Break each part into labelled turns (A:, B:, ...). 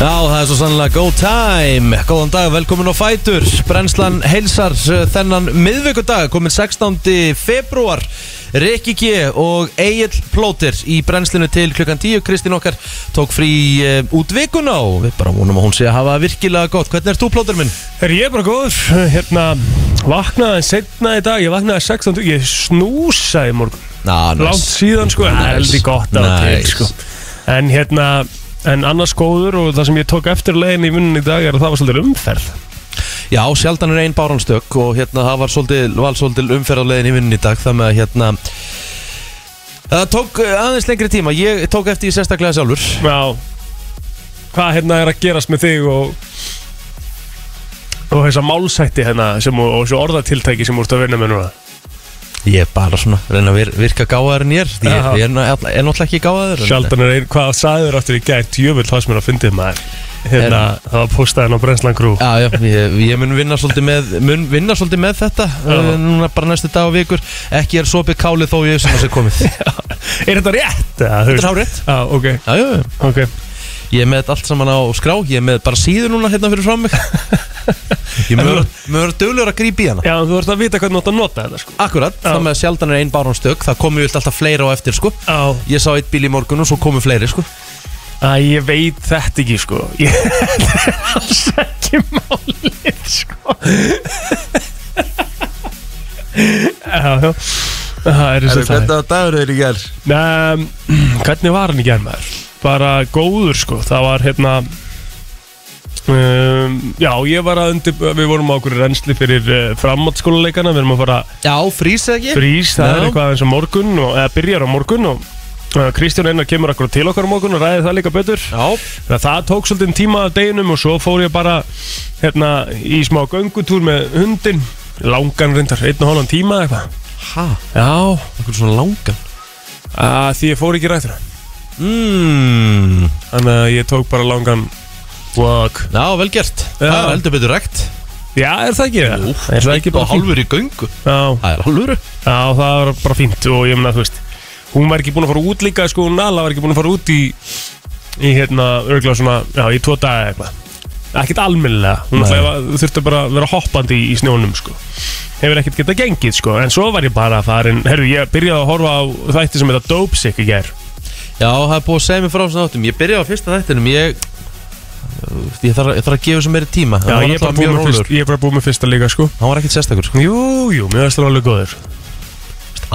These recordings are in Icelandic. A: Já, það er svo sannlega go time Góðan dag, velkomin á Fætur Brennslan heilsar uh, þennan miðvikudag komin 16. februar Rikki G og Egil Plóter í brennslinu til klukkan 10 Kristín okkar tók frí uh, út vikuna og við bara vonum að hún sé að hafa virkilega gott Hvernig ert þú Plóter minn?
B: Er ég bara góður, hérna, vaknaði setna í dag, ég vaknaði 16, ég snúsaði í morgun,
A: Ná, nice.
B: langt síðan sko, en
A: Nice.
B: heldur gott að það
A: Nice.
B: til sko. En hérna, en annars góður og það sem ég tók eftir leiðin í vinnunni í dag er að það var svolítið umferð.
A: Já, sjaldan er einn báranstök og hérna það var svolítið, var svolítið umferðarlegin í vinnunni í dag þannig að hérna það tók eh, aðeins lengri tíma ég tók eftir í sérstaklega sjálfur
B: Já, hvað hérna er að gerast með þig og og þessa málsætti hérna sem, og, og þessu orðatiltæki sem úrst að vinna með núna.
A: ég er bara svona að reyna að vir- virka gáðar en ég er Því ég,
B: Já.
A: ég er, ná- er náttúrulega ekki gáðar
B: Sjaldan er einn, hvað sagður aftur í gæt, jöfull það sem er að fyndið maður. Hérna, það var postaðin á Brensland Crew.
A: Já, já, ég, ég mun vinna svolítið með, mun vinna svolítið með þetta uh, núna bara næstu dag og vikur ekki er sopið kálið þó ég sem að sé komið Já,
B: Er þetta rétt? Þetta
A: er hárrétt.
B: Já, ok,
A: já, já,
B: ok
A: ég er með þetta allt saman á skrá ég er með bara síður núna hérna fyrir fram mig Ég mör, mör duglur að grípa í hana
B: Já, en þú ert að vita hvernig þú átt að nota þetta sko
A: Akkurat,
B: Já.
A: það með að sjaldan er einn bárhómstökk Það komu vilt alltaf fleira á eftir sko
B: Já,
A: Ég sá eitt bíl í morgun og svo komu fleiri sko
B: Æ, ég veit þetta ekki sko Ég þetta er alls ekki málið sko Já, já Það er þess að það
A: var dagur þegar ég ger
B: Nei, hvernig var hann í gerð maður? Bara góður sko, það var hérna um, Já, ég var að undir, við vorum á okkur reynsli fyrir uh, framhaldsskóluleikana Við erum að fara
A: Já, frýs ekki
B: frýs, það er
A: Já.
B: eitthvað eins og morgun og, eða byrjar á morgun og uh, Kristján Einar kemur akkur til okkar á morgun og ræði það líka betur
A: Já,
B: það, það tók svolítið tíma af deginum og svo fór ég bara hérna í smá göngutúr með hundin langan reyndar, einn og hálfan tíma eða eitthvað
A: hæ,
B: já,
A: okkur svona langan
B: að því ég fór ekki rættur
A: Mmm,
B: þannig að ég tók bara langan walk
A: já, vel gert
B: Já.
A: Það er heldur betur rekt
B: já, er það ekki það? er það ekki bara fínt?
A: hálfur í göngu
B: Já,
A: Það er hálfur
B: já, það var bara fínt og ég meina, þú veist hún var ekki búin að fara út líka, sko, hún Nala var ekki búin að fara út í í hérna, örgulega svona, já, í tvo daga eða eitthvað ekkert almennilega, hún
A: Nei.
B: ætlaði að- þurfti bara að vera hoppandi í, í snjónum, sko hefur ekkert getað gengið, sko, en svo var ég bara farin, herru, ég byrjaði að horfa á þætti sem þetta Dope Sick í gær
A: Já, það er búið að segja mér frá þessum þáttum Ég byrjaði á fyrsta þættinum Ég, ég þarf, ég þarf að gefa sem meiri tíma
B: já,
A: Það var
B: ég er bara
A: náttúrulega
B: búinn
A: mjög
B: með fyrst-
A: rólur
B: ég er bara búin með fyrsta líka, sko
A: Hann var ekkert sérstakur sko.
B: jú, jú, mér finnst það alveg góður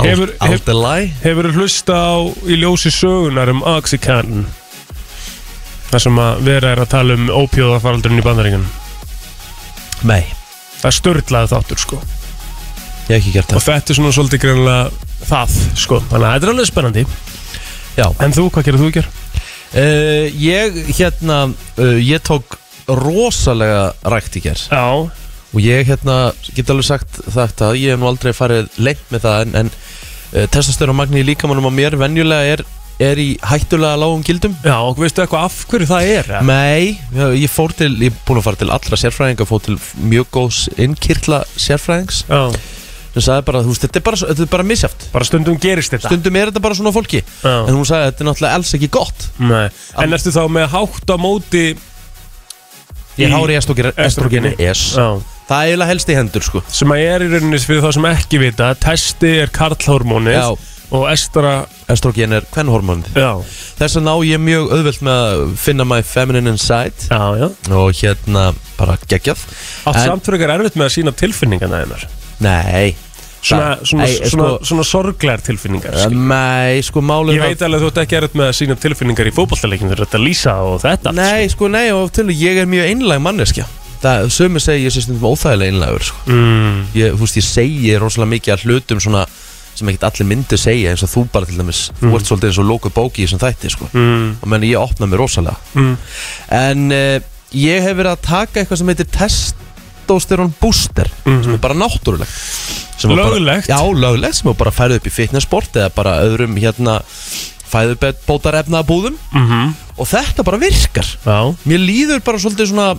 B: Hefur-
A: Ald-
B: hef-
A: Aldelai
B: Hefur þú hlusta á í ljósi sögunar um Oxycontin? Það sem að vera er að tala um ópjóðafaraldurinn í bandaríkan
A: Nei,
B: Það er störlaði þáttur sko
A: ég hef ekki gert
B: Og
A: það
B: þetta er svona svolítið greinlega það sko Þannig að þetta er alveg spennandi
A: Já,
B: En þú, hvað gerir þú ger?
A: Uh, ég hérna uh, ég tók rosalega rækt í ger
B: Já,
A: og ég hérna get alveg sagt þetta ég hef nú aldrei farið lengt með það en, en uh, testastöru og magni í líkamannum á mér venjulega er, er í hættulega lágum gildum
B: já, og veistu eitthvað af hverju það er? eða?
A: Nei, ég ég fór til, ég er búin að fara til allra sérfræðinga, fór til mjög góðs innkirtla sérfræðings
B: Já,
A: sem sagði bara, þú veist, þetta er bara, þetta er bara misjaft
B: bara stundum gerist þetta
A: stundum er þetta bara svona á fólki en
B: Já,
A: hún sagði, þetta er náttúrulega alls ekki gott
B: nei En ertu þá með hátt á móti
A: ég
B: Í-
A: er hári estrogeni,
B: estrogeni.
A: yes
B: Já
A: það er eiginlega helst í hendur, sko
B: Sem að er í rauninni fyrir þá sem ekki vita Testi er karlhormónið
A: Já.
B: Og estra,
A: Estrogen er kvennhormonið
B: já,
A: Þess að ná ég mjög auðvelt með að finna my feminine inside
B: já, já
A: Og hérna bara geggjað
B: Átt
A: En-
B: samt frekar erfitt með að sína tilfinningana hennar
A: Nei
B: Svona,
A: Það-
B: svona,
A: Nei,
B: svona,
A: sko,
B: svona sorglegar tilfinningar skil.
A: Nei, sko málið
B: Ég veit alveg að þú ert ekki erfitt með að sína tilfinningar í fótballtaleikinu Þú ert að lýsa og þetta allt,
A: Nei, sko, nei, og til ég er mjög einlæg manneskja Það, sömu segi ég sé stundum óþægilega einlægur sko.
B: skil. mm,
A: ég, Þú veist, ég segi rosalega mikið að hlutum svona sem ekkert allir myndi segja eins og þú bara til dæmis Þú ert svolítið eins og lóku bóki í þessum þætti, sko
B: mm,
A: Og menn ég opna mig rosalega
B: mm.
A: En uh, ég hef verið að taka eitthvað sem heitir testosterone booster
B: Mm.
A: sem er bara náttúrulegt Sem er bara-
B: Löglegt?
A: Já, löglegt sem er bara færið upp í fitnessport eða bara öðrum hérna fæðubótarefnaðabúðum og þetta bara virkar
B: Mhm. Já,
A: Mér líður bara svolítið svona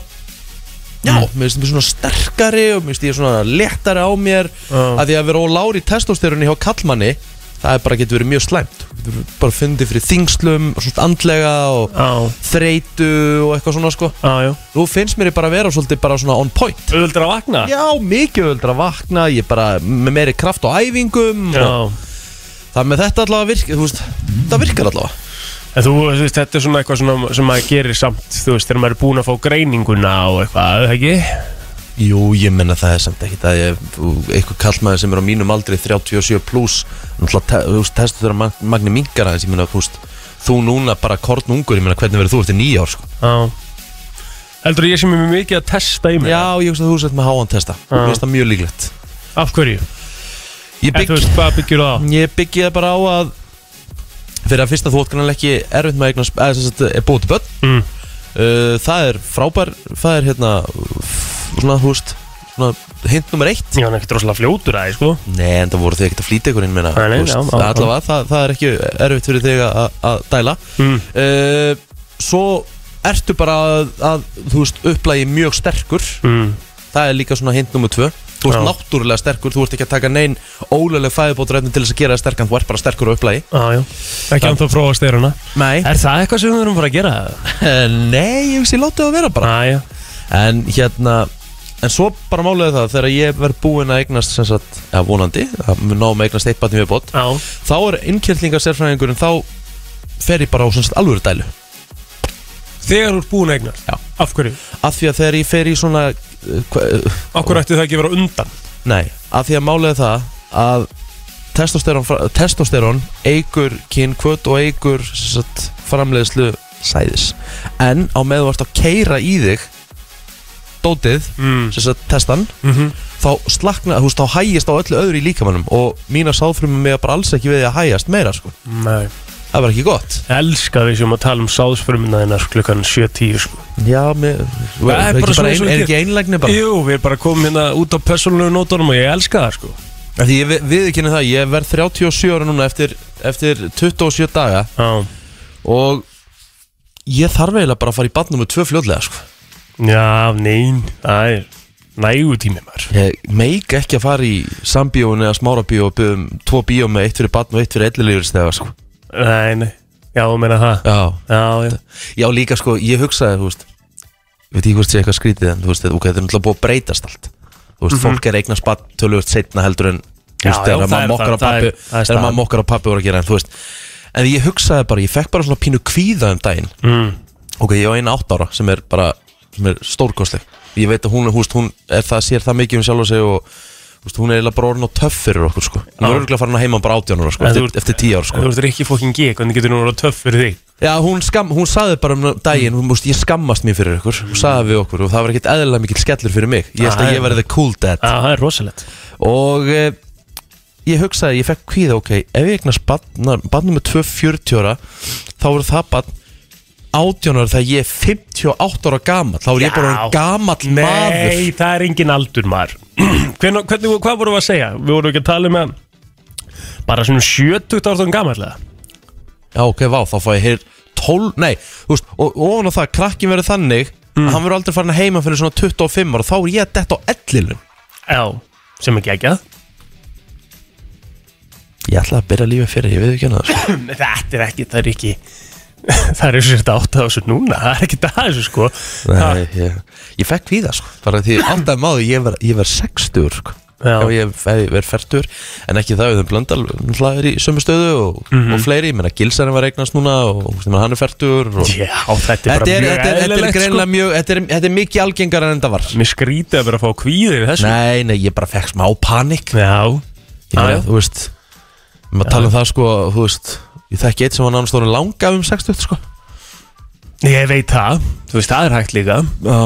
A: Já, mér finnst mér svona sterkari og mér finnst ég svona léttari á mér
B: Já.
A: að því að vera ólári í testosterunni hjá kallmanni það er bara getur verið mjög slæmt Þú getur bara fundið fyrir þingslum og svona andlega og
B: á,
A: þreytu og eitthvað svona sko
B: á, já
A: nú finnst mér ég bara að vera svolítið bara svona on point
B: Öðvöldur að vakna?
A: já, mikið völdur að vakna ég er bara með meiri kraft á æfingum
B: já.
A: og það með þetta allavega virkar þú veist, það virkar allavega
B: En þú, þú veist, þetta er svona eitthvað svona sem maður gerir samt Þú veist, þegar maður er búin að fá greininguna og eitthvað, er það ekki?
A: jú, ég menna það er samt ekkit að ég, eitthvað kallmaður sem er á mínum aldri 37 pluss náttúrulega, te- þú veist, testu þeirra mag- magni minkar aðeins, ég menna, þú veist þú núna bara korn ungur, ég menna, hvernig verður þú eftir nýja ár, sko
B: Já Heldur ég sem er mjög mikið að testa í mig?
A: já, ég veist að þú sett með háan testa,
B: Já.
A: mér finnst það mjög líklegt
B: Af hverju?
A: ég
B: En
A: bygg,
B: Þú veist, hvað byggjur það? á?
A: Ég byggi það bara á að fyrir að fyrsta þú átt grannlega ekki erfitt með að eignast eða sem sagt er búið til börn
B: Mm.
A: uh, það er frábær það er hérna f- svona þú veist svona hint nummer eitt
B: Já, hann er ekkert rosalega fljótur að því, sko
A: Nei, en það voru þig ekkert að flýta ykkur inn meina
B: Nei, nei,
A: þú veist,
B: já, já,
A: það
B: já.
A: allavega það, það er ekki erfitt fyrir þig að, að dæla
B: mm.
A: uh, svo ertu bara að, að þú veist upplægi mjög sterkur
B: Mm.
A: það er líka svona hint nummer tvö þú ert
B: Já.
A: náttúrulega sterkur, þú ert ekki að taka neinn ólega fæðubótrefni til þess að gera það sterkan þú ert bara sterkur á upplægi
B: Já, já Ekki
A: Það-
B: anþá frá að styruna
A: Nei,
B: Er það eitthvað sem við erum bara að gera?
A: Eh, Nei, ég veist ég látið að vera bara
B: Já, já
A: En hérna En svo bara málega það Þegar ég verð búinn að eignast sem sagt, eða vonandi, að við náum að eignast eitt batni við bótt
B: Já,
A: Þá er innkjörlingasérfræðingurinn Þá fer ég bara á sem sagt, alvöru dælu
B: Þegar þú ert búin að eignast?
A: Já.
B: Af hverju?
A: Af því að þegar ég fer í svona uh, hva, uh,
B: Af hverju ætti það ekki að vera á undan?
A: Nei, af því að málega það Að testosterón, fra- testosterón Eigur kynkvöt og eigur sem sagt, Framleiðslu sæðis En á með þú ert að keira í þig Dótið
B: mm.
A: sem sagt, Testan
B: mm -hmm.
A: þá slakna, þú veist, þá hægist á öllu öðru í líkamannum og mína sáðfrumum með bara alls ekki við að hægjast meira, sko.
B: Nei
A: Það var ekki gott.
B: Ég elska að við séum að tala um sáðsfrumina þinnar klukkan 7.10 sko.
A: Já, mér,
B: Það er
A: er,
B: bara
A: ekki
B: svona
A: bara ein,
B: sem
A: er
B: við
A: ekki einlægni bara.
B: Jú, við erum bara komin hérna út á personlegu nótunum og ég elska það sko.
A: Af Því ég við, viðkynna það, ég verð 37 ára núna eftir, eftir 27 daga
B: Já,
A: og ég þarf eiginlega bara að fara í badnum með tvö fljóðlega, sko.
B: já nein, það er nægu tími maður
A: Ég meik ekki að fara í sambíóinu eða smárabíó og byggðum tvo bíó með eitt fyrir badn og eitt fyrir ellilífurstega, sko.
B: Nei, nei, já, þú meina það
A: Já.
B: Já, já,
A: Já, líka sko, ég hugsaði, þú veist Ég veit ekki hvort sé eitthvað skrítið En þú veist, ok, þetta er náttúrulega búið að breytast allt Þú veist, fólk er eignar spatt tölvöld setna heldur en Þú
B: Mhm. Já,
A: veist,
B: já,
A: þegar
B: það
A: maður
B: er-
A: mokkar á
B: það- það
A: pappi
B: er- það er
A: Þegar maður
B: staðan.
A: mokkar á pappi voru að gera En þú veist, en ég hugsaði bara Ég fekk bara svona pínu kvíða um daginn
B: mm.
A: Ok, ég á eina átt ára sem er bara Sem er stórkostleg Ég veit að hún, húst, hún er það, sér það mikið um sjálf og sig og þú Veist, hún er eiginlega bara orðin og töff fyrir okkur sko. Hún
B: Já.
A: er örgulega farin að heima bara átjánur sko,
B: En
A: eftir,
B: þú ert-
A: eftir tíu ár sko.
B: En Þú ert ekki fókin G, hvernig getur nú að vera töff fyrir þig
A: Já, hún, skam, hún saði bara um daginn, hún múst, ég skammast mér fyrir ykkur, hún saði við okkur og það var ekkert eðlilega mikill skellur fyrir mig. Ég held
B: Ah,
A: að ég
B: já.
A: verði the cool dad.
B: Já, það er rosalegt
A: Og eh, ég hugsaði, ég fekk kvíða, ok, ef ég eignast bannum með 240 ára, þá voru það bann 18 ára þegar ég er 58 ára gamall. Þá er ég bara
B: Já.
A: en gamall
B: Nei,
A: maður.
B: það er engin aldur maður Hvern, hvernig, Hvað vorum við að segja? Við vorum ekki að tala með bara svona 70 ártum gamarlega
A: Já, ok, vá, þá fá ég heyr 12, nei, þú veist, og og ofan á það, krakkin verður þannig,
B: Mm.
A: að hann verður aldrei farin að heima fyrir svona 25 ára, þá er ég að detta á ellilum.
B: Já, sem ekki ekki
A: Ég ætlaði að byrja lífið fyrir, ég veit ekki hana það, sko.
B: Þetta er ekki, það er ekki Það er eins og þetta átt að þessu núna Það er ekki það þessu sko Það-
A: Nei, ég, ég fekk við það sko bara því alltaf maður ég verð ég ver 60 sko.
B: Já.
A: ef ég verð 40 en ekki það við þeim blöndal náttúrulega er í sömu stöðu og,
B: Mhm.
A: og fleiri, ég meina Gilsarinn var eignast núna og ég meina, hann er 40 og...
B: Já, þetta er
A: Þetta
B: bara
A: er,
B: mjög
A: þetta, er, þetta er
B: eðlilegt sko
A: greinlega mjög þetta er, þetta er mikið algengar en þetta var
B: Mér skrítið að vera að fá kvíðið við þessu
A: Nei, nei, ég bara fekk smá panik
B: Já,
A: Ég meina,
B: Já.
A: þú veist maður tala um það sko, þú veist ég þekki eitt sem var nánast orðin langa um 60 sko
B: ég veit það Þú veist, það er hægt líka
A: Já.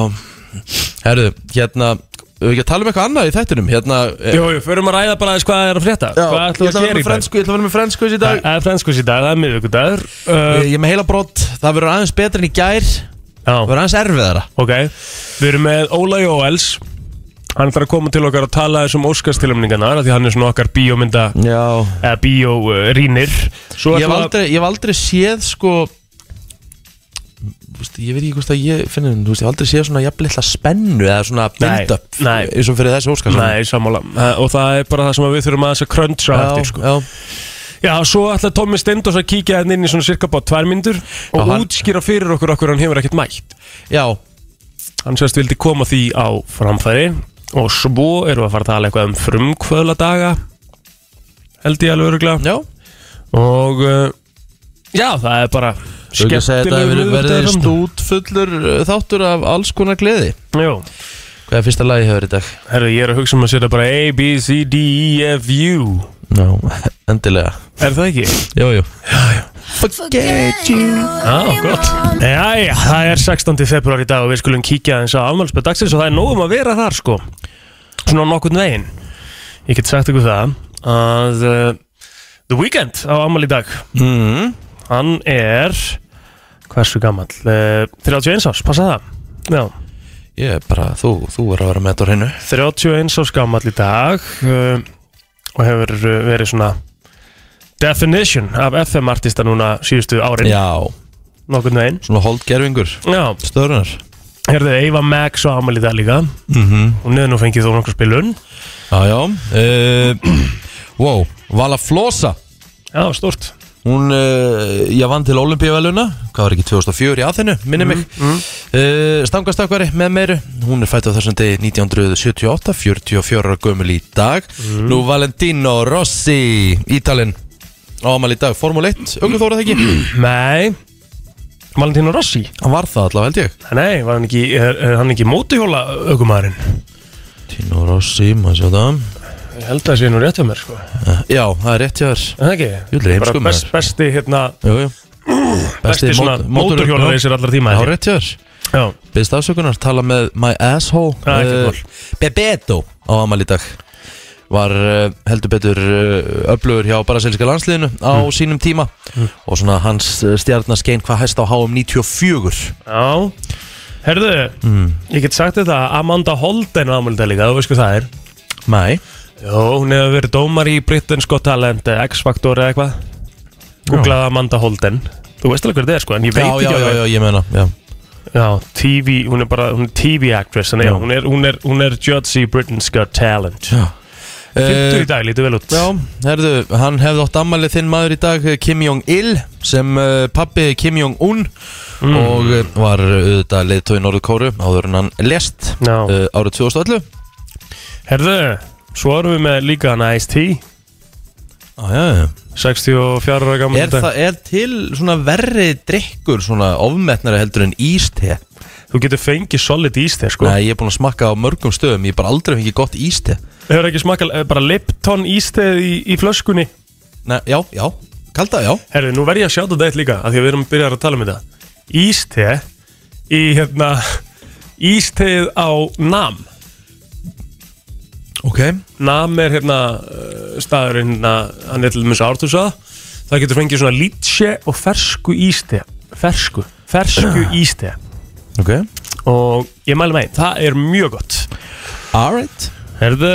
A: Herðu, hérna Við ekki að tala um eitthvað annað í þættinum hérna, eh,
B: Jú, jú, förum að ræða bara aðeins hvað er að frétta
A: Já,
B: Hvað ætlum
A: ég
B: við
A: ætla vera
B: að gera
A: með
B: í dag?
A: frensku, ég ætla að vera með frensku í dag
B: Það er frenskus í dag, það er miðvikudagur uh,
A: Ég ég er með heila brott, það verður aðeins betra en í gær Það
B: Já,
A: verður aðeins erfiðara
B: ok Við erum með Óla Jóels Hann ætlar að koma til okkar og tala þessum Óskarstilumningarnar af Því hann er svona okkar bíómynda
A: Já
B: eða bíórínir Svo
A: Ég hef
B: ætla að
A: aldrei, ég hef aldrei séð sko Vist, ég veit ekki hvort að ég finnir þú veist, ég hef aldrei séð svona jafnvel eitthvað spennu eða svona build-up
B: nei.
A: eins og fyrir þessi óskar
B: Nei, sammála Eh, Og það er bara það sem við þurfum aðeins að kröntsa eftir sko.
A: já,
B: Já, svo ætla Tómi Stendós að kíkja hérna inn í svona cirka bá tvær myndur og
A: Já, hann-
B: útskýra fyrir okkur okkur hann hefur ekkert mætt.
A: Já,
B: Hann sérst vildi koma því á framfæri og svo erum við að fara að tala eitthvað um frumkvöðladaga, held ég alveg öruglega.
A: já
B: Og uh, já, það er bara
A: Þú ekki að segja þetta
B: skemmtilegur
A: hefur verið
B: miðvikudagur fram
A: stútfullur uh, þáttur af alls konar gleði
B: undan. Jú,
A: Hvað er fyrsta lagi hefur í dag?
B: herru, ég er að hugsa um að setja bara A, B, C, D, E, F, U.
A: Já, endilega
B: Er það ekki?
A: Jú, jú Forget you
B: Já, gott. Jæja, það er 16. februar í dag og við skulum kíkja eins á afmálspöð dagsins og það er nógum að vera þar sko. Svona nokkurn veginn. Ég get sagt ykkur það að uh, The Weeknd á afmál í dag,
A: mm.
B: hann er, hversu gammal? Uh, 31 árs, passa það? Já,
A: Ég er bara, þú, þú er að vera með þetta á hreinu
B: 31 árs gammal í dag uh, og hefur uh, verið svona definition af FM-artista núna síðustu árin,
A: Já,
B: nokkurn veginn.
A: svona holdgerfingur
B: Já,
A: Störunar
B: Herðu, Eva Max og Amalí það líka
A: mm -hmm.
B: Hún hefði nú fengið þó nokkur spilun
A: Já, já uh, Wow, Vala Flosa
B: Já, stórt
A: Hún, uh, ég vann til Olympiaveluna Hvað var ekki, 2004 í aðinu, minni mig uh, Stangastakvari með meiru Hún er fætt á þessum degi 1978 44 ára gömul í dag Nú Valentino Rossi Ítalinn Ámal í dag, Formule 1, auðvitað þóra það ekki
B: Nei Valentino Rossi
A: Hann var það allavega held ég
B: Nei, var hann ekki, er, er hann ekki mótuhjóla aukumæðurinn?
A: Tino Rossi, maður sjá það
B: Ég held að það sé nú rétt hjá mér, sko Er
A: Eh, Já, það er rétt hjá þér
B: Það ekki?
A: Júlli, heimskum
B: Bara best, besti, hérna,
A: Jú, jú
B: besti, svona mótuhjóla reysir allar tíma
A: Já,
B: held ég.
A: rétt hjá þér
B: Já,
A: Byrst afsökunar, tala með my asshole
B: Já, ekkert
A: Eh,
B: Ah, mál.
A: Bebeto á amal í dag Var eh, heldur betur eh, öflugur hjá Baraselska landsliðinu á
B: Mm.
A: sínum tíma Og svona hans eh, stjarnaskein hvað hæst á HM 94
B: já Herðu,
A: Mm.
B: ég get sagt þetta Amanda Holden á Amalí það líka, þú veist hvað það er
A: Mæ
B: Jó, hún hefur verið dómar í Britain's Got Talent eh, X-Factor eða eitthvað Googlaði Amanda Holden Þú veist alveg hver það er sko, en ég veit
A: Já,
B: ekki
A: já, já,
B: alveg
A: já, ég meina já.
B: já, TV, hún er bara, hún er TV actress Þannig
A: Já.
B: já, hún er, hún er, hún er judge í Britain's Got Talent
A: Já.
B: Fyndur
A: Eh,
B: í dag, lítur vel út
A: Já, herðu, hann hefði átt ammalið þinn maður í dag eh, Kim Jong-il sem uh, pappi Kim Jong-un
B: Mm.
A: og eh, var eh, auðvitað leiðtói Norðkóru áður en hann lest
B: Já.
A: uh, árið 2011
B: Herðu, svo erum við með líka hann Ice-T
A: ah, já, já.
B: 64 ára gammal
A: Er, það, er til svona verri drikkur svona ofmetnari heldur en íste
B: Þú getur fengið solid ís þér sko
A: Nei, ég er búin að smakka á mörgum stöðum Ég er bara aldrei fengið gott íste
B: Hefur ekki smakað, eh, bara Lipton ís þið í, í flöskunni
A: Nei, Já, já, kalda, já
B: Herru, nú verð ég að sjáta þetta eitt líka af Því að við erum byrjar að tala um þetta Íste í hérna Ísteð á Nam
A: Ok
B: Nam er hérna uh, staðurinn hérna, hann er til mjög ártúsa það getur fengið svona lítse og fersku íste fersku, fersku íste
A: Ok
B: og ég mæli með, það er mjög gott
A: Alright
B: Herðu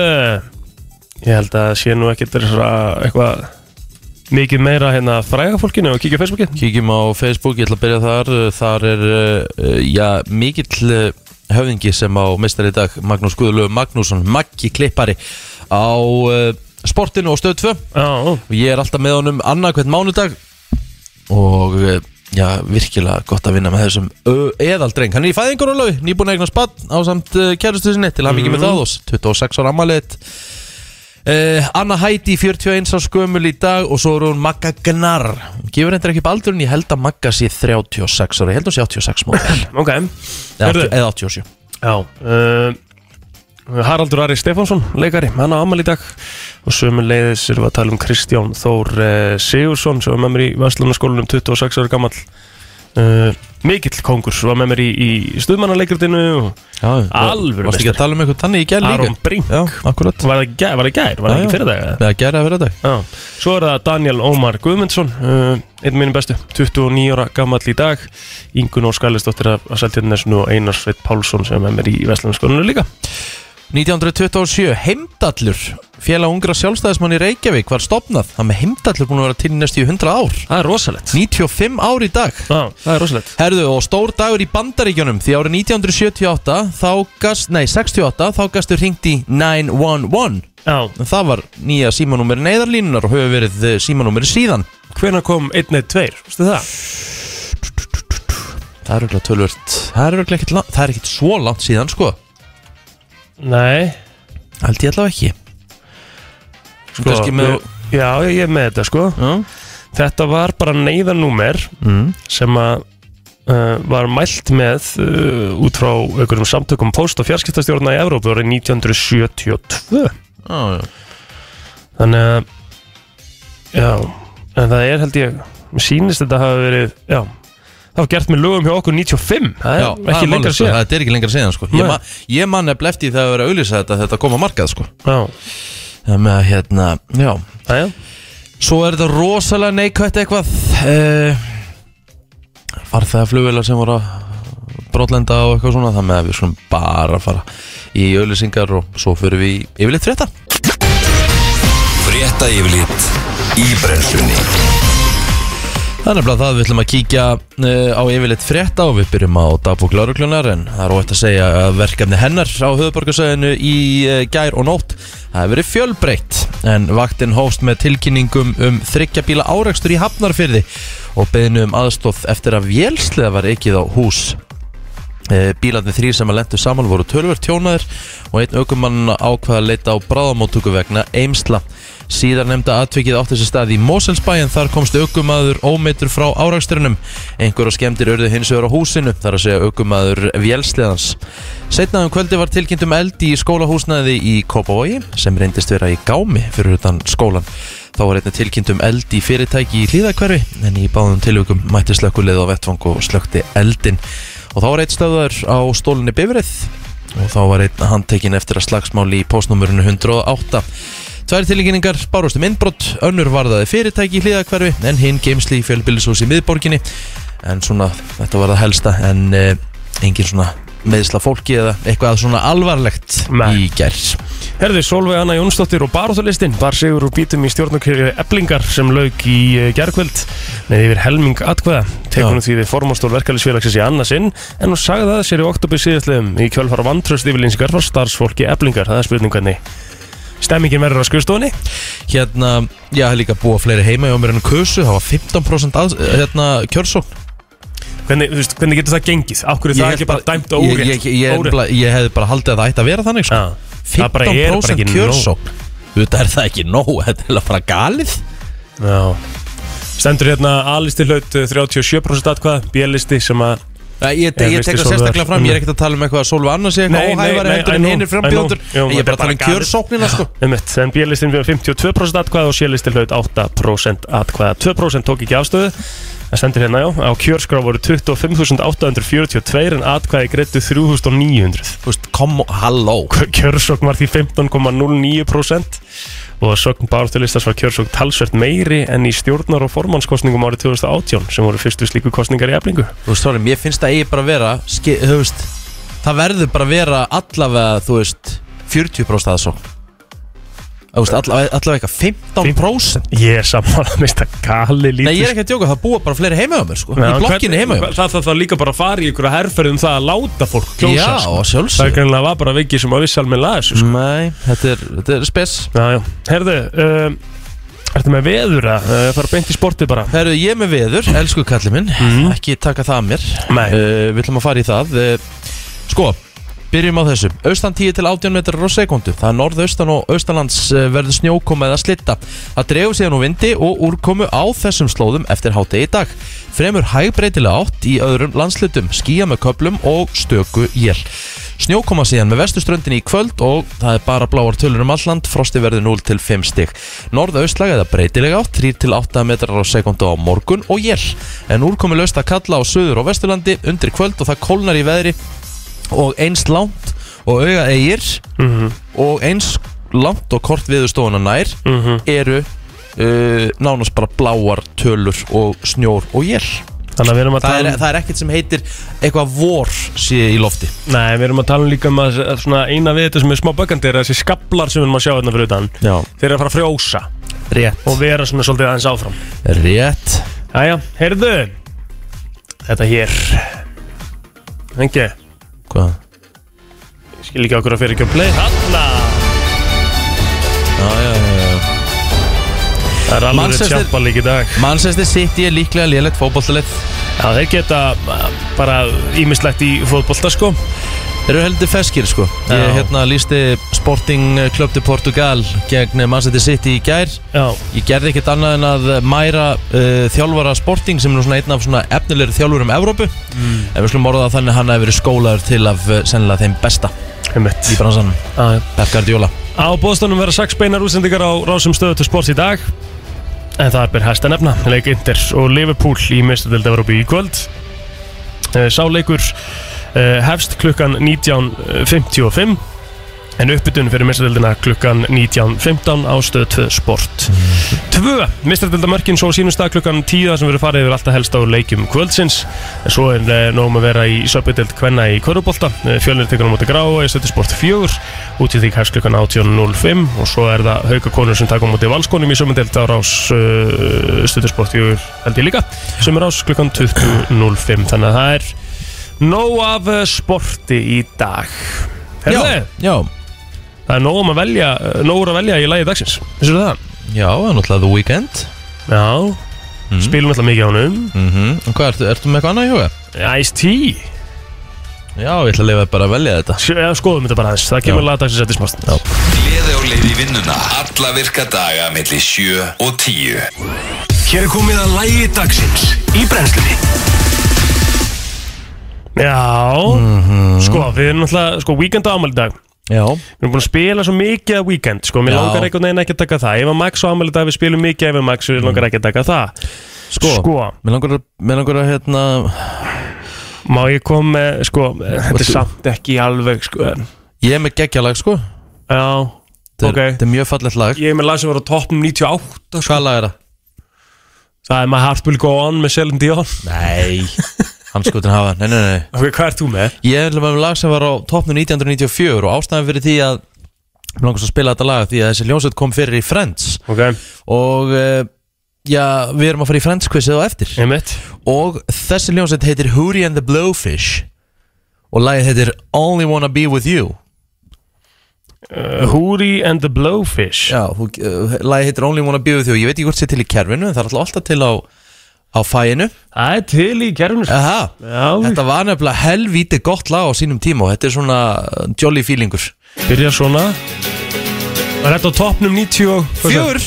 B: ég held að sé nú ekkert þessara eitthvað mikið meira hérna fræga fólkinu og kíkja á Facebookin
A: Kíkjum á Facebook, ég ætla að byrja þar Þar er, uh, já, mikill uh, höfðingi sem á meistari í dag Magnús Guðlöf Magnússon, Maggi Klippari á uh, sportinu og stöð 2
B: Já,
A: og ég er alltaf með honum annað hvern mánudag og eh, já, virkilega gott að vinna með þessum ö- eh, eðaldreng, hann er í fæðingunarlög nýbúin að eigna spatt á samt uh, kærustu sinni til hann mikið með það
B: Mhm.
A: og 26 ára ammaliðt uh, Anna Heidi 41 á skömmul í dag og svo er hún Magga Gnar Hún gefur hendur ekki upp aldurinn, ég held að Magga sé 36 ára, ég held hún sé 86 mótel
B: ok
A: eða
B: Heyrðu.
A: 80 eða 87
B: Já uh, Haraldur Ari Stefánsson, leikari, hann á amal í dag og sömuleiðis erum við að tala um Kristján Þór uh, Sigursson sem var með mér í Vestlunarskólanum 26 ára gammal uh, mikill kongur var með mér í, í stuðmannaleikritinu og
A: já,
B: Alvöru
A: Varst ekki að
B: meistari.
A: tala um eitthvað þannig í gær líka?
B: Aron Brink
A: Já, akkurat
B: var það í gær, var það í gær, var það
A: Já, já.
B: ekki fyrir dag
A: Eða gæra að vera dag
B: Já, svo er það Daniel Ómar Guðmundsson uh, einn mínum bestu, 29 ára gammal í dag Ingun Óskalistóttir að Seltjarnesnu og Einar Sveit Pálsson sem er með mér í Vestlunarskólanum líka
A: 1927, Heimdallur félag ungra sjálfstæðismann í Reykjavík var stopnað, það með Heimdallur búin að vera til í næstu í 100 ár,
B: Það er rosalegt
A: 95 ár í dag
B: Já, það er rosalegt
A: Herðu, og stór dagur í Bandaríkjunum því árið 1978, þá gast nei, 68, þá gastu hringt í 911
B: Já,
A: En það var nýja símanúmer neyðarlínunar og hefur verið eh, símanúmer síðan
B: hvenær kom 112, veistu það?
A: Það er auðvitað tölvöld Það er auðvitað ekkert, la- það er ekkert svo langt síðan sko
B: Nei,
A: Held ég allavega ekki
B: sko
A: Kannski með-
B: við- Já, ég er með þetta sko
A: Já,
B: Þetta var bara neyðanúmer
A: mm.
B: sem að uh, var mælt með uh, út frá einhverjum samtökum post- og fjarskiptastjórna í Evrópu árið 1972
A: já, já.
B: þannig að já, en það er held ég mér sýnist þetta hafa verið já, það var gert með lögum hjá okkur 95 það er
A: Já, það
B: ekki
A: málið,
B: lengra
A: sko,
B: séð
A: Það er ekki lengra síðan sko
B: Nei.
A: Ég, ma ég man nefnilega eftir því þegar það að vera að auðlýsa þetta Þetta kom á markað sko
B: já,
A: Það með að hérna, já
B: já,
A: Svo er þetta rosalega neikvætt eitthvað uh, Farþæða flugvila sem voru að brotlenda og eitthvað svona Það með að við svona bara að fara í auðlýsingar Og svo fyrir við í yfirleitt frétta
C: Frétta yfirlit í brennslunni
A: Það er nefnilega það við ætlum að kíkja uh, á yfirleitt frétta og við byrjum á dagbúk lauruglunar en það er óætt að segja að verkefni hennar á höfuborgarsöðinu í uh, gær og nótt það hefur verið fjölbreytt en vaktinn hófst með tilkynningum um þryggja bíla árekstur í Hafnarfyrði og beðinu um aðstóð eftir að vélslega var ekkið á hús Eh, Bílarnir þrýr sem að lendu saman voru tölvert tjónaðir og einn aukumann ákvaða að leita á bráðamóttöku vegna Eimsla. Síðar nefnda atvikið átti sér stað í Moselsbæ en þar komst aukumaður ómeitur frá áraksturinnum. Einhverja skemmtir urðu hins vegar á húsinu, þar að segja aukumaður Vélsliðans. Setnaðum kvöldi var tilkynnt um eld í skólahúsnaði í Kópavogi sem reyndist vera í gámi fyrir utan skólan. Þá var einnig tilkynnt um eld í fyrirtæki í hlýðakverfi en í báðum tilvökum mætti slökkulið á vettvang og slökti eldin og þá var eitt stöðar á stólinni bifrið og þá var einn handtekinn eftir að slagsmáli í postnúmurinu 108 Tvær tilgjengar bárust um innbrott, önnur varðaði fyrirtæki í hlýðakverfi en hinn geimsli í fjölbýlisús í miðborginni en svona þetta var það helsta en eh, engin svona meðsla fólki eða eitthvað svona alvarlegt
B: Nei.
A: í gerð
B: Herði Solveig Anna Jónsdóttir og baróttulistin var sigur úr bítum í stjórnarkerju Eblingar sem lauk í eh, gærkvöld með yfir helming atkvæða. Tekunum því við formastól verkefælisfélagsins í annarsinn en hún sagði það sér í oktober síðastliðum í kjölfara vantröst yfirlýsingar var starfsfólki Eblingar. Það er spurning hvernig stemmingin verður á skuðstofunni.
A: hérna, já, það er líka búa fleiri heima hjá mér en kursu, það var 15% að, hérna, kjörsókn
B: Hvernig, þú veist, hvernig getur það gengið? Akkur er það
A: hef
B: ekki bara dæmt
A: ég,
B: órétt?
A: ég, ég, ég,
B: Órétt?
A: nefnilega- ég hefði bara haldið að það ætti að vera þannig sko.
B: Já. Það bara er bara
A: 15%
B: ekki
A: kjörsókn Þetta er það ekki nóg, þetta er alveg bara galið
B: Já. Stendur hérna A-listi hlaut eh, 37% atkvæða, B-listi sem að
A: Ég, ég,
B: Ég
A: ég tek það
B: veistu, Sólveig,
A: sérstaklega fram,
B: mm.
A: ég er ekkert að tala um eitthvað að Solveig annars ég
B: Nei,
A: eitthvað
B: nei,
A: óhæfari
B: nei,
A: heldur
B: I
A: en
B: know,
A: hinnir
B: I
A: frambjóður
B: know. Jú,
A: Ég er
B: þetta
A: bara að tala um
B: galið.
A: kjörsóknina sko
B: Einmitt, en B-listin fyrir 52% atkvæða og C-listin hlaut 8% atkvæða 2% tók ekki afstöðu en stendur hérna já, á kjörskrá voru 25.842 en atkvæði greittu 3.900
A: Þú veist, kom, halló
B: kjörsókn var því 15,09% og að sögn barðulistas var kjörsókn talsvert meiri en í stjórnar og formannskostningum árið 2018 sem voru fyrstu slíku kostningar í eflingu
A: Þú veist, sorry, mér finnst það eigi bara að vera ski, Þú veist, það verður bara að vera allavega, þú veist, 40% aðsókn Þú veist, allavega, allavega eitthvað 15%
B: ég er sammála með þetta gali lítið
A: Nei, ég er ekki að djóka, það búa bara fleiri heima hjá mér sko
B: Já,
A: Í
B: en
A: blokkinni heima hjá
B: hvern-
A: mér
B: Það þarf það líka bara að fara í ykkur að herferðum það að láta fólk kjósa
A: Já,
B: sko. Það er
A: sjálfsög
B: kannilega var bara vikið sem að vissi alveg laga þessu sko.
A: Nei, þetta er, þetta er spes
B: Já, já, herðu um, Ertu með veður að uh, fara beint í sportið bara?
A: Herru, ég er með veður, elsku kalli minn
B: Mhm.
A: Ekki taka það að mér
B: Nei.
A: uh, Við ætlum að fara í það uh, Sko, byrjum á þessu Austan 10 til 18 metrar á sekundu Það er norðaustan og austanlands eh, verður snjókoma eða slitta Það dregur síðan úr vindi og úrkomu á þessum slóðum eftir hátegi í dag Fremur hægbreytilega átt í öðrum landslutum Skýja með köplum og stöku jél Snjókoma síðan með vestuströndin í kvöld og það er bara bláar tölur um alland, frosti verður 0 til 5 stig. Norðaustlaga eða breytilega átt, 3 til 8 metrar á sekundu á morgun og jél. En úrkomi löst að kalla á söður og vesturlandi undir kvöld og það kólnar í veðri og eins langt og auga eigir
B: Mm -hmm.
A: og eins langt og kort viðustofuna nær
B: Mm -hmm.
A: eru uh, nánast bara bláar tölur og snjór og jél.
B: Þannig að við erum að
A: Það
B: tala
A: er,
B: um
A: það er ekkert sem heitir eitthvað vor sé í lofti.
B: Nei, við erum að tala um líka um að að svona eina við þetta sem er smá bökkandi er að þessi skablar sem við erum að sjá hérna fyrir utan
A: Já,
B: Þeir eru að fara að frjósa
A: rétt.
B: og vera svona svolítið aðeins áfram
A: Rétt.
B: Jæja, heyrðu Þetta hér Engi,
A: Hvað?
B: skil ekki okkur að fyrir ekki að play Hanna
A: Já, já, já, já.
B: Það er alveg
A: Manchester-
B: Champa League í dag
A: Manchester City er líklega lélegt fótbollalið
B: Já, þeir geta uh, bara ímislegt í fótbolta sko
A: Þeir eru heldur feskir sko
B: Já.
A: Ég hérna lísti Sporting Club de Portugal gegn Manchester City í gær
B: Já,
A: Ég gerði ekkert annað en að mæra uh, þjálfara Sporting sem er nú svona einn af svona efnilegri þjálfurum Evrópu En við skulum orða það þannig að hann hefur verið skólaður til af uh, sennilega þeim besta
B: einmitt
A: í bransanum
B: Já, já.
A: Pep Guardiola
B: Á bóðstofnum verða sex beinar útsendingar á rásum stöðu til sports í dag En það er byrð hæsta nefna Leik Inter og Liverpool í mistadeld Evropi í kvöld Eh, Sá leikur eh, hefst klukkan eh, 19.55 En uppbytun fyrir mistadeldina klukkan 19.15 á stöðu 2 sport 2. Mistadildamörkin svo sínum stað klukkan 10 þar sem verður farið yfir alltaf helst á leikjum kvöldsins En svo er eh, nóg með að vera í söpudeld kvenna í Körubólta Fjölnir tekur á móti gráa í stöðu sport 4 út í því hefst klukkan 18.05 og svo er það haukakonur sem taka á móti valskonum í sömundelt á rás uh, stöðusport í held ég líka sem er rás klukkan 20.05 þannig að það er nóg af eh, sporti í dag Herðu,
A: Já,
B: það er nóg um að velja eh, nóg úr að velja í lagi dagsins Vissirðu það?
A: já, það er náttúrulega The Weeknd
B: Já,
A: Mm.
B: spilum alltaf mikið á honum
A: mm -hmm. Hvað, ertu, ertu með eitthvað annað í huga?
B: Ice-T,
A: Já, ég ætla að lifa bara að velja þetta
B: Sjö- eða skoðum þetta bara aðeins það kemur
A: Já.
B: laga dagsins eftir smást
A: Já.
C: Gleði á leið í vinnuna Alla virka daga melli 7 og 10
D: Hér er komið að lægi dagsins í brennslunni
B: Já, sko, við erum alltaf sko, weekend á ámæli dag
A: Mhm. Já,
B: Við erum búin að spila svo mikið að weekend sko, mér
A: Já.
B: langar einhvern veginn ekki að taka það Ef að Max á afmæli í dag, við spilum mikið Ef að Max, við langar ekki að taka það
A: sko,
B: Sko,
A: Mér langar að, mér langar að hérna
B: má ég koma með, sko Þetta er samt ekki alveg, sko en-
A: Ég er með geggjalag sko
B: Já,
A: Þetta er,
B: Ok.
A: þetta er mjög fallegt lag
B: ég er með lag sem var á toppum 98
A: Hvað lag er það?
B: sko. Það er My Heart Will Go On með Selin Dion Ok,
A: Nei, hanskotin hafa Nei, nei, nei
B: hvað ert þú með?
A: Ég er með lag sem var á toppnum 1994 og ástæðan fyrir því að Mér langast að spila þetta lag því að þessi ljónsveit kom fyrir í Friends
B: Ok,
A: Og uh, já, við erum að fara í Friends quizið á eftir
B: ég mitt
A: Og þessi ljónsveit heitir Hootie and the Blowfish Og lagið heitir Only Wanna Be With You
B: uh, Hootie and the Blowfish
A: Já, þú- uh, lagið heitir Only Wanna Be With You Ég veit ekki hvort sé til í kerfinu en það er alltaf- alltaf til á, á fæinu
B: Það er til í gerðunum sko.
A: Aha,
B: Já,
A: Þetta var nefnilega helvíti gott lag á sínum tíma og þetta er svona uh, jolly feelingur
B: byrja svona Var þetta á toppnum 90
A: Fjör,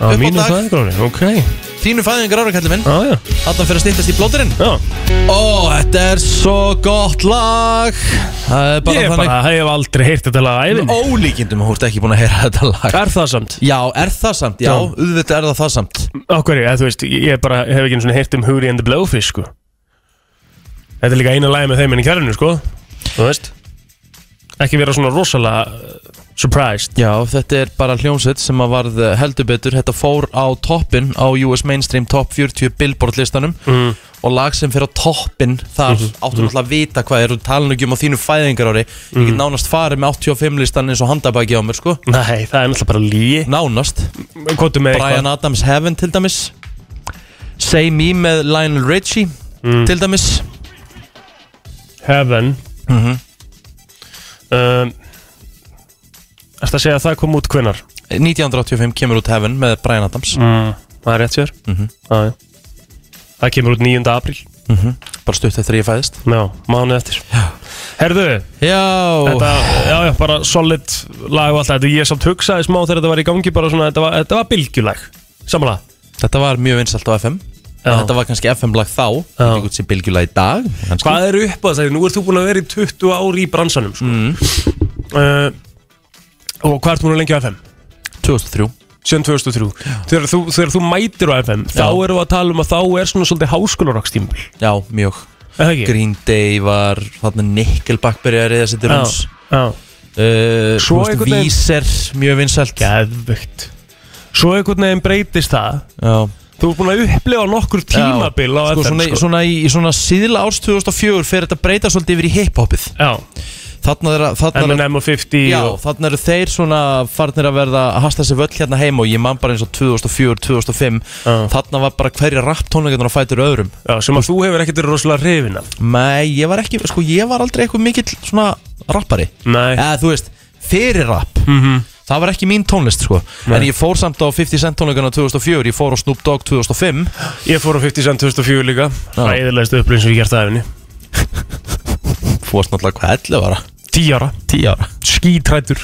B: Á
A: Upp á
B: mínum
A: dag.
B: fæðingróni, ok
A: þínu fæðingar ára kallið minn
B: Já, já,
A: Þetta fyrir að stýttast í blóturinn
B: já
A: Ó, þetta er svo gott lag Það er bara
B: Ég
A: þannig
B: bara hef aldrei heyrt þetta lag æfinn
A: Ólíkindum að þú ert ekki búin að heyra þetta lag
B: Er það samt?
A: Já, er það samt? Já,
B: Já.
A: auðvitað er það það samt
B: Okkur, eða, þú veist, ég bara hef ekki einu svona heyrt um Hootie and the Blowfish sko. Þetta er líka eina lagi með þeim inn í kjærlinu sko. Þú veist Ekki vera svona rosalega uh, surprised
A: Já, þetta er bara hljómsveit sem að varð uh, heldur betur Þetta fór á toppin á US Mainstream Top 40 Billboard listanum
B: mm.
A: og lag sem fyrir á toppin þar
B: Mhm.
A: áttu náttúrulega að vita hvað er og tala ekki um á þínu fæðingarári ég
B: Mhm.
A: get nánast farið með 85 listan eins og handabæki á mér sko
B: Nei, það er náttúrulega bara lí
A: nánast,
B: Kvotum með
A: Brian
B: eitthvað
A: Adams Heaven til dæmis Say Me með Lionel Richie til dæmis
B: Mhm. Heaven um, Ertu að segja að það kom út hvenar?
A: 1985 kemur út Heaven með Brian Adams Mhm.
B: Mm. Það er rétt sér Já, já. Það kemur út 9. apríl
A: Mhm. bara stutt eftir að ég fæðist
B: Já, mánuð eftir Herðu,
A: Já,
B: Þetta, já, já, bara solid lag og allt þetta Ég samt hugsaði smá þegar þetta var í gangi bara svona, þetta var, þetta var bylgjulag Samanlega
A: þetta var mjög vinsalt á FM
B: Já.
A: en þetta var kannski FM-lag þá
B: Já.
A: ekki út sér bylgjulag í dag kannski.
B: Hvað er upp að það? Nú ert þú búin að vera í 20 ári í bransanum sko.
A: Mm.
B: uh, Og hvað ert búin að lengja á FM?
A: 2003
B: Sjön 2003 þegar þú, þegar þú mætir á FM þá
A: Já.
B: erum við að tala um að þá er svona svolítið háskólarokstímbil
A: Já, mjög
B: Það ekki?
A: Green Day var þarna Nickelback byrjaði að reyða sér til hans
B: Já, já
A: uh,
B: Svo
A: Svo veist,
B: einhvern veginn-
A: Víser, mjög vinsælt Já,
B: Geðvögt Svo einhvern veginn breytist það Þú ert búin að upplefa nokkur tímabil á
A: sko,
B: FM
A: svona,
B: sko.
A: svona í, í svona síðla árs 2004 fer þetta breyta svolítið yfir í hip-hopið
B: Já,
A: Þarna er að- þarna er að-
B: M&M og 50
A: Já,
B: og,
A: þarna eru þeir svona farnir að verða að hasta sér völl hérna heim og ég man bara eins og 2004, 2005
B: Já.
A: Þarna var bara hverja rapptónleikarnar á fætur öðrum
B: Já, sem að þú hefur ekkert verið rosalega hrifin af
A: Nei, ég var ekki, sko ég var aldrei eitthvað mikill svona rappari
B: Nei,
A: eða þú veist, fyrir rap
B: Mhm.
A: það var ekki mín tónlist sko En ég fór samt á 50 Cent tónleikana 2004 Ég fór á Snoop Dogg 2005
B: Ég fór á 50 Cent 2004 líka
A: Já.
B: Ræðilegstu upplýn sem ég gert aðeins
A: Fórst náttúrulega hvað 11 ára
B: 10 ára
A: 10 ára
B: Skítrættur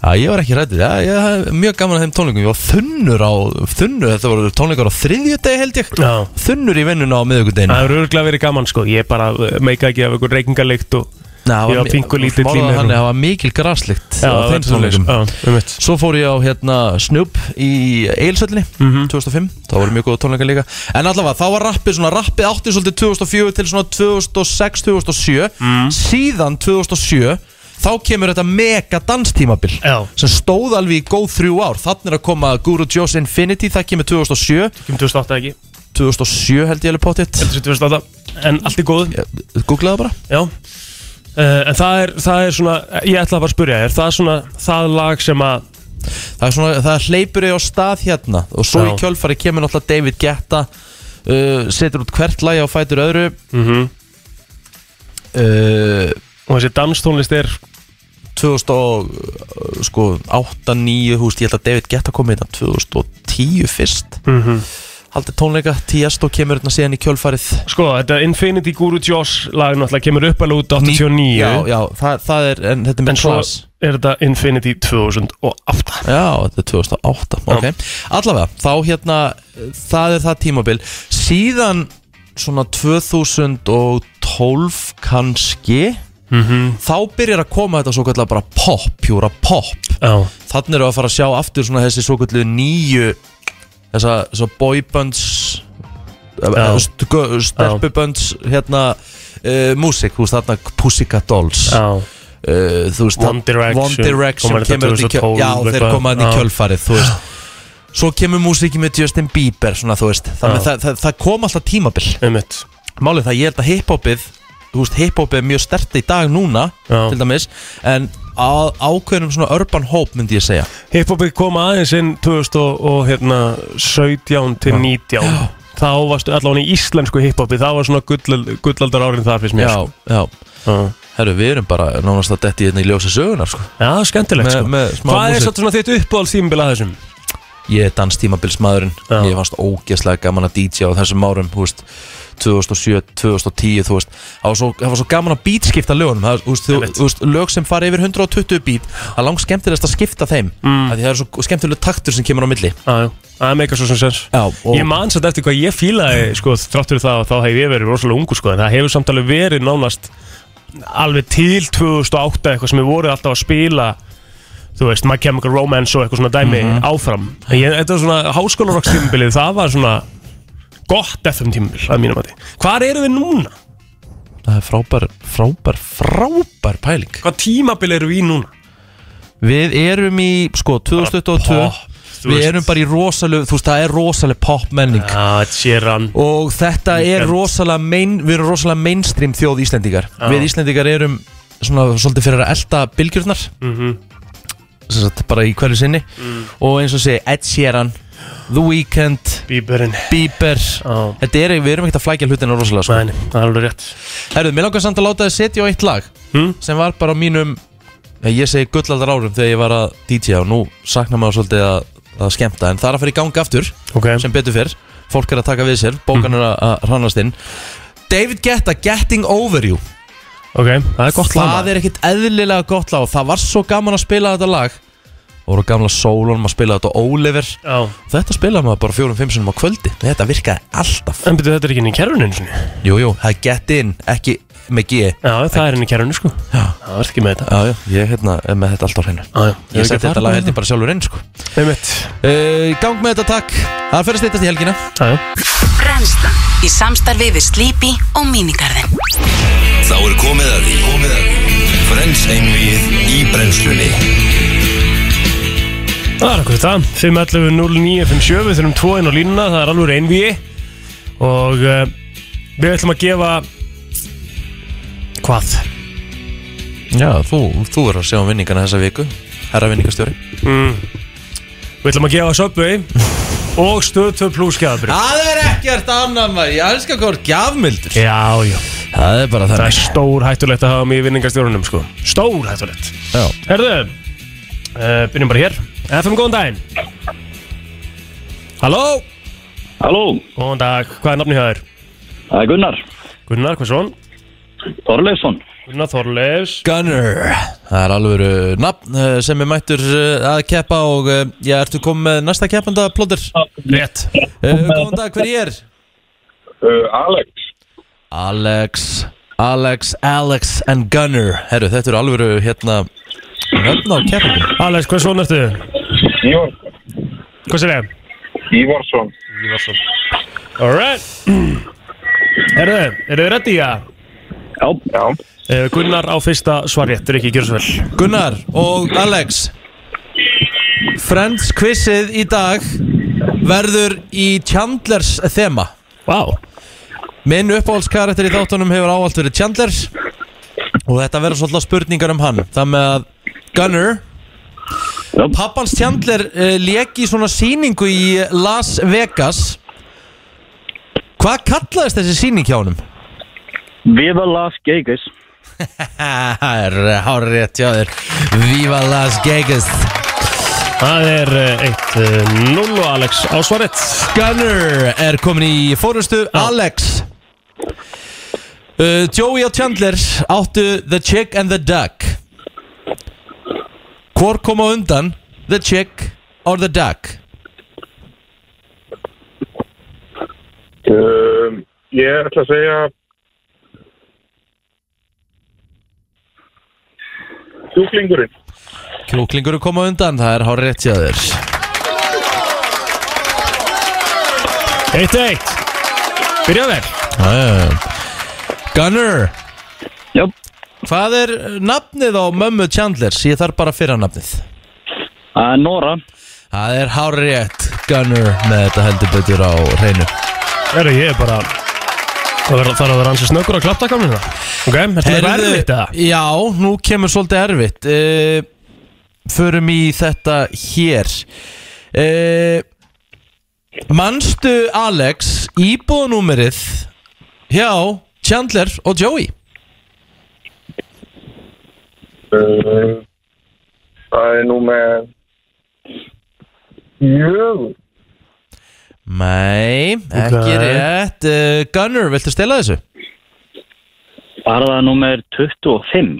A: Já, ég var ekki rættið, já, ég hafði mjög gaman að þeim tónleikum, ég var þunnur á, þunnur, þetta voru tónleikar á þriðjudegi held ég,
B: Já.
A: þunnur í vinnuna á miðugudeginu.
B: Það er örgulega verið gaman sko Ég bara uh, meika ekki af einhver reykingarleikt og Ég var pingu lítill í mér.
A: Þannig að það var mikil graslikt á
B: það var
A: þeim tónleikum.
B: svoleiðis. Já, um mitt
A: Svo fór ég á hérna Snoop í Eilsöllinni
B: Mhm.
A: 2005, þá voru mjög góða tónleika líka En allavega, þá var rappið svona, rappið átti svolítið 2004 til svona 2006-2007
B: Mhm.
A: Síðan 2007, þá kemur þetta mega danstímabil
B: Já.
A: Sem stóð alveg í góð þrjú ár Þannig er að koma Guru Joe's Infinity, það kemur 2007
B: Kjum 2008 ekki
A: 2007 held ég alveg pottitt
B: 2008 En allt í góðu
A: Googlaði bara
B: Já Uh, en það er, það er svona, ég ætla að bara að spyrja, er það svona það lag sem að
A: það, er svona, það hleypur ég á stað hérna og svo
B: Já.
A: í kjölfari kemur náttúrulega David Guetta uh, setur út hvert lagi og fætur öðru uh,
B: Mhm. og þessi danstónlist er
A: 2008, sko, 2009 húst, ég held að David Guetta kom hérna 2010 fyrst
B: mm
A: haldið tónleika, Tiesto kemur hérna síðan í kjölfarið
B: Sko, þetta Infinity Guru Joss lag náttúrulega kemur upp alveg út 89
A: já, já, það, það er, en þetta er
B: En
A: með
B: svo
A: Klaas
B: er þetta Infinity 2008
A: Já, þetta er 2008 ok. Allavega, þá hérna það er það tímabil síðan svona 2012 kannski
B: Mhm.
A: -hmm. þá byrjar að koma þetta svo kallar bara pop, pjúra pop
B: Já,
A: þannig erum við að fara að sjá aftur svona þessi svo kallu nýju þessa, þessa boybands
B: Já.
A: stelpubönds hérna uh, músík, þú veist þarna Pussycat Dolls
B: já,
A: uh, þú veist,
B: One Direction.
A: One Direction
B: Koma hérna þetta
A: kemur þetta í
B: 2012
A: kjöl, já, þeir
B: eitthvað.
A: koma þetta í
B: Já.
A: kjölfarið þú veist Svo kemur músíki með Justin Bieber svona, þú veist. Þannig
B: Já.
A: það, það, það kom alltaf tímabil
B: einmitt
A: Málið það, ég held að hiphopið þú veist, Hiphopið er mjög stert í dag núna
B: Já.
A: Til dæmis En á, ákveðnum svona urban hope myndi ég segja
B: Hiphopi kom aðeins inn 2017 hérna, til 19 Þá varstu allavega í íslensku hiphopi Það var svona gull, gullaldar árin þar fyrst mér sko.
A: Já, já
B: Já,
A: Herru, við erum bara nánast að detti hérna í ljósa sögunar sko.
B: já skemmtilegt
A: Með-
B: sko
A: með smá
B: Hvað er
A: músík.
B: satt svona þitt uppáhalds tímabil að þessum?
A: Ég er danstímabilsmaðurinn
B: Já.
A: Ég fannst ógeðslega gaman að DJ á þessum árum þú veist, 2007, 2010 þú veist, það, var svo, það var svo gaman að beatskipta lögunum það, þú veist, þú,
B: Einmitt.
A: þú veist, Lög sem fara yfir 120 beat Það er langt skemmtilegast að skipta þeim mm. Því það er svo skemmtileg taktur sem kemur á milli
B: Já, já, það meikar svo sem sens
A: Já, og-
B: Ég man satt eftir hvað ég fílaði sko, þráttur það og þá hef ég verið rosalega ungu sko, en það hefur samt alveg verið nánast alveg til 2008 eitthvað sem ég voru alltaf að spila þú veist, My Chemical Romance og eitthvað svona dæmi
A: Mhm.
B: áfram En ég, Þetta var svona háskólarokstímbilið, það var svona gott FM tímbil að mínum að því Hvar eru við núna?
A: Það er frábær, frábær, frábær pæling
B: Hvað tímabil eru við í núna?
A: Við erum í, sko, 2022
B: Bara pop, þú
A: Við
B: veist.
A: erum bara í rosaleg, þú veist, það er rosaleg pop menning
B: Já, Tjeran
A: Og þetta er
B: Ísland.
A: rosalega main, Við erum rosalega mainstream þjóð Íslendingar Við Íslendingar erum svona, svolítið fyrir að elta bylgjurnar mm
B: Mhm.
A: -hmm. Bara í hverju sinni
B: Mm.
A: Og eins og segi Ed Sheeran The Weeknd,
B: Bíberinn
A: Bieber
B: Já.
A: Þetta er, við erum ekkert að flækja hlutina rosalega sko.
B: Nei, það er alveg rétt
A: Herðu, mér langar samt að láta þið setja á eitt lag
B: Mm.
A: Sem var bara á mínum eh, Ég segi gullaldar árum þegar ég var að DJ Og nú saknar maður svolítið að, að skemmta En það er að fara í gangi aftur
B: okay.
A: sem betur fyrr fólk er að taka við sér, bókan er að- að hrannast inn David Guetta, Getting Over You
B: ok, það er gott lag
A: það er ekkit eðlilega gott lag og það var svo gaman að spila þetta lag og voru gamla sólunum að spila þetta á Oliver
B: Já.
A: þetta spilaði maður bara fjórum-fimm sinum á kvöldi þetta virkaði alltaf
B: En betur þetta er ekki inn í kerfinu einu sinni
A: jú, jú, það er Get In, ekki með G já,
B: Já, það er inn í kerfinu sko Já Það verður ekki með þetta
A: já, ég hérna, er með þetta alltaf á hreinu
B: Já, já
A: ég seti þetta lag held ég bara sjálfur inn sko.
B: Með mitt
A: uh, gang með þetta takk það er fyrir að steytast í helgina
B: Já, já
E: Brennslan í samstarfi við Sleepy og Minigarðin
C: Þá er komið að því Komið að því Frens einvið í brennslunni
B: Það er okkur það 511 0957 Við þurfum tvo inn á línuna Það er alveg reynvíi Og uh, Við ætlum að gefa Hvað?
A: já, þú, þú er að sjá um vinningana þessa viku herra vinningastjóri
B: Mm. Við ætlum að gefa Subway Og stöð 2 plus skjæðabrið
A: Það er ekkert annað maður, ég elskar hvað er gjafmildur
B: Já, já
A: Það er bara
B: Það er stór hættulegt að hafa mig í vinningastjórunum sko Stór hættulegt
A: Já.
B: Herðu uh, Byrjum bara hér FM, góðan daginn Halló
F: Halló,
B: Góðan dag, hvað er nafni hjá þér?
F: það er Gunnar
B: Gunnar, hvað svon?
F: Þorleifsson
B: Gunnar Þorleifs
A: Gunner Það er alveg uh, nafn uh, sem er mættur uh, að keppa og uh, já, ertu komið með næsta keppanda plóður?
B: Rétt
G: Eh,
A: Uh, góðan dag, hver ég er?
H: Uh, Alex,
A: Alex, Alex, Alex and Gunner Herru, þetta eru alveg uh, hérna nöfn á keppanda
B: Alex, hvað svon ertu?
H: Ívar,
B: Hvað sér ég?
H: Ívarsson
B: Alright Herðu, eru þið reddi í að?
H: Já,
B: Uh, Gunnar á fyrsta svarjett, er ekki, gjör svo vel
A: Gunnar og Alex Friends quizið í dag verður í Chandlers þema
B: Vá wow.
A: Minn uppáhaldskarakter í þáttunum hefur áallt verið Chandler og þetta verður svolítið spurningar um hann Það með að Gunner
F: Já.
A: Pappans Chandler uh, leki svona sýningu í Las Vegas Hvað kallaðist þessi sýning hjá honum?
F: Viva Las Vegas
A: Það er hárið hjá þér Viva Las Vegas
B: Það er uh, eitt uh, 0 og Alex á svarjett
A: Gunner er komin í fórustu Alex uh, Joey og Chandler áttu The Chick and the Duck Hvor kom á undan The Chick or the Duck
H: um, ég ætla að segja Sjúklingurinn
A: Kjúklingur kom á undan, það er hár rétt hjá þér
B: Eitt eitt Byrja vel
A: Ah. Gunner
F: Já,
A: Hvað er nafnið á mömmu Chandler? Ég þarf bara fyrra nafnið
F: það er Nora
A: Það er hár rétt Gunner með þetta heldur betur á hreinu
B: Herru, ég er bara Það verður þarf að vera ansið snöggur að klapta kamlina Ok, er þetta er
A: Heyrðu,
B: erfitt eða?
A: Já, nú kemur svolítið erfitt uh, Förum í þetta hér uh, Manstu Alex íbúðanúmerið hjá Chandler og Joey
H: uh, Það er nú með Jögur
A: Nei, ekki
B: Ok.
A: rétt uh, Gunner, viltu stela þessu?
F: Bara það nummer 25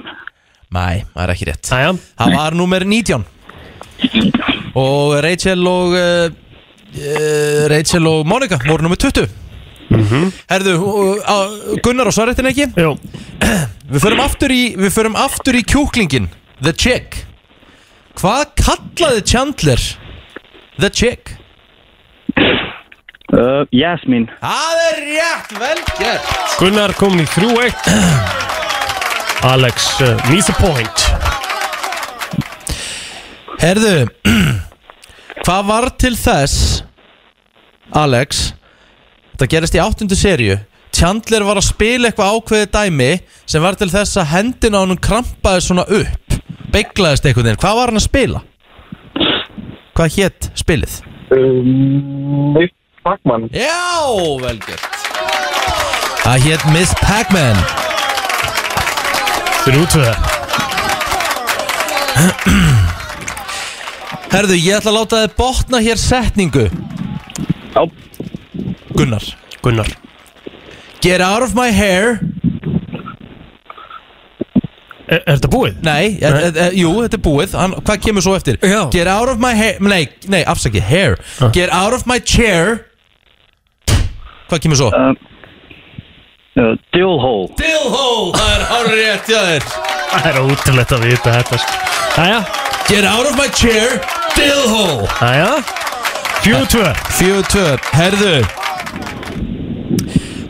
A: Nei, það er ekki rétt
B: Æja,
A: Það var númer 19 Og Rachel og uh, uh, Rachel og Monica voru númer 20
B: Mhm.
A: Herðu, uh, uh, Gunnar og svarrættin ekki
B: jú
A: Við förum aftur í, við förum aftur í kjúklingin The Chick Hvað kallaði Chandler The Chick?
F: uh, Jasmine
A: Það er rétt, vel gert
B: Gunnar komin í 3-1 Alex uh, needs a point
A: Herðu Hvað var til þess Alex Þetta gerist í áttundu serju Chandler var að spila eitthvað ákveðið dæmi sem var til þess að hendina á honum krampaði svona upp beiglaðist einhvern veginn, hvað var hann að spila? Hvað hétt spilið?
H: um, Mitt Bakmann
A: Já, vel gert Það hétt Miss Pac-Man
B: 3-2
A: Herðu, ég ætla að láta þið botna hér setningu
F: Já.
A: Gunnar
B: Gunnar
A: Get out of my hair
B: Er, er þetta búið?
A: Nei, e, e, e, jú, þetta er búið hann, Hvað kemur svo eftir?
B: Já. Ah.
A: Get out of my hair Nei, nei afsaki, hair Get out of my chair Hvað kemur svo?
F: uh, Dillhole
A: Dillhole, það er árið þér
B: Það er ótrúlegt að vita þetta sko. Æja,
A: Get out of my chair Dillhole
B: æja 4-2
A: Fjögur tvö, herðu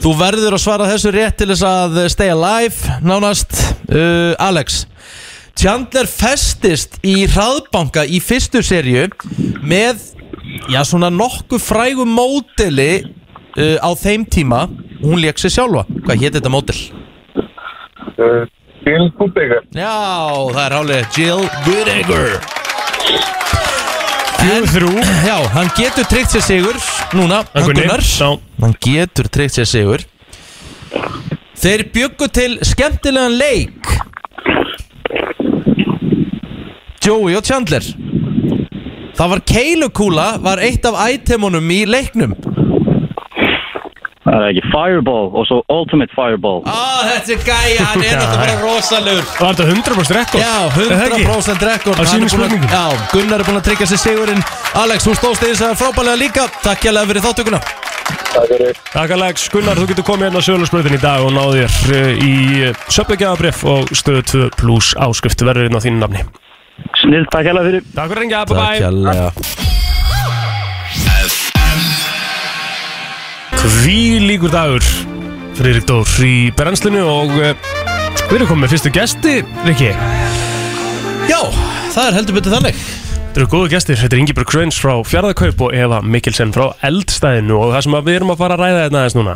A: Þú verður að svara þessu rétt til þess að stay alive Nánast uh, Alex Chandler festist í hraðbanka í fyrstu serju með já, svona nokkuð frægu módeli uh, á þeim tíma hún lék sér sjálfa Hvað hétt þetta módel?
H: uh, Bill Kudegar
A: Já, það er hálflega Jill Goodacre
B: 4-3
A: Já, hann getur tryggt sér sigur Núna, hann Gunnar
B: Sá
A: hann getur tryggt sér sigur Þeir byggu til skemmtilegan leik Joey og Chandler Það var keilukúla var eitt af itemunum í leiknum
F: Það er ekki Fireball og svo Ultimate Fireball
A: Á, þetta er gæja, hann er náttúrulega bara rosalegur
B: Var þetta 100% rekord?
A: Já, 100% rekord
B: Á
A: Hann er
B: sínum
A: búinn að-
B: spurningum.
A: Já, Gunnar er búin að tryggja sér sigurinn Alex, þú stóðst í þess að frábælega líka Takk hérlega fyrir þáttökuna
H: Það er
B: Takk Alex, Gunnar, þú getur komið hérna á sögulegsbröðin í dag og náðu þér eh, í söpbyggjafabref og stöðu 2 pluss áskrift verður hérna á þínu nafni
F: Snill, takk hella fyrir
B: Takk fyrir að ringja, bye bye
A: hérlega
B: Hví líkur dagur Friðrik Dór í brennslinu og eh, við erum komið með fyrstu gesti Rikki, þetta
A: Já, það er heldur betur þannig
B: eru góðu gestir Þetta er Ingeborg Gröns frá Fjarðakaup og Eva Mikkelsen frá Eldstæðinu og það sem að við erum að fara að ræða þetta aðeins núna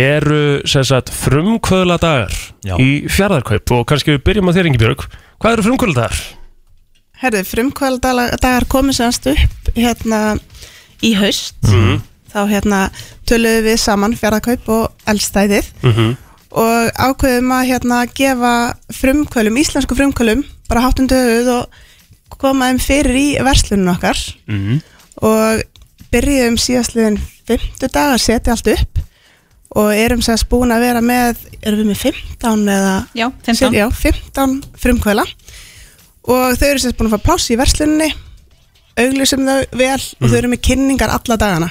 B: eru sem sagt frumkvöðla dagar
A: Já.
B: í Fjarðakaup og kannski við byrjum á þér Ingeborg Hvað eru frumkvöðla dagar?
I: Herði, frumkvældagar komið semst upp hérna í haust
B: Mhm,
I: þá hérna töluðum við saman fjárðakaup og eldstæðið
B: mhm,
I: og ákveðum að hérna gefa frumkvælum, íslensku frumkvælum bara háttundu höfuð og koma þeim fyrir í verslunum okkar og byrjuðum síðastliðin 50 dagar setja allt upp og erum semst búin að vera með erum við með 15 eða
J: Já, 15.
I: já, 15 frumkvæla og þau eru sérst búin að fá pláss í verslunni auglýsum þau vel
A: Mhm.
I: og þau eru með kynningar alla dagana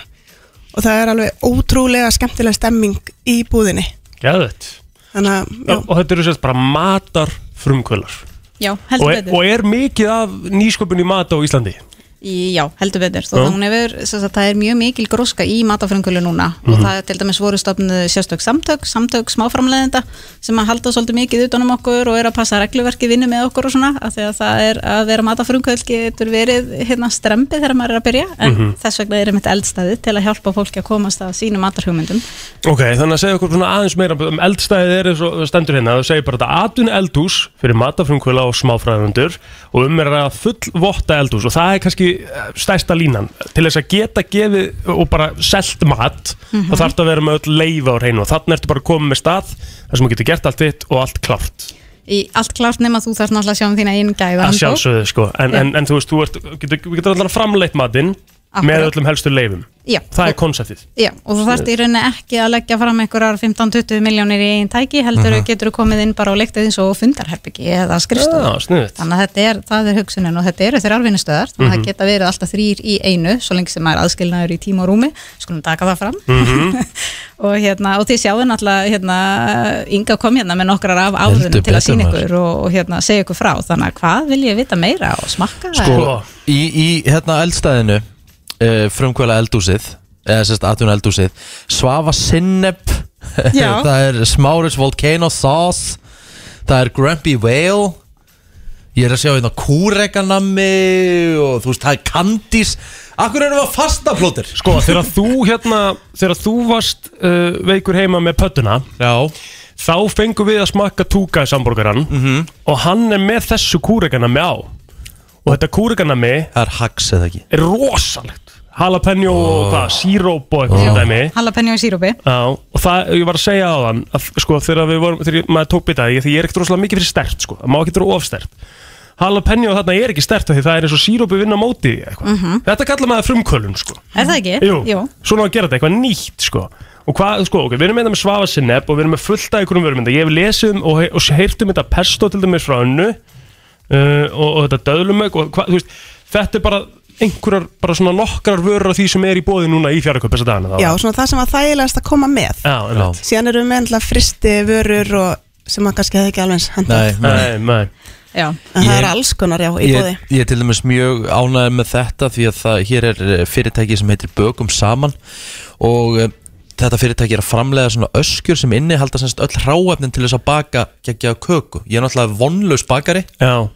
I: og það er alveg ótrúlega skemmtileg stemming í búðinni
B: Geðvett
I: þannig að, já,
B: Og þetta eru sem sagt bara matar frumkvöðlar
J: Já,
B: og,
J: heldur
B: er-
J: betur
B: og er mikið af nýsköpun í mat á Íslandi?
J: Í- Já, heldur betur
B: Já.
J: Þó hún hefur, sem sagt, það er mjög mikil gróska í matafröngulu núna
B: Mhm.
J: og það er til dæmis voru stofnuð sérstök samtök samtök smáframleðenda sem að halda svolítið mikið utanum okkur og er að passa regluverki vinnu með okkur og svona af því að það er að vera matafröngul getur verið hérna strempið þegar maður er að byrja en
B: Mhm.
J: þess vegna er einmitt eldstæði til að hjálpa fólki að komast að sínu matarhugmyndum
B: Ok, þannig að segja okkur svona aðeins meira um eldstæðið er eins og það stendur hérna það segir bara þetta atun eldhús fyrir matafrumkvöla og smáfræðundur og um er að full votta eldhús og það er kannski eh, stærsta línan til þess að geta gefið og bara selt mat
J: Mhm.
B: þá þarf það að vera með öll leifa á reynu og þannig ertu bara komið með stað þar sem þú getur gert allt þitt og allt klárt
J: í allt klart nema þú þarf náttúrulega að sjá um þína einn gæða
B: að sjálfsögðu sko en,
J: Já.
B: en, en þú veist, þú ert, getur, getur allan framleitt matinn með
J: Akkurat.
B: öllum helstu leifum
J: Já.
B: það er konseptið
J: Já, og þú þarft í rauninni ekki að leggja fram einhverjar 15-20 miljónir í einn tæki
A: Mhm.
J: heldur uh getur þú komið inn bara og leiktið eins og fundarherbyggi eða skrifstofu.
B: Já, sniðugt.
J: Þannig að þetta er, það er hugsunin og þetta eru þeirra arvinnustöðar
A: Mhm.
J: þannig að það geta verið alltaf þrýr í einu svo lengi sem maður er aðskilnaður í tíma og rúmi skulum taka það fram og, hérna, og þið sjáu náttúrulega hérna, Inga kom hérna með nokkrar af
A: Heldur
J: áðunum til að
A: betur,
J: sína
A: maður.
J: ykkur og, og hérna, segja ykkur frá þannig að hvað vil ég vita meira og smakka
A: Sko, í, í hérna eldstæðinu uh, frumkvæla eldúsið eða sérst atvinna eldúsið Svafa Sinneb
I: Já.
A: það er Smáris Volcano Sauce það er Grumpy Whale ég er að sjá hérna kúrekanami og þú veist það er Candice Akkur erum við að fasta plótir?
B: Sko, þegar þú hérna, þegar þú varst uh, veikur heima með pöttuna,
A: Já
B: þá fengum við að smakka túka í samborgaran -hmm. og hann er með þessu kúrekanami á. Og þetta kúrekanami
A: Það er hax eða ekki
B: er rosalegt. Jalapeno og hvað, síróp og eitthvað oh. dæmi.
J: Halapenni og sírópi
B: Já, og það, ég var að segja á þann að sko, þegar við vorum, þegar ég- maður tók bita því því ég er ekkert rosalega mikið fyrir stert, sko, maður ekki vera of stert Jalapeno þarna er ekki stert af því það er eins og sírópi vinna á móti því, eitthvað
J: Mhm.
B: Þetta kallar maður frumkölun, sko
J: Er það ekki?
B: Jú, svona að gera þetta, eitthvað nýtt sko Og hvað, sko, ok, við erum hérna með svafa sinneb og við erum með fullt af einhverjum vörum þetta Ég hef lesið um og, he- og heyrt um þetta pesto til dæmis frá önnu uh, og, og þetta döðlumögg og hvað, þú veist, þetta er bara einhverjar, bara svona nokkrar vörur af því sem er í bóði núna í fjárköp þessa dagana þá.
I: já, svona það sem að þægilegast að koma með
B: Já, einmitt.
I: síðan erum við endla fristi vörur og sem að kannski hefði ekki alveg eins henda
A: Nei, nei.
B: Nei, nei
J: Já.
I: en það
A: Ég-
I: er alls konar, já, í búði
A: Ég, ég er til dæmis mjög ánægð með þetta því að það, hér er eh, fyrirtæki sem heitir Bökum Saman og eh, þetta fyrirtæki er að framlega svona öskjur sem innihalda semst öll hráefnin til þess að baka geggja köku. Ég er náttúrulega vonlaus bakari.
B: Já,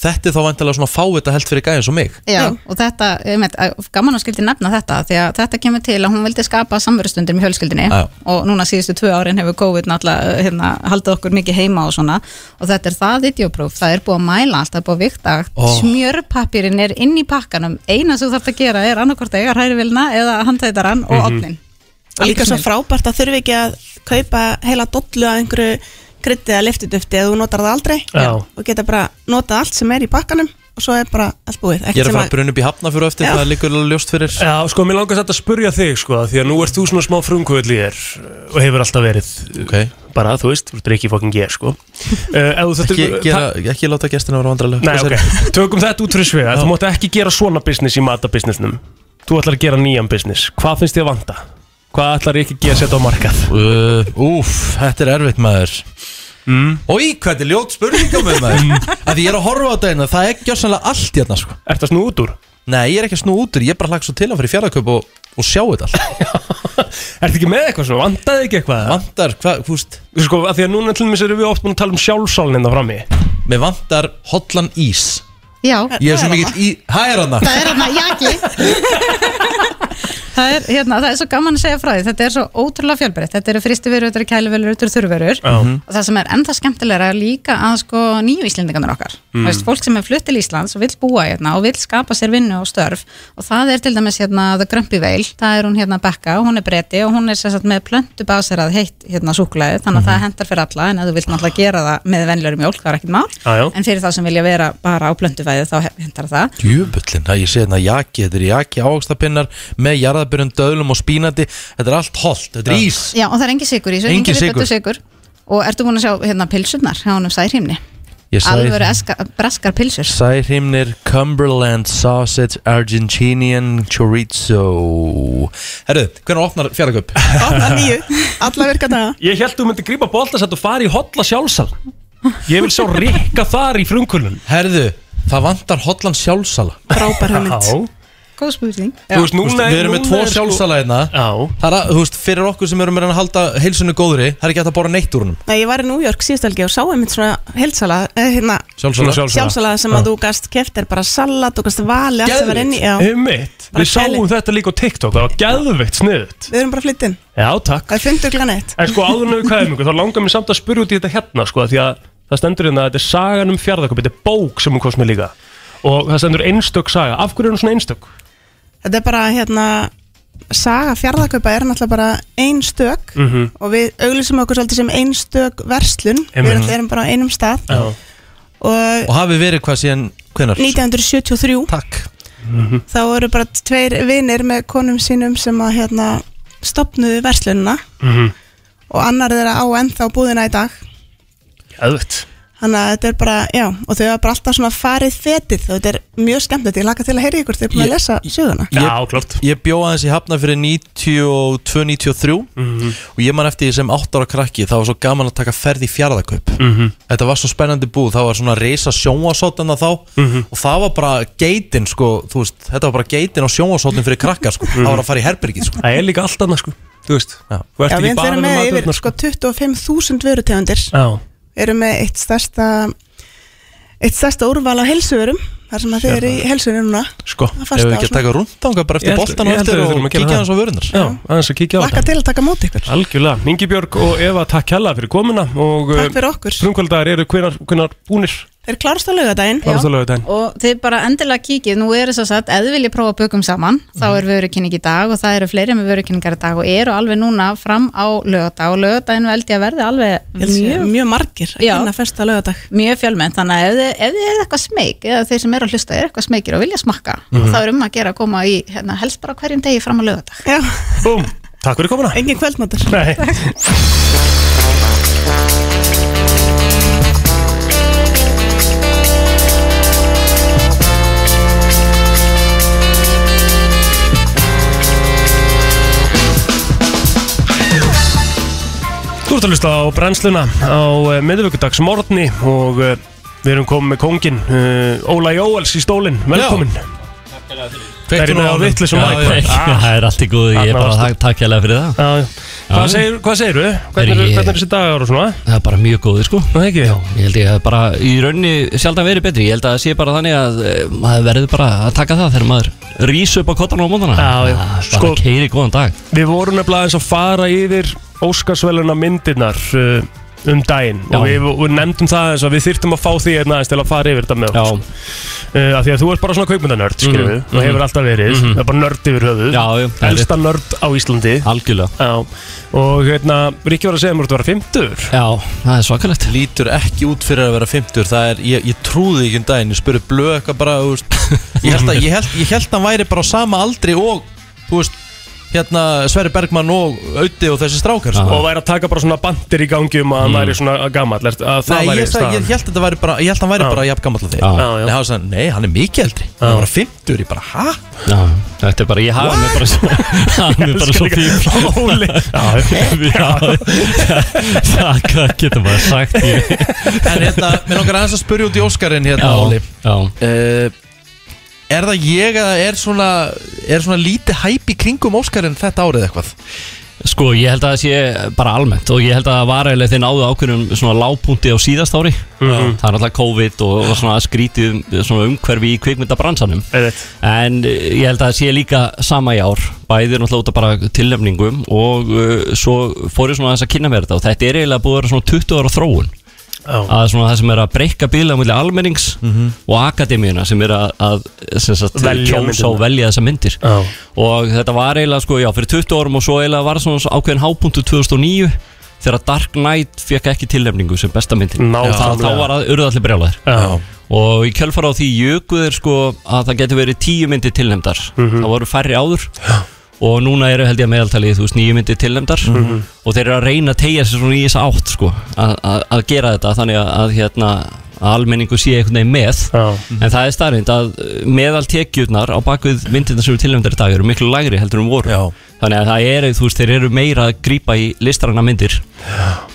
A: Þetta er þá vantilega svona fávita held fyrir gæðin svo mig.
J: Já, og þetta, einmitt, að- gaman að skildi nefna þetta því að þetta kemur til að hún vildi skapa samverðstundir með fjölskyldinni
A: Já.
J: og núna síðustu tvö árin hefur COVID náttúrulega uh, hérna, haldið okkur mikið heima og svona og þetta er það videopróf, það er búið að mæla allt, það er búið að vikta, oh.
A: Ó.
J: smjörpappirinn er inn í pakkanum, eina sem þú þarf að gera er annarkvort eiga hrærivilna eða handhættarann
B: Mhm.
A: Mhm.
J: og opnin.
I: og líka svo frábært að þurfi ekki að kaupa heila dollu að einhverju kryttið eða liftudufti eða þú notar það aldrei
B: Já.
I: og geta bara notað allt sem er í bakkanum og og svo er bara allt búið
A: Ég er að fara að
I: brunna
A: brunna upp í hafna fyrir eftir
I: Já.
A: Það er líka alveg ljóst fyrir
B: Já, sko, mér langast að spurja þig, sko, af því að nú ert þú svona smá frumkvöld í þér og hefur alltaf verið
A: Ok.
B: bara, þú veist, þú ert ekki fokkin ég, sko uh, ef þú þurftir-
A: ekki, gera, ekki láta gestina vera vandrarlega
B: Nei, ok, tökum þetta út fyrir svega Þú mátt ekki gera svona business í matabusinessnum Þú ætlar að gera nýjan business Hvað finnst þið að vanda? Hvað ætlar ég ekki að setja á markað?
A: Uh, úf, þetta er erfitt maður mm. Í, hvað þetta er ljót spurningum með maður Að því ég er að horfa á þetta hérna Það er ekki sannlega allt hérna sko
B: Ertu að snú út úr?
A: Nei, ég er ekki að snú útur, ég er bara hlagt svo til að fyrir fjárðaköp og, og sjá þetta allt
B: Ertu ekki með eitthvað svona? Vandaði ekki eitthvað?
A: Vandar, hvað, þú veist
B: Sko, af því að núna til dæmis erum við oft búin að tala um sjálfsálinn hérna frammi
A: Mér vandar hotlan ís
J: Já,
A: Ég er svo mikill í, það er hana
J: það er hérna jaki það, er, hérna, það er svo gaman að segja frá því þetta er svo ótrúlega fjölbreytt þetta eru fristi verur, þetta eru kæluverur, þetta eru þurrverur og það sem er enda skemmtilega er líka að sko nýju Íslendingarnir okkar mm. veist, fólk sem er flutt til Íslands og vill búa hérna og vill skapa sér vinnu og störf og það er til dæmis hérna The Grumpy Veil það er hún hérna Becca og hún er breyti og hún er sem sagt, með plöntu baserað heitt hérna súklaði þannig að það hendar fyrir alla en ef þú vilt náttúrulega gera það með venlur mjólk það er ekkert mál
B: Já, já.
J: en fyrir þá sem vilja vera bara á plönduvæði þá hendar það
A: Djöfullin, það ég sé hérna jaki, þetta er jaki ágstapinnar með jarðabyrjum, döðlum og spínandi Þetta er allt holt, þetta er ís
J: Já, og það er engin sigur í þessu,
A: Engin
J: engin
A: sykur.
J: sigur. sigur Og ertu búin að sjá hérna pilsurnar hjá honum særhimni?
A: Ég sagði-
J: Alvöru eska, braskar pilsur
A: Særhimnir Cumberland Sausage Argentinian Chorizo Herru, hvernig opnar fjárðaköp?
I: Opna nýju, alla virka daga
B: Ég held þú myndi grípa boltasett og fara í hotla sjálfsál Ég vil sjá rikka þar í frumkvöldun
A: Herðu, það vandar hotlan sjálfsala
I: Frábær hugmynd
J: Góð spurning
B: Þú veist,
A: Þú veist,
B: núna
A: Við erum með
B: núna
A: tvo
B: er sko-
A: sjálfsala hérna
B: Já,
A: Það er að, þú veist, fyrir okkur sem erum með að halda heilsunni góðri, það er ekki hægt að bora neitt úr húnum
I: Nei, ég var í New York síðust helgi og sá einmitt svona heilsala, eh, hérna
B: svona
A: Sjálfsögðu
B: sjálfsál
I: sjálfsala sem að þú gast keft er bara salat, þú gast vali allt sem var inn í, já,
B: Einmitt.
I: Bara
B: Við sáum
I: kæli.
B: þetta líka á TikTok, það var geðveikt sniðut
I: við erum bara flyttinn
B: Já, takk
I: það er fundur glan eitt
B: En sko áður en við kveðum ykkur, þá langar mér samt að spyrja út í þetta hérna sko, því að það stendur hérna að þetta er sagan um fjárðaköp, þetta er bók sem hún komst með líka og það stendur einstök saga, af hverju er hún svona einstök?
I: þetta er bara hérna saga fjárðakaupa er náttúrulega bara ein stök
B: Mhm.
I: og við auglýsum okkur svolítið sem ein stök verslun við
B: Einmitt.
I: erum, erum bara á einum stað
B: Já.
I: og
A: Og hafi verið hvað síðan, hvenar?
I: 1973
A: Takk
B: Mhm.
I: þá eru bara tveir vinir með konum sínum sem að hérna stopnuðu verslunina
B: Mhm.
I: og annar þeirra á ennþá búðina í dag
B: Geðveikt.
I: þannig að þetta er bara, já, og þau hafa bara alltaf svona farið fetið og þetta er mjög skemmtilegt ég laka til að heyra í ykkur, þau er búin
A: Ég-
I: að lesa söguna
B: Já, klart
A: Ég bjóð aðeins í Hafna fyrir 92-93
B: Mhm.
A: og ég man eftir því sem 8 ára krakki það var svo gaman að taka ferð í fjárðakaup
B: mhm.
A: Þetta var svo spennandi búð, það var svona reysa sjónvasótana þá
B: Mhm.
A: og það var bara geitin sko, þú veist, þetta var bara geitin og sjónvasótin fyrir krakka sko, það var að fara í herbergið sko
B: Það er líka allt annað sko, þú veist
A: Já.
B: Þú
I: Já,
B: ert
I: við
B: ekki bara
I: erum
B: með
I: með yfir
B: maturnar
I: sko
B: sko
I: 25.000 vörutegundir
B: Já,
I: eru með eitt stærsta eitt stærsta úrval á helsuvörum þar sem að þið eru í helsunum núna
B: sko
I: að
A: Ef
I: fasta
A: við
I: á
A: ekki að
I: svona
A: taka rúndanga bara eftir
B: Ég held-
A: boltan og
B: ég held
A: eftir
B: að við þurfum
A: og
B: að gera
A: kíkja
B: það.
A: aðeins á vörunar
B: Já, aðeins að kíkja á
I: Laka
B: þetta
I: til að taka móti ykkur
B: Algjörlega, Ingi Björg og Eva, takk kjalla fyrir komuna og
I: Takk fyrir okkur
B: frumkvöldaðar eru hvenar, hvenar búnir
I: Þeir klárast á laugardaginn
B: Það er það lögudaginn
J: Og þið bara endilega kíkið, nú er þess að sagt, ef þið viljið prófa að bökum saman, þá
I: Mhm.
J: er vörukynning í dag og það eru fleiri með vörukynningar í dag og eru alveg núna fram á lögadag og lögadaginn veldi að verði alveg
I: Ég held að sé
J: mjög,
I: Mjög margir að
J: Já.
I: kynna fyrsta laugardag
J: mjög fjölmenn, þannig að ef þið, ef þið er eitthvað smeyk, eða þeir sem eru að hlusta er eitthvað smeykir og vilja smakka,
I: Mhm.
J: þá er um að gera að koma í, hérna, helst bara á hverjum degi fram á lögadag.
I: Já,
B: Búm, takk fyrir komuna
I: engin kvöldmáttur
B: Nei Þú ert að hlusta á brennsluna á uh, miðvikudags morgni og uh, við erum komið með kóngin uh, Óla Jóels í stólinn, velkomin
A: Kveiktu
B: Það er
A: nú á
B: með á
A: honum.
B: vitlausum
A: Já,
B: mic,
A: já.
B: man.
K: Já, Það er allt í góðu, ég er bara að takk hérlega fyrir það
B: Ah. Já, já. Hvað
K: Já.
B: segir- Hvað segirðu? Hvernig
K: Herri,
B: eru
K: ég-
B: hvernig eru þessi dagar og svona?
K: Það er bara mjög góður sko
B: Það ekki? Já,
K: Ég held ég að bara í rauninni sjaldan verið betri Ég held að það sé bara þannig að eh, maður verður bara að taka það þegar maður rís upp á kottan á mótana
B: Já, já.
K: Bara
B: Sko-
K: sko, keiri góðan dag
B: Við vorum nefnilega eins að fara yfir Óskarsveluna myndirnar uh, um daginn og við, og við nefndum það eins og við þyrftum að fá því einn aðeins til að fara yfir þetta með okkur sko. uh, af því að þú ert bara svona kaupmyndanörd mm
K: Mhm,
B: og hefur
K: mhm.
B: alltaf verið,
K: Mhm.
B: það er bara nörd yfir höfuð
K: Já, já, það er
B: elsta nörd á Íslandi algjörlega já. og hérna, Ríkki var að segja mér að þú var að 50
A: Já, það er svakalegt Lítur ekki út fyrir að vera 50 Það er, ég, ég trúði ekki um daginn Ég spurði blöð eitthvað bara þú veist, Ég held að ég held, ég held að hann væri bara á sama aldri Og, þú veist, hérna Sverri Bergmann og Auði og þessi strákar sko.
B: og væri að taka bara svona bandir í gangi um að hann
A: Mm.
B: væri svona gammal að það
A: Nei,
B: væri
A: ég, sagði,
B: staðan.
A: ég held að þetta væri bara Ég held að hann væri bara jafn gammal að þeir
B: Já. Já, já.
A: Nei, hann sagði, nei, hann er mikið eldri Hann var 50, ég bara, hæ?
K: Já, þetta er bara, ég hafa mig bara svo Hann er bara svo fín
B: Óli
K: Það hvað getur maður sagt ég
A: En hérna, mér langar aðeins að spyrja út í Óskarinn hérna,
K: Já,
A: Óli Eh, Er það ég eða er svona, er svona lítið hæp í kringum Óskarinn þetta árið eitthvað?
K: Sko, ég held að það sé bara almennt og ég held að það var eiginlega þeir náðu ákveðnum svona lágpunti á síðast ári
B: Mhm.
K: Það er alltaf COVID og, og svona skrítið svona umhverfi í kvikmyndabransanum
B: Eðitt.
K: En eh, ég held að það sé líka sama í ár Bæðir náttúrulega út af bara tilnefningum og uh, svo fór ég svona aðeins að kynna mér þetta og þetta er eiginlega búið að vera svona 20 ára þróun að svona það sem er að breyka bíla mjög almennings
A: Mhm.
K: og akademíuna sem er að, að sem sagt,
B: Velja
K: kjósa og
B: myndirnar.
K: velja þessa myndir
B: Já.
K: og þetta var eiginlega sko, já, fyrir 20 árum og svo eiginlega var svona svo ákveðin hápunktu 2009 þegar Dark Knight fekk ekki tilnefningu sem besta myndin
B: Nákvæmlega.
K: Þá- þá var að urða allir brjálæðir
B: Já.
K: og í kjölfar á því jökuðir sko að það getur verið 10 myndir tilnefndar
B: Mhm.
K: það voru færri áður og núna eru held ég að meðaltalið þú veist nýju myndir tilnefndar
B: Mhm.
K: og þeir eru að reyna að tegja sér svona í þessa átt sko, að- að að gera þetta þannig að, að hérna að almenningu sé einhvern veginn með en það er starfind að uh, meðaltekjurnar á bakvið myndirna sem eru tilnefndar í dag eru miklu lægri heldur um voru Já. þannig að það eru, þú veist, þeir eru meira að grípa í listranna myndir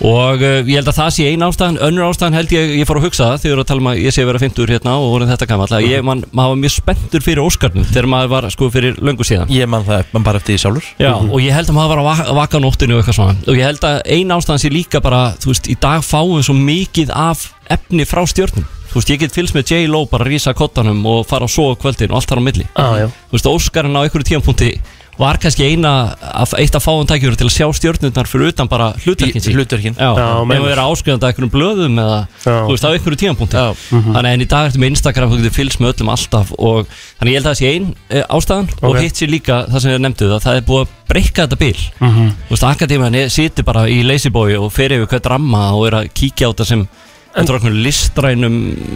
K: og uh, ég held að það sé ein ástæðan önnur ástæðan held ég, ég fór að hugsa það þegar að tala um að ég sé að vera 50 hérna og orðin þetta gamall að ég, man, maður var mjög spenntur fyrir Óskarnum þegar maður var sko fyrir löngu síðan
A: Ég man það, man bara eftir því sjálfur
K: Já,
B: Mhm.
K: og ég held að maður var að vaka, vaka á nóttinu og eitthvað svona og ég held að ein ástæðan sé líka bara þú veist, í dag fáum við svo mikið af efni frá stjórnum þú veist, ég get fylgst með J-Lo bara að rísa kottanum og fara að sofa á kvöldin og allt þar á milli
B: Ah, Já, já.
K: þú veist, Óskarinn á einhverju tíampunkti var kannski eina, af- eitt af fáum tækjur til að sjá stjórnurnar fyrir utan bara hlutverkin sín
A: Hlutverkin
K: Já,
B: Já,
K: ef
B: meinar.
K: við erum áskrifandi að einhverjum blöðum eða, þú veist, á einhverju tíampunkti Þannig en í dag ertu með Instagram, þú getur fylgst með öllum alltaf og þannig ég held að það sé ein e, ástæðan og
B: Ok.
K: hitt sér líka það sem ég nefndi að það er búið að breyka þetta bil
B: Mhm.
K: Þú veist, akademiðan situr bara í leysibói og fer yfir hvað dramma og er að kíkja á þetta sem Þetta er okkur listrænum,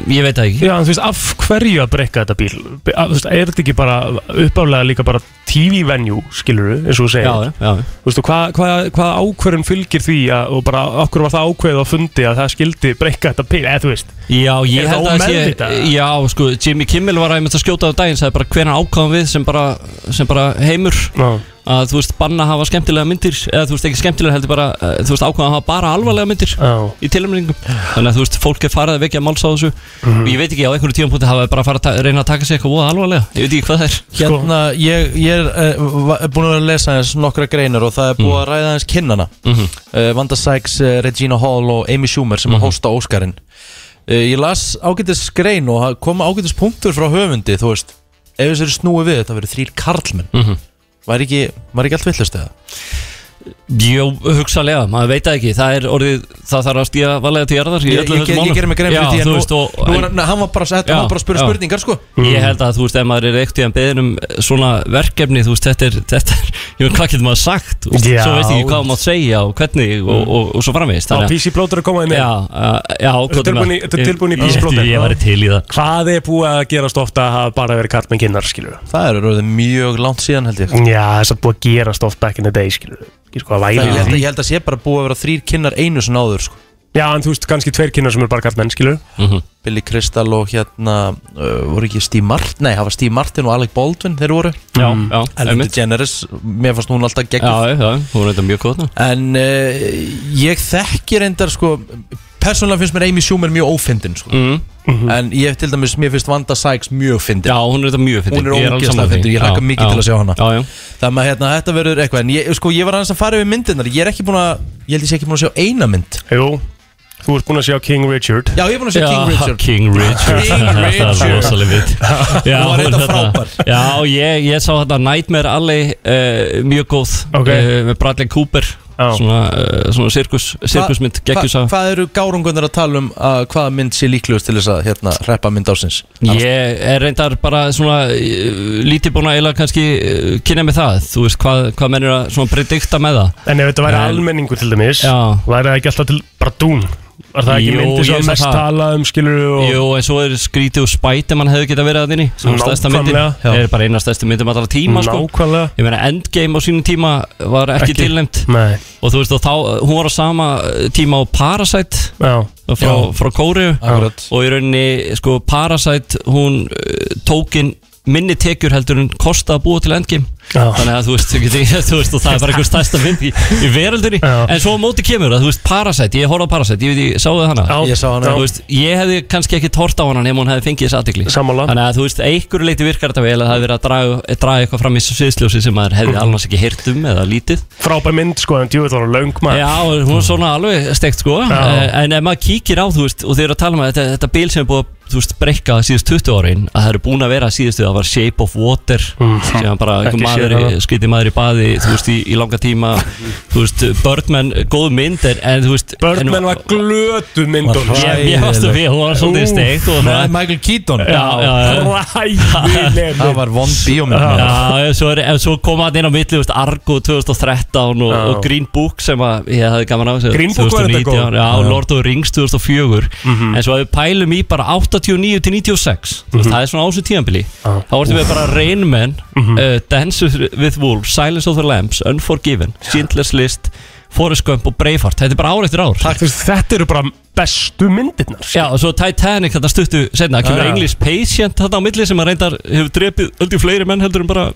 K: ég veit það ekki
B: Já, en þú veist, af hverju að breyka þetta bíl? Be- af- Þú veist, er þetta ekki bara uppálega líka bara TV-venue, skilur eins og þú segir?
K: Já, já, já.
B: Þú veist, og hvað hva, hva ákverðin fylgir því að, og bara okkur var það ákveðið á fundi að það skildi breyka þetta bíl, eða þú veist?
K: Já, ég
B: Er
K: held
B: það
K: að
B: ómeðvitað?
K: sé Já, sko, Jimmy Kimmel var aðeins að skjóta á daginn sagði bara hvernig ákvæðum við sem bara, sem bara heimur að þú veist banna að hafa skemmtilega myndir eða þú veist ekki skemmtilega heldur bara eh, þú veist ákvæðum að hafa bara alvarlega myndir
B: Já.
K: í tilumningum þannig að þú veist fólk er farið að vekja máls á þessu
B: Mhm.
K: og ég veit ekki á einhverju tíum púti hafa þeir bara farið að ta- reyna að taka sér eitthvað voða alvarlega ég veit ekki hvað
B: Sko.
K: það er
A: Hérna, ég, ég er uh, búin að vera að lesa eins nokkra greinar og það er búið að ræða eins kinnana mm
K: Mhm.
A: Vanda Sykes, uh, Regina Hall og Amy Schumer sem að hósta Óskarinn uh, Ég las ágætis grein og það koma ágætis punktur frá höfundi, þú veist Ef þessu eru snúið við, þetta verið þrýr karlmenn
K: Mhm.
A: Var ekki, var ekki allt villust eða?
K: Jó, hugsalega, maður veit það ekki það er orðið, það þarf að stíða valega til jarðar í
A: Ég,
K: öllum
A: ég,
K: þessum
A: ég, ég
K: málum.
A: gerir mig grein fyrir
K: Já,
A: því en
K: þú
A: nú,
K: veist, og-
A: nú,
K: en-
A: er hann- hann var bara, þetta var bara að spyrja
K: já.
A: spurningar sko
K: Ég held að þú veist, ef maður er eitt í enn beðin um svona verkefni, þú veist, þetta er, þetta er ég veit hvað getur maður sagt, þú veist,
B: Já.
K: svo veist ég ekki hvað maður segja og hvernig og, og, og, svo framvegist.
B: Á PC Blóter að koma í mig?
K: Já, uh, já,
B: Þetta er tilbúin í- þetta er tilbúin í PC Blóter?
K: Ég, ég væri til í það.
B: Hvað er búið að gerast ofta að hafa bara verið kart með kinnar, sko. skilur
A: Það eru orðið mjög langt síðan held ég
B: Já, þess að búið að gerast ofta back in the day, skilur Ég sko að
A: Það,
B: væri
A: ég, held,
B: því.
A: ég held að sé bara búið að vera þrýr kinnar einu sem áður sko
B: Já, en þú veist, kannski tveir kinnar sem eru bara kart menn, skilur
K: Mhm.
A: Billy Crystal og hérna uh, voru ekki Steve Martin, nei, það var Steve Martin og Alec Baldwin þeir voru
K: Já, já,
A: Ellen
K: einmitt.
A: DeGeneres, mér fannst hún alltaf
K: Já,
A: geggjum
K: já, já, hún er þetta mjög góð þarna.
A: en uh, ég þekki reyndar sko, persónulega finnst mér Amy Schumer mjög ófindin sko. en ég til dæmis, mér finnst Vanda Sykes mjög fyndin
K: Mm. Já, hún er þetta mjög fyndin.
A: Hún er
K: Ég alveg
A: ógeðslega
K: sammála því.
A: fyndin, ég hlakka
K: Já,
A: mikið
K: já,
A: til að sjá hana.
K: Já, já,
A: þannig að hérna, þetta verður eitthvað en ég, sko, ég var aðeins að fara yfir myndirnar ég er ekki búin að, ég held ég sé ekki búin að sjá eina mynd
B: Jú, þú ert búin að sjá King Richard
A: já, ég er búin að sjá King
K: Já,
A: Richard
K: King Richard
A: King
K: Það
A: Richard.
K: er rosalega vitt Já,
A: Hún var
K: hún
A: reyndar
K: er
A: frábær.
K: Já, ég, ég sá þetta Nightmare Alley uh, Mjög góð
B: Ok.
K: eh, Með Bradley Cooper svona, uh, svona sirkus, sirkusmynd geggjus
A: Hva- Hvað eru gárungunar að tala um að hvaða mynd sé líklegust til þess að hérna hreppa mynd ásins?
K: Ég er reyndar bara svona eh, lítið búin að eiginlega kannski eh, kynna með það Þú veist hvað, hvað mennir að svona predikta með það
B: En ef þetta væri
K: En-
B: almenningur til dæmis
K: Já.
B: Væri það ekki alltaf til bara dún Var það ekki
K: Jú,
B: myndið
K: ég
B: sem
K: hugsa
B: mest
K: það.
B: talað um skilur og...
K: Jú, en svo er skrítið og spæti mann hefði getað verið að þinni Svo stærsta myndin
B: Nákvæmlega. Já.
K: er bara eina stærsta myndin allra tíma sko.
B: Nákvæmlega.
K: Ég meina Endgame á sínum tíma var ekki,
B: Ekki.
K: tilnæmt
B: Nei.
K: Og þú veist og þá, hún var á sama tíma á Parasite
B: Já.
K: frá,
B: Já.
K: frá Kóriu
B: Akkurat.
K: Og í rauninni, sko, Parasite, hún uh, tók inn minni tekjur heldur en kosta að búa til Endgame
B: Já.
K: Þannig að þú veist, þú getur- þú veist og það er bara einhver stærsta mynd í, í veröldinni En svo á móti kemur að, þú veist, Parasite, ég horfði á Parasite, ég veit, ég sáðu hana
A: Já, ég sá hana.
K: Þú veist, ég hefði kannski ekki tort á hana nema hún hefði fengið þess aðtikli Sammála Þannig að þú veist, einhverju leiti virkar þetta vel að það hefði verið að draga, draga eitthvað fram í sviðsljósi sem maður hefði alveg ekki heyrt um eða lítið
B: Frábær mynd sko en djúið var hún löng maður
K: Já, hún er svona alveg steikt sko Eh, En ef maður kíkir á, þú veist, og þeir eru að tala um að þetta, þetta bil sem er búið að, þú veist, breyka síðust 20 árin Að það eru búin að vera síðustu, það var Shape of Water Sem bara einhver
B: Mm, Ekki séð
K: maður,
B: það.
K: skytið maður í baði, þú veist, í, í langa tíma Þú veist, Birdman, góð mynd, en, en þú veist
B: Birdman
K: en,
B: var glötu myndun
K: Ég, ég varst að við, hún var svolítið steikt og svona.
A: Michael Keaton
K: Já, já, já.
B: Ræðileg
A: Það var von bíómynd
K: Já, en svo, er- en svo kom hann inn á milli, þú veist, Argo 2013 og,
B: Já.
K: og Green Book sem að ég hafði gaman á þessu
B: Green Book var þetta
K: 2019,
B: góð. Mhm.
K: Já,
B: Já.
K: Lord of the Rings 2004 En svo að við pælum í bara 89 til 96 Þú
B: Mhm.
K: veist, það er svona ásvið tíðanbili Þá vartum við bara Rain Man, uh, Dance with Wolves, Silence of the Lambs, Unforgiven, Schindler's List Forrest Gump og Braveheart, þetta er bara ár eftir ár
B: Takk fyrir þetta eru bara bestu myndirnar sko.
K: Já, og svo Titanic þarna stuttu senna, það kemur
B: Já.
K: English Patient þarna á milli sem að reyndar hefur drepið öllu fleiri menn heldur en bara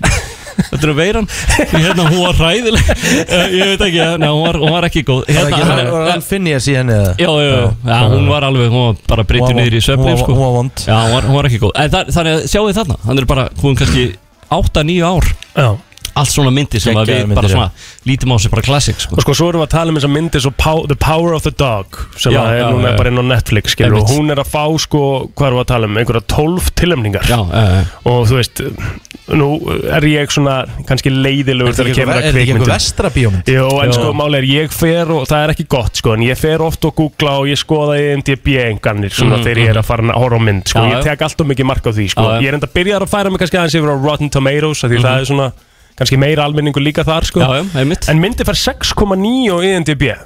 K: heldur en veiran Því hérna hún var ræðileg Eh, ég veit ekki, eh, neða, hún, var, hún var ekki góð
A: Það
K: hérna,
A: var- var
K: hann-
A: hann Phineas í henni eða?
K: Já, já, já, já, hún var alveg, hún var bara breytið
A: Hún var-
K: niður í
A: hún
K: svefnið
A: var-
K: sko.
A: hún var vond.
K: Já, hún var, hún var ekki góð En það, þannig að sjáu þið þarna, hann er bara, hún er kannski 8-9 ár
B: Já
K: Allt svona myndi sem að
B: Geggjaðar
K: við bara
B: myndir,
K: svona lítum á sig bara klassik sko.
B: Og sko svo erum við að tala um þess að myndi svo Pow- The Power of the Dog sem
K: Já,
B: að er
K: já,
B: núna
K: já.
B: bara inn á Netflix skilur og
K: Einmitt.
B: hún er að fá sko, hvað erum við að tala um einhverja 12 tilöfningar
K: Já, já, já.
B: og þú veist, nú er ég svona kannski leiðilegur
A: Er þetta ekki
B: þegar
A: eitthvað- er
B: kemur að
A: þetta ekki
B: kvikmyndum
A: eitthvað vestra bíómynd?
B: Jó, en
A: Jó.
B: sko máli er ég fer og það er ekki gott sko, en ég fer oft og googla og ég skoða IMDb enganir svona
K: Mhm,
B: þegar ég er að fara að horfa á mynd sko,
K: Já,
B: ég
K: já.
B: tek alltaf mikið mark á því sko,
K: Já, já.
B: ég er enda að byrja að færa mig kannski aðeins yfir á Rotten Tomatoes, af því það er svona kannski meira almenningu líka þar sko
K: Já, já, einmitt
B: En myndi fær 6,9 á IMDb
A: Já.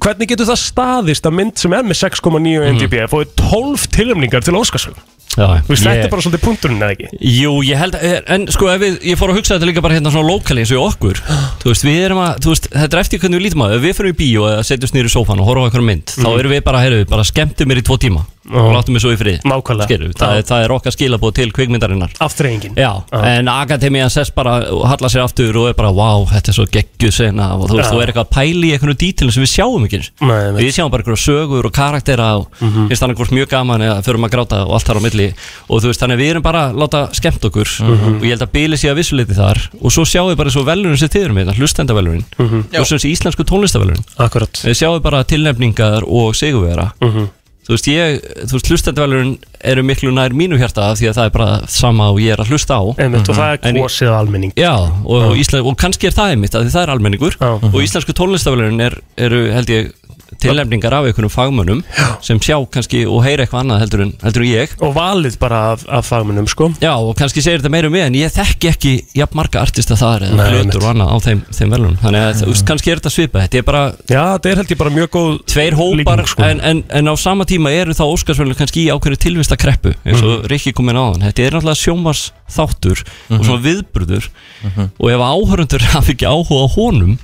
B: Hvernig getur það staðist að mynd sem er með 6,9 á IMDb mm. fóði 12 tilöfningar til Óskarsson
K: Mhm. Já, já.
B: Þú veist, þetta
K: Ég-
B: er bara svolítið punkturinn eða ekki
K: Jú, ég held að, en sko ef við, ég fór að hugsa þetta líka bara hérna svona lokali eins og í okkur Þú veist, við erum að, þú veist, þetta er eftir hvernig við lítum að Ef við fyrir í bíó eða setjumst niður í sófan og horfum á einhverja mynd
B: Mm.
K: Þá erum við bara, heyrðu, bara skemmtum mér í tvo tíma Og látum mér svo í frið
B: Nákvæmlega.
K: Skeru, það, er- það er okkar skilabóð til kvikmyndarinnar
B: Aftreyingin
K: Já, en Akademian sess bara og hallar sér aftur og er bara, wow, þetta er svo geggjuð sena Og þú veist,
B: Já.
K: þú er eitthvað að pæli í einhvern dítilin sem við sjáum ekki einu sinni.
B: Nei, nei. Mhm.
K: Við sjáum bara einhverju sögur og karaktera og finnst hann einhvers mjög gaman eða förum að gráta og allt þar á milli og þú veist þannig að við erum bara að láta skemmt okkur
B: Mhm.
K: og ég held að bíli sé að vissuleiti þar og svo sjáum við bara svo velurinn sem þið erum með hlustendavelurinn
B: Mhm.
K: og svo þessi íslensku tónlistavelurinn
B: Akkurat
K: við sjáum bara tilnefningar og sigurvera
B: Mhm.
K: þú veist ég, þú veist hlustendavelurinn eru miklu nær mínu hjarta af því að það er bara sama og ég er að hlusta á Mhm.
B: Einmitt, og það
K: En
B: er
K: í-
B: kosið almenning
K: Já, og, Ísland, og kannski er það einmitt að það er almenningur
B: Já.
K: og íslensku tónlistafélagin er, eru held ég tilnefningar af einhvernum fagmönnum sem sjá kannski og heyra eitthvað annað heldur en, heldur en ég
B: og valið bara af, af fagmennum sko
K: Já, og kannski segir þetta meira um mig en ég þekki ekki jafn marga artista þar eða
B: Nei,
K: blötur og annað á þeim, þeim velunum þannig að þú veist, kannski er þetta svipa þetta er bara
B: Já, þetta er held ég bara mjög góð
K: tveir hópar
B: líking, sko.
K: en, en, en á sama tíma eru þá Óskarsvölinu kannski í ákveðinu tilvista kreppu eins
B: Mhm.
K: og Rikki kom inn á þann þetta er náttúrulega sjómars þáttur og svona viðbröður
B: Mhm.
K: og ef áhörundur hafi ekki áhuga á honum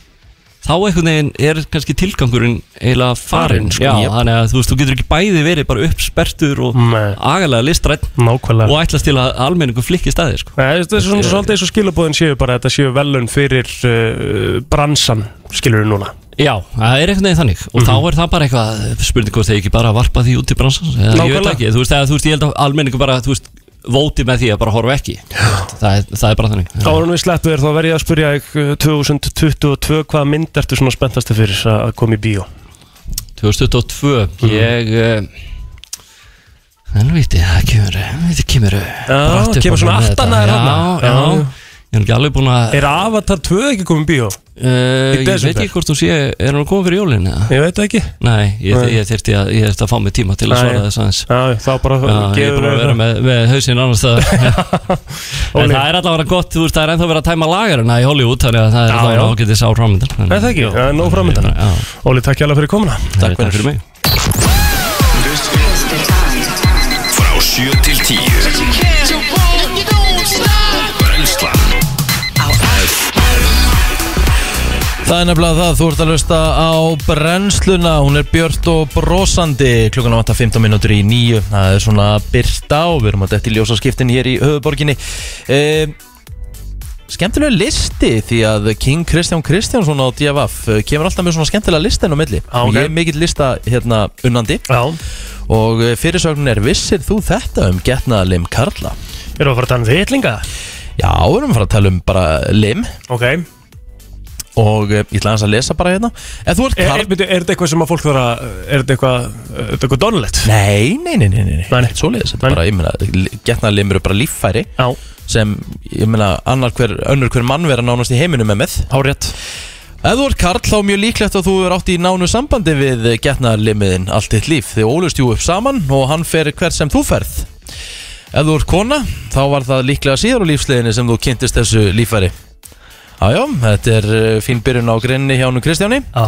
K: þá einhvern veginn er kannski tilgangurinn eiginlega farinn
B: Farinn, sko,
K: Já,
B: jöp.
K: þannig að þú veist, þú getur ekki bæði verið bara uppsperrtur og
B: Nei.
K: agalega listrætt
B: Nákvæmlega
K: og ætlast til að almenningu flikki staði sko.
B: Nei, þetta er svona svolítið eins og skilabóðin séu bara þetta séu velun fyrir uh, bransan skilur við núna
K: Já, það er einhvern veginn þannig og
B: Mhm.
K: þá er það bara eitthvað spurning hvort þeir ekki bara varpa því út í bransan eða, ég veit
B: Nákvæmlega.
K: ekki, þú veist, eða, þú veist, ég held að almenningu bara, þú veist, vóti með því að bara horfa ekki það er, það er bara þannig Já.
B: Árun við sleppu þér þá verð ég að spyrja þig, uh, 2022 hvaða mynd ertu svona spenntastu fyrir að að koma í bíó
K: 2022,
B: Mhm.
K: ég eh, en viti, það kemur það kemur bratt upp á
B: kemur svona
K: mig þetta.
B: aftan að þér
K: Já, já,
B: þarna. Já.
K: ég er ekki alveg búin að
B: Er Avatar 2 ekki komið í bíó?
K: Uh, ég veit
B: desember?
K: ekki hvort þú sé, er hann að koma fyrir jólinu?
B: Ég veit ekki
K: Nei, ég,
B: Nei.
K: ég þyrfti að, ég þyrfti að fá mig tíma til að
B: Nei.
K: svara þess aðeins
B: Já, þá bara
K: Já, ég er
B: gefur
K: búin að
B: við
K: vera
B: það.
K: með, með hausinn annars það En það er allavega gott, þú veist, það er ennþá verið að tæma lagarina í Hollywood Þannig að það er
B: Já,
K: allavega
B: já.
K: ágætis á framöndan
B: Það er það ekki, það er nóg framöndan Óli, takk hjá fyrir komuna
K: Takk fyrir mig
C: Frá 7 til 10 Brennslan
A: Það er nefnilega það, þú ert að hlusta á brennsluna, hún er björt og brosandi, klukkan á 15 minútur í nýju, það er svona byrta og við erum að detti ljósaskiptin hér í höfuborginni. Eh, skemmtilega listi því að King Kristján Kristjánsson á DFF eh, kemur alltaf með svona skemmtilega lista inn á milli.
B: ok.
A: Ég er mikill lista hérna unnandi
B: Já.
A: og eh, fyrirsögnin er vissir þú þetta um getnaða lim Karla?
B: Erum við að fara að tala um þitlinga?
A: Já, við erum að fara að tala um bara lim.
B: Ok
A: Og eh, ég ætla aðeins að lesa bara hérna Ef þú ert
B: Er,
A: karl
B: er, byrju, er þetta eitthvað sem að fólk þarf að Er þetta eitthvað, er þetta eitthvað dónulegt?
A: Nei, nei, nei, nei, nei, nei. Svo leiðis, þetta er bara, ég meina, getnaðarlim eru bara líffæri
B: Já.
A: sem, ég meina, annar hver, önnur hver mann vera nánast í heiminum með með
B: Hárétt
A: Ef þú ert karl þá er mjög líklegt að þú er átt í nánu sambandi við getnaðarlimiðin allt þitt líf þið ólust jú upp saman og hann fer hvert sem þú ferð Ef þú ert kona þá var það líklega síðar á lífsleginni sem þú kynntist þessu líffæri Jájá, þetta er uh, fín byrjun á grinni hjá hann Kristjáni Eh,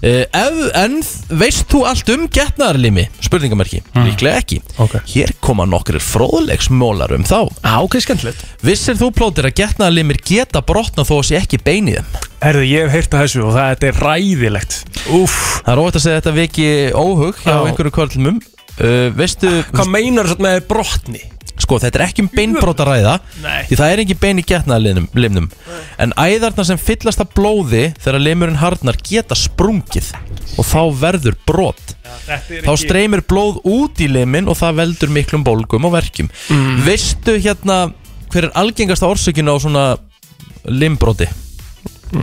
B: Já
A: ef, En veist þú allt um getnaðarlimi? Spurningamerki,
B: Mm.
A: líklega ekki okay. Hér koma nokkur fróðlegsmólar um þá
B: Já, ok, skemmtilegt
A: Vissir þú plótir að getnaðarlimir geta brotna þó að sé ekki beinið þeim?
B: Herðu, ég hef heyrt að þessu og það þetta er ræðilegt Úf
A: Það er óvægt að segja að þetta veki óhug hjá einhverju kvörlumum uh, Veistu
B: Hvað meinar þetta með brotni?
A: Sko þetta er ekki um beinbrot að ræða
B: Nei.
A: Því það er ekki bein í getnaðarlimnum En æðarna sem fyllast af blóði Þegar limurinn harnar geta sprungið Og þá verður brot Þá streymir blóð út í limin Og það veldur miklum bólgum og verkjum
B: Mm.
A: Veistu hérna Hver er algengasta orsökinu á svona Limbroti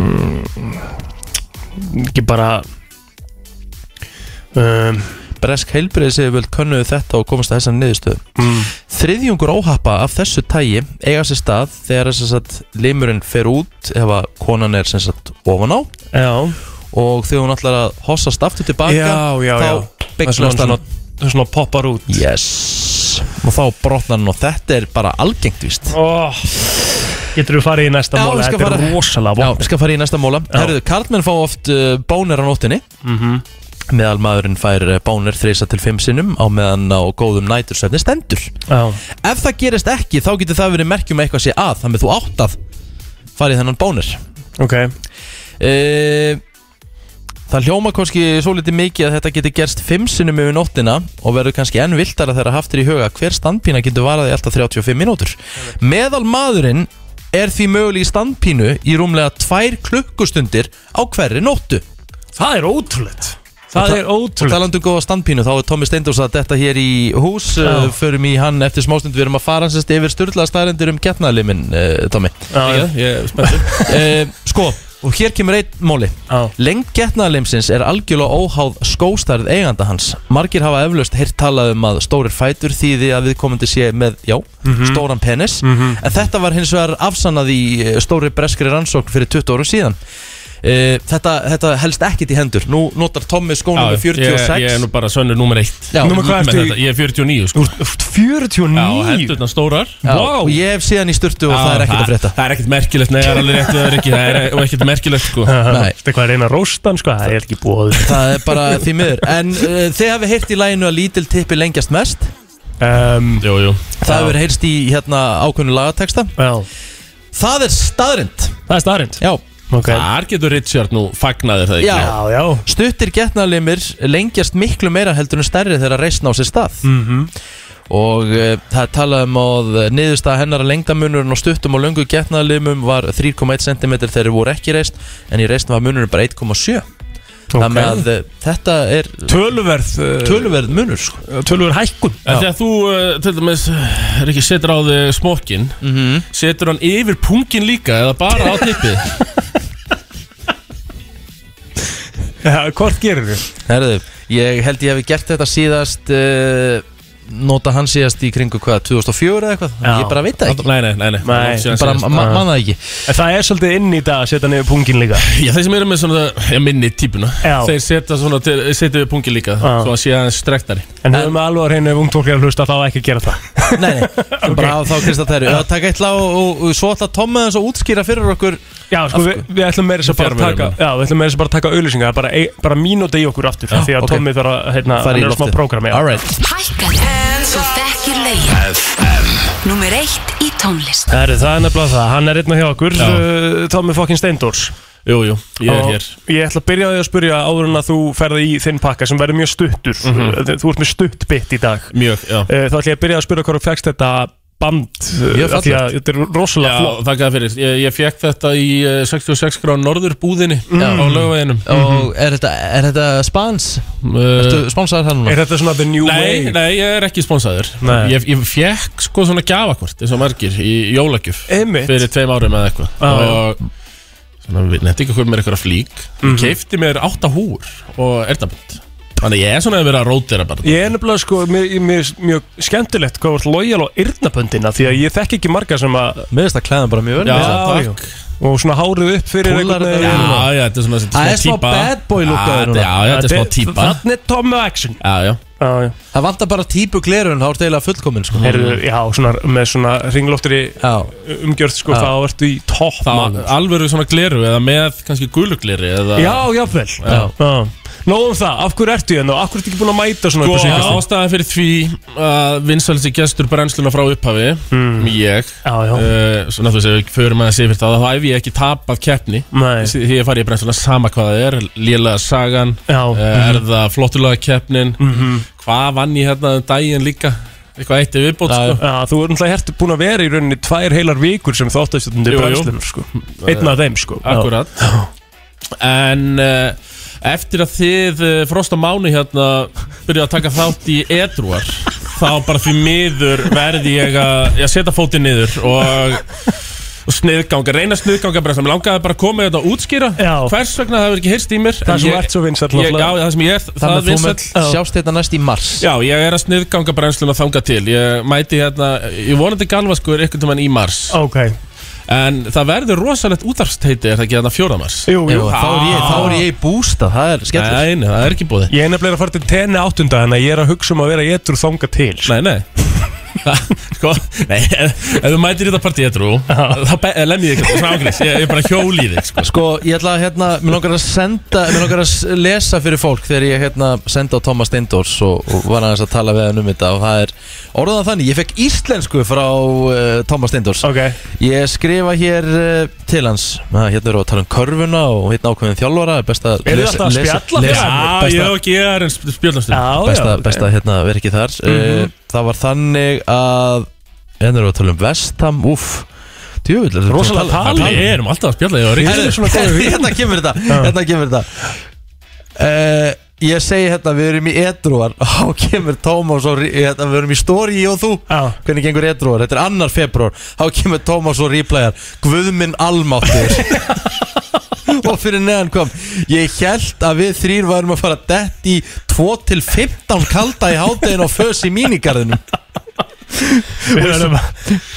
B: Mm, Ekki bara um,
A: Bresk heilbrið segir vel könnuðu þetta og komast að þessan niðurstöðu
B: mm,
A: Þriðjungur óhappa af þessu tægi eiga sér stað þegar sem sagt, limurinn fer út ef að konan er sem sagt, ofan á
B: Já
A: og þegar hún ætlar að hossast aftur tilbaka
B: Já, já, já
A: þá bygglast hann
B: hann Svona poppar út
A: yes. og þá brotnar hann og þetta er bara algengt víst
B: oh, Getur þú farið í næsta
A: Já,
B: móla?
A: ég skal
B: Þetta er
A: fara-
B: rosalega
A: Já,
B: vond
A: við skal fara í næsta móla
B: Já.
A: Herðu, Karlmenn fá oft uh, bónir á nóttinni
B: Mhm.
A: meðal maðurinn fær uh, bónir þreysa til fimm sinnum á meðan á góðum nætursefni stendur
B: Já.
A: Ef það gerist ekki þá getur það verið merkjum að eitthvað sé að þannig að þú átt að fara í þennan bónir
B: Ok
A: Eh, Það hljóma kannski svolítið mikið að þetta getur gerst fimm sinnum yfir nóttina og verður kannski enn viltara þegar haftir í huga að hver standpína getur varaði alltaf 35 mínútur. Meðal maðurinn er því möguleg í standpínu í rúmlega tvær klukkustundir á hverri nóttu.
B: Það er ótrúlegt Það er
A: Og
B: ótrúlegt
A: talandu um góða standpínu þá er Tómi Steindós að detta hér í hús, uh, förum í hann eftir smástund, við erum að fara hansest yfir styrla staðrendir um getnaðlimin, uh, Tómi.
B: Já,
K: Ég er spenntur
A: Eh, sko, og hér kemur einn móli
B: Já.
A: Lengd getnaðarlimsins er algjörlega óháð skóstarð eiganda hans Margir hafa eflaust heyrt talað um að stórir fætur þýði að viðkomandi sé með, já,
B: Mhm.
A: stóran penis En þetta var hins vegar afsannað í eh, stóri breskri rannsókn fyrir 20 árum síðan Uh, þetta, þetta helst ekkit í hendur Nú notar sko Tommi skónum með 46
G: ég, ég er nú bara sönnur nummer eitt
A: Já.
B: Númer hvað
G: Með
B: ertu í-
G: þetta. Ég er 49 sko.
B: Úrt 49
G: Já, hendurna stórar
A: Já,
G: Vá.
A: Og ég hef síðan í sturtu og
G: Já,
A: það er ekkit að frétta
G: Það er ekkert merkilegt, nei, það er alveg rétt Það er ekki, það er og ekkert merkilegt sko
A: Nei.
B: Þetta er hvað að reyna að rósta hann sko Það er ekki búið
A: Það er bara því miður En uh, þið hafi heyrt í læginu að lítil tippi lengjast mest
B: um,
G: Jú, jú
A: Það hefur verið heyrst í hérna ákveðnu lagatexta
B: Já,
A: Það er staðrind
B: það er starrend
A: Já
B: Ok
G: Þar getur Richard nú fagnaðir það ekki
A: Já.
B: Já, já
A: Stuttir getnaðlimir lengjast miklu meira heldur en stærri þegar reysn á sér stað mm
B: Mhm.
A: -hmm. Og uh, það er talað um að niðurstaða hennar að lengdamunurinn á stuttum og löngu getnaðlimum var 3,1 cm þegar þeir voru ekki reist En í reysn var munurinn bara 1,7 Þannig
B: okay.
A: að uh, þetta er
B: Töluverð uh,
A: töluverð munur sko.
B: Töluverð hækkun
G: En þegar þú, uh, til dæmis, uh, Rikki, setur á þig smokkin
A: Mhm.
G: Setur hann yfir pungin líka eða bara á tippið
B: Já, Hvort gerir þið?
A: Herðu, ég held ég hefði gert þetta síðast uh, nota hann síðast í kringu hvað, 2004 eða eitthvað
B: Já.
A: ég bara veit það ekki
G: Nei, nei, nei, nei.
B: Nei,
A: Bara ma- man það ekki
B: En það er svolítið inn í dag að setja niður pungin líka
G: Já, þeir sem eru með svona, ég minni típuna
B: Já.
G: Þeir setja svona, til- setja við pungi líka
B: Já.
G: Svo að sé aðeins strektari
B: En höfum við alveg að reyna ef ungt fólk er að hlusta þá ekki að gera það
A: okay. bara hafa þá Kristall Terri að taka eitt lag og, og, og svo ætla Tomma þess að útskýra fyrir okkur
B: Já, sko, við, við ætlum meira þess að bara
A: Fjármögnun.
B: taka Já, við ætlum meira þess að bara taka auðlýsingar bara, ei- bara mínúti í okkur aftur
A: Já,
B: Því að
A: ok.
B: Tommi þarf að, hérna,
A: Fara í
B: hann er á smá
A: loftið.
B: prógrami
A: All right
E: Þú þekkir lögin Númer eitt í tónlist
B: Það er það er nefnilega það, hann er einna hjá okkur uh, Tommi fokkin Steindors
G: Jú, jú, ég er
B: Og
G: hér
B: Ég ætla að byrja á því að spyrja áður en að þú ferði í þinn pakka sem verður mjög stuttur þú, þú ert með stutt bit í dag
G: Mjög, já
B: uh, Þá ætla ég að byrja að spyrja hvað þú fegst þetta band eh,
G: Mjög
B: af Því að
G: fallegt.
B: þetta er rosalega
G: Já,
B: flott
G: þakka það fyrir Ég, ég fekk þetta í eh, 66 grá norðurbúðinni
B: Mm.
G: á lögveginum Mhm.
A: og er þetta, er þetta spans? Ertu spansaður það núna?
B: Er þetta svona the new
G: Eh, Nei, nei, ég er ekki sponsaður
B: Nei.
G: ég, ég fekk sko svona gjafakort eins og margir í jólagjöf
B: Einmitt.
G: Fyrir tveim árum eða eitthvað
B: Já, já.
G: Og svona, við nefndi ekki hvað með eitthvað flík
B: Mhm.
G: mm Keifti mér átta húr og erðabund Þannig ég er svona að vera að rótera bara
B: Ég er nefnilega sko mjög, mjög, mjög skemmtilegt hvað vart lojal á yrnaböndina því að ég þekk ekki marga sem að
A: Mér finnst það klæðan bara mjög vel
G: Já,
A: með þessa.
G: takk
B: og svona hárið upp fyrir
A: Púllar
B: einhvern
A: þetta
B: veginn.
G: Já, já, þetta er svona svona
A: Það er smá
G: típa.
A: bad boy look á
G: Já,
A: þér núna.
G: Já, já, þetta er smá típa
B: Þannig er Tommy og Action
G: Já, já
B: Já, já.
A: Það vantar bara típu glerun, þá ertu eiginlega fullkomin sko.
B: Heyrðu, já, svona, með svona ringlóttri
A: Já,
B: umgjörð sko,
A: Já.
B: þá ertu í topp
G: Það
B: maður.
G: alvöru svona gleru eða með kannski gulugleri eða
B: Já, jáfnvel já. Já. Nóðum það, af hverju ertu hérna og af hverju ertu ekki búin að mæta svona upp á
G: Sko,
B: síðkastið?
G: ástæðan fyrir því að vinsælsi gestur brennsluna frá upphafi ég
B: Hmm. Já, já.
G: uh, svona þú segir, förum að segja fyrir það þá hef ég ekki tapað keppni
B: Nei.
G: því ég farið í brennsluna sama hvað það er lélega sagan,
B: Já. mhm.
G: uh, er það flottulega keppnin hvað vann ég hérna um daginn líka eitthvað eitt er viðbót
A: Já,
G: sko.
B: Já, þú er náttúrulega hertu búin að vera í rauninni tvær heilar vikur sem þáttastjöndir
G: Jú, jú.
B: brennslunar sko. Einn af þeim sko Já.
G: Akkurat En uh, eftir að þið uh, Frost og Máni hérna byrjuðu að taka þátt í edruar þá bara því miður verði ég að ég setja fótið niður og, og sniðganga, reyna sniðganga bara sem langaði bara að koma þetta og útskýra
B: Já.
G: hvers vegna það hefur ekki heyrst í mér
B: Það
G: En
B: sem
G: ég-
B: þú ert svo vinsæll
G: ég- Já,
B: náttúrulega.
G: það sem ég er það
A: þannig að þú
G: vinsæll.
A: mun sjást þetta næst í mars
G: Já, ég er að sniðganga brennsluna þanga til Ég mæti hérna, ég vonandi galvaskur einhvern tímann í mars
B: Ok
G: En það verður rosalegt útarfsteiti Er það ekki hérna fjóra mars?
B: Jú,
A: Jú,
B: jú
A: þá, er ég, þá er ég í bústa, það er skellur
G: Nei, nei, það er ekki búið
B: Ég er nefnilega að fara til tenni áttunda Þannig að ég er að hugsa um að vera getur þanga til sko.
G: Nei, nei Sko, nei, ef ef þú mætir í þetta partí edru þá be- eh, lem ég þig ekki, svona ágrís ég, ég bara hjóli í þig, sko
A: Sko, ég ætla að hérna, mér langar að senda mér langar að s- lesa fyrir fólk þegar ég hérna senda á Thomas Steindors og, og var aðeins að tala við hann um þetta og það er orðan þannig, ég fekk íslensku frá uh, Thomas Steindors
B: Ok
A: Ég skrifa hér uh, til hans að, Hérna eru að tala um körfuna og hérna ákveðin þjálfara er Best að
B: Eru þetta að spjalla fyrir hann?
A: best að-
G: Já, ég og ég er en spjöldanstur
B: Já,
A: best að-
B: ok. Mhm.
A: best að hérna vera ekki þar mm Það var þannig að Hérna eru að tala um Vestham, úff Djúvill, er þetta
B: Rosalega
A: að tala-
B: tala.
G: Við erum alltaf að spjalla þig,
A: Herðu,
G: Orri
A: herðu, Hérna kemur þetta Hérna kemur þetta Eh, Ég segi hérna, við erum í edruar og þá kemur Tómas og re- hérna, við erum í story ég og þú
B: Já.
A: hvernig gengur edruar, þetta er annar februar þá kemur Tómas og replayar Guðminn almáttur og fyrir neðan kom ég held að við þrýr varum að fara dett í 2-15 kalda í hátæðin og fös í mínigarðinum
B: Við erum,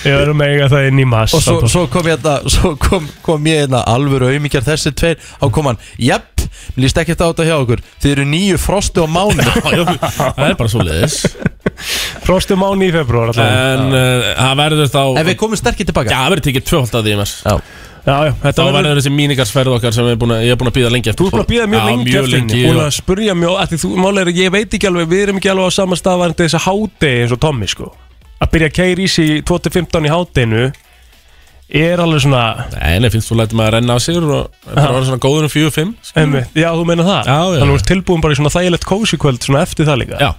B: við erum að eiga það inn í mass
A: og svo, svo kom ég þetta svo kom, kom ég hérna alvöru auðmíkjar þessi tveir á kom hann, jepp, mér líst ekkert á þetta hjá okkur þið eru nýju frosti á mánu
G: Það er bara svo leiðis
B: Frostu mánu í februar allavega
G: En uh, það verður þá
A: en við komum sterkir
G: Já,
A: tilbaka
G: það verður tekið tvöfald að því mars
A: Já.
B: Já, já,
G: Þá
B: þetta var
G: verður þessi mínigarsferð okkar sem við erum búin að- ég er búin að býða lengi eftir sko.
B: Þú ert búin að býða mjög
G: Já,
B: lengi eftir henni
G: lengi
B: Búin
G: og-
B: að spurja mjög af því Þú málega er að ég veit ekki alveg Við erum ekki alveg á sama stað varandi þess að hádegi eins og Tommy sko Að byrja að keira í sig 2015 í hádeginu Er alveg svona
G: Nei, nei, finnst þú lætið maður að renna af sér og bara vera svona góður um 4-5
B: einmitt, Já, þú meina það
G: Já, já,
B: Þannig
G: já.
B: þú ert tilbúin bara í svona þægilegt kósi kvöld Svona eftir það líka
G: Já,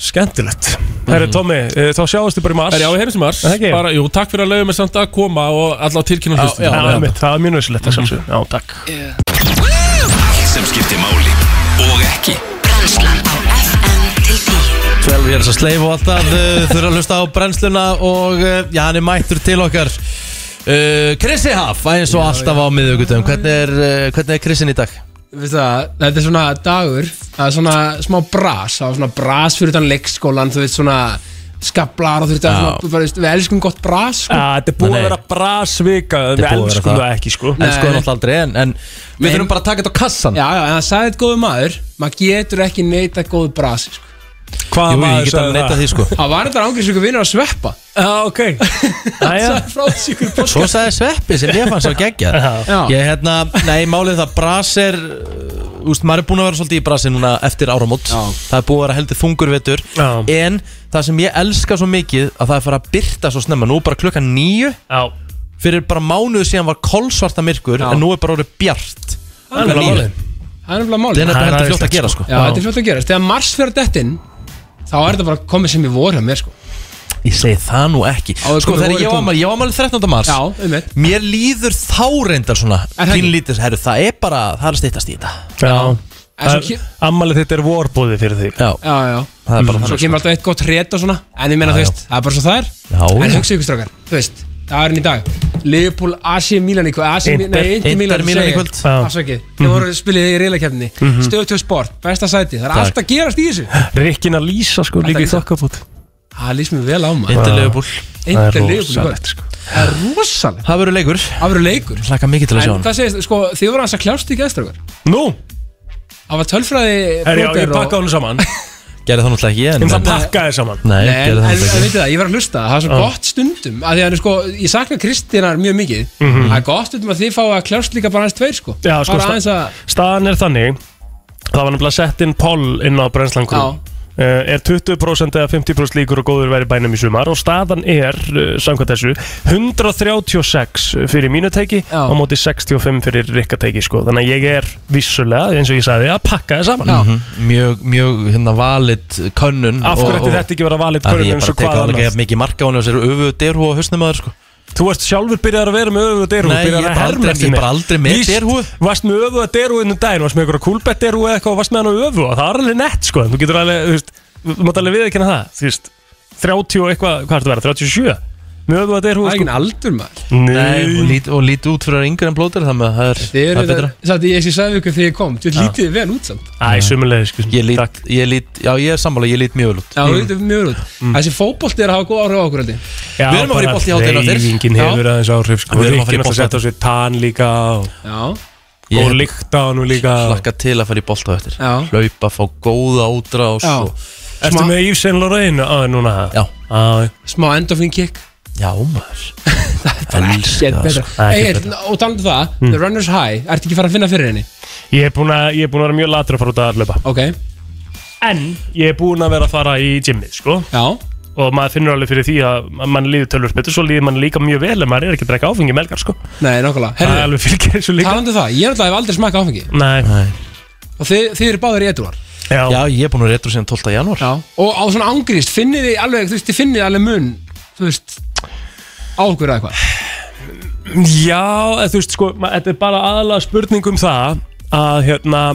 B: Skemmtilegt Herri
G: Mm.
B: Tommy, eh, þá sjáumst þið bara í mars
G: er já, heyrjum sem mars
B: Það ekki?
G: bara, Jú, takk fyrir að lauðu mig samt að koma og allá tilkynna hlustu
B: Já, einmitt, það er mjög
G: Mhm.
B: nöðsilegt að sjálfsögum Já, takk
C: Allt sem skiptir máli og ekki
E: Brennslan á FM til 10
A: 12 ég er þess að sleif og alltaf uh, þurfa að hlusta á brennsluna og uh, já, hann er mættur til okkar Eh, uh, Krissi Haf, eins og alltaf á miðugutum eh, hvernig er, uh, hvernig er Krissin í dag?
L: veist það, þetta er svona dagur það er svona smá bras það er svona bras fyrir utan leikskólan þú veist svona skablar og þú veist það er
B: Já.
L: svona, bara, veist, við elskum gott bras sko.
B: Já, þetta er búið að vera brasvika Við elskum það ekki sko
L: Elskum það
A: aldrei en, en
L: við
A: þurfum bara að taka þetta á kassan
L: já, já, en það sagði þetta góðu maður maður getur ekki neita góðu bras sko.
B: Hvað
A: Jú, ég maður get alveg sagði neitað það? því, sko.
L: það var þetta ángriðsvíku vinnur að sveppa
B: já, ok
L: það er frá síkur
A: Svo sagði Sveppi sem ég fann svo geggja
L: Já.
A: Ég hérna, nei málið það Bras er, uh, úst, maður er búin að vera svolítið í brasi núna eftir áramót Það er búið að vera heldur þungur vetur En það sem ég elska svo mikið að það er fara að byrta svo snemma Nú er bara klukkan níu
B: Já.
A: Fyrir bara mánuðu síðan var kolsvarta myrkur En nú er bara orðið bjart
L: Það er nefnilega
A: Klukkan níu.
L: málið. það er nefnilega málið
A: Það er nefnilega heldur fljótt að gera, sko.
L: já, þetta er fljótt að gera þegar mars fyrir dettin þá er þetta bara komið sem ég voru hjá mér sko.
A: Ég segi það nú ekki Sko þegar ég var mæli, ég var mæli 13. mars
L: Já, einmitt.
A: Mér líður þá reyndar svona
L: það ekki?
A: Pínlítið, herru, það er bara, það er að stýttast í þetta
B: Já
L: En svo kem-
B: Ammalið þetta er vorbóði fyrir því
A: Já,
L: já, já
A: Það er bara
L: Mm. Svo
B: sko.
A: þannig, sko.
L: kemur alltaf eitt gott rétt og svona En ég meina
A: Já,
L: þú veist, það er bara svo það er
A: Já,
L: En
A: já.
L: hugsa ykkur strákar, þú veist Það er enn í dag Liverpool, AC Milan í kvöld AC,
B: Inter-
L: Nei, Inter
B: Inter
L: Milan,
B: Milan í
L: segi ég.
B: kvöld. Já.
L: Afsakið,
A: Mhm.
L: þið voru spilið í reylakefni mm
B: Mhm.
L: Stöðtjóð sport, besta sæti Það er
B: Takk.
L: allt að gerast í þessu
B: Rikkin að lýsa sko líka í
L: Alltaf
B: þokkabót
L: Það lýst Ah, mér vel á maður
A: Inter Liverpool.
B: Það
L: Inter
B: er
L: Liverpool í
B: rosalegt, sko.
L: kvöld Það er rosalegt
A: Það verður leikur
L: Það verður leikur
A: Hlaka mikið til að sjá
L: En
A: hann
L: hvað segist, sko, þið voru hans að kljást í geðstrákar
B: Nú
L: Það var tölfræði
B: Herri, já,
L: broter
B: ég
L: og-
B: pakka honum saman
A: Gerði það náttúrulega ekki ég,
B: En það pakkaði saman
A: Nei,
L: Nei, en,
A: gerði það
L: en, en
A: náttúrulega
L: veitu
A: ekki
L: það, ég var að hlusta Það er svo
A: Já.
L: gott stundum að Því að sko, ég sakna Kristínar mjög mikið
B: Mhm.
L: Það er gott stundum að þið fá að kljást líka bara aðeins tveir sko.
B: Já, sko,
L: Bara
B: sta-
L: aðeins að
B: Staðan er þannig Það var nefnilega sett inn poll inn á brennslangur Uh, er 20% eða 50% líkur og góður verið bænum í sumar og staðan er, uh, samkvæmt þessu 136 fyrir mínu teiki og móti 65 fyrir rikka teiki sko. þannig að ég er vissulega, eins og ég sagði að pakka það saman
A: Mhm. Mjög, mjög, hérna, valid könnun
B: Af hverju
A: og-
B: ætti
A: og-
B: þetta ekki að vera valid
A: Af því
B: könnun
A: Ég
B: eins
A: bara
B: og
A: teka
B: hvað
A: alveg
B: annað?
A: ekki mikið marka á hann og sér öfuðu derhú og hausnemaður sko
B: Þú varst sjálfur byrjar að vera með öfuða derhú
A: Nei,
B: byrjaður
A: ég
B: að
A: bara
B: herma
A: aldrei-
B: eftir
A: ég
B: mér.
A: bara aldrei með
B: Víst,
A: derhúfu.
B: Varst með öfuða derhú innum daginn, varst með einhverja kúlbett derhú eða eitthvað og varst með hann á öfuða Það var alveg nett sko, þú getur alveg, þú veist, þú mátt alveg viðkynna það Þú veist, 30 og eitthvað, hvað ertu að vera, 37? Með sko. öfuða derhú
L: Það er ekki aldur maður
A: Nei, og lít- og lítið út fyrir að vera yngri en blótir þannig að það er
L: Þið
A: það er
L: eru
A: betra
L: það Satt ég sem sagði ykkur þegar ég kom Þið
A: Já.
L: lítið þið vel út samt
B: Æ, sumulegði sko
A: Ég lít, ég lít, já ég er sammála, ég lít mjög vel út Mm.
L: Já, þú veitum mjög vel út Þessi fótbolti er að hafa góð áhrif á okkur heldig.
A: Við erum að fara í bolti í hádeginu eftir.
B: Reyfingin
A: Já.
B: hefur aðeins áhrif sko
A: Við
B: Við
A: erum
B: erum
A: að fara í bolta á
B: að fara í bolti líka og-
A: Ég-
B: Og lykt á honum líka
A: Hlakka til að fara í bolta á eftir
B: Já.
A: Hlaupa, fá góða útrás
B: Já.
A: og-
B: Ertu með Yves Saint Laurent á núna?
A: sko. Já
L: Smá endofín kick
A: Já maður Það sko. er
L: Get betra Egil, og talandi um það
B: Mm.
L: The Runner's High Ertu ekki fara að finna fyrir henni?
B: Ég er búinn að, ég er búin að vera mjög latur að fara út að aðlöpa
L: Ok
B: En ég er búinn að vera að fara í gymmið sko
L: Já
B: Og maður finnur alveg fyrir því að að mann líður tölvöld betur Svo líður mann líka mjög vel en maður er ekki að drekka áfengi melgar sko
L: Nei, nokkulega
B: Það er alveg fylgir þessu líka
L: Talandi um það, ég er alltaf aldrei smakka áfengi
B: Nei, Nei.
L: Og þið, þið eru báðir í edruar
B: Já.
A: ég er búin að vera retro síðan 12. janúar
L: Já. Og á svona ángrist, finnið þið alveg, þú veist, þið finnið alveg mun, þú veist, á okkur eða eitthvað.
B: Já, eða þú veist sko, ma- þetta er bara aðalega spurning um það að hérna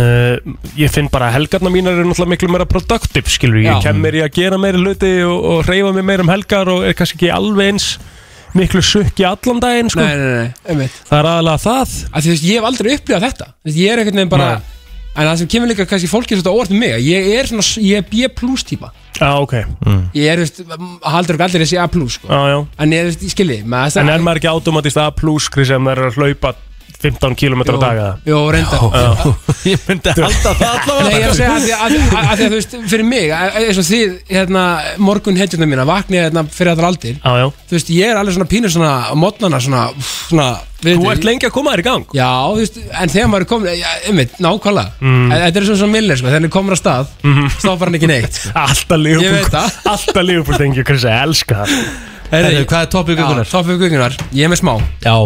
B: Uh, ég finn bara að helgarna mínar eru náttúrulega miklu meira productive skilur, ég
G: Já.
B: kem mér í að gera meira hluti og, og reyfa mér meira um helgar og er kannski ekki alveg eins miklu sukki allan daginn sko.
L: Nei, nei, nei, einmitt.
B: það er aðalega það
L: Að þú veist, ég hef aldrei upplifað þetta. Þú veist, ég er einhvern veginn bara, en það sem kemur líka kannski fólki svolítið á óvart um mig, að ég er svona, ég er B plus típa.
B: Já, ok mm.
L: Ég er, þú veist, haldur ekki allir þessi A plus, sko.
B: Já, já.
L: En ég, þú veist, ég skilji, maður
B: En er maður ekki automatist að plúskri sem maður er að hlaupa 15 km á
L: Jú,
B: daga?
L: jú, reyndar.
A: Ég myndi halda það
L: Nei, ég er að segja að því að, að, að, að, að þú veist, fyrir mig, að- að- eins og þið, hérna, morgun hetjurna mína, vaknið hérna fyrir allar aldir,
B: Já, já.
L: þú veist, ég er alveg svona pínur svona á mótnana svona, úff, svona við,
B: Þú ert lengi að koma þér í gang
L: Já, þú veist, en þegar maður er komin, ja, einmitt, nákvæmlega
B: Mm.
L: En Þetta er svona svona millir, sko, þegar hann er komin að stað
B: Mhm.
L: stoppar hann ekki neitt sko.
B: Alltaf
L: Ég veit
B: Liverpool
L: það
B: Alltaf Liverpool tengi Chris, ég elska það
A: Herri, hvað er toppið
L: guðunar? Toppið guðunar, ég er með smá
A: Já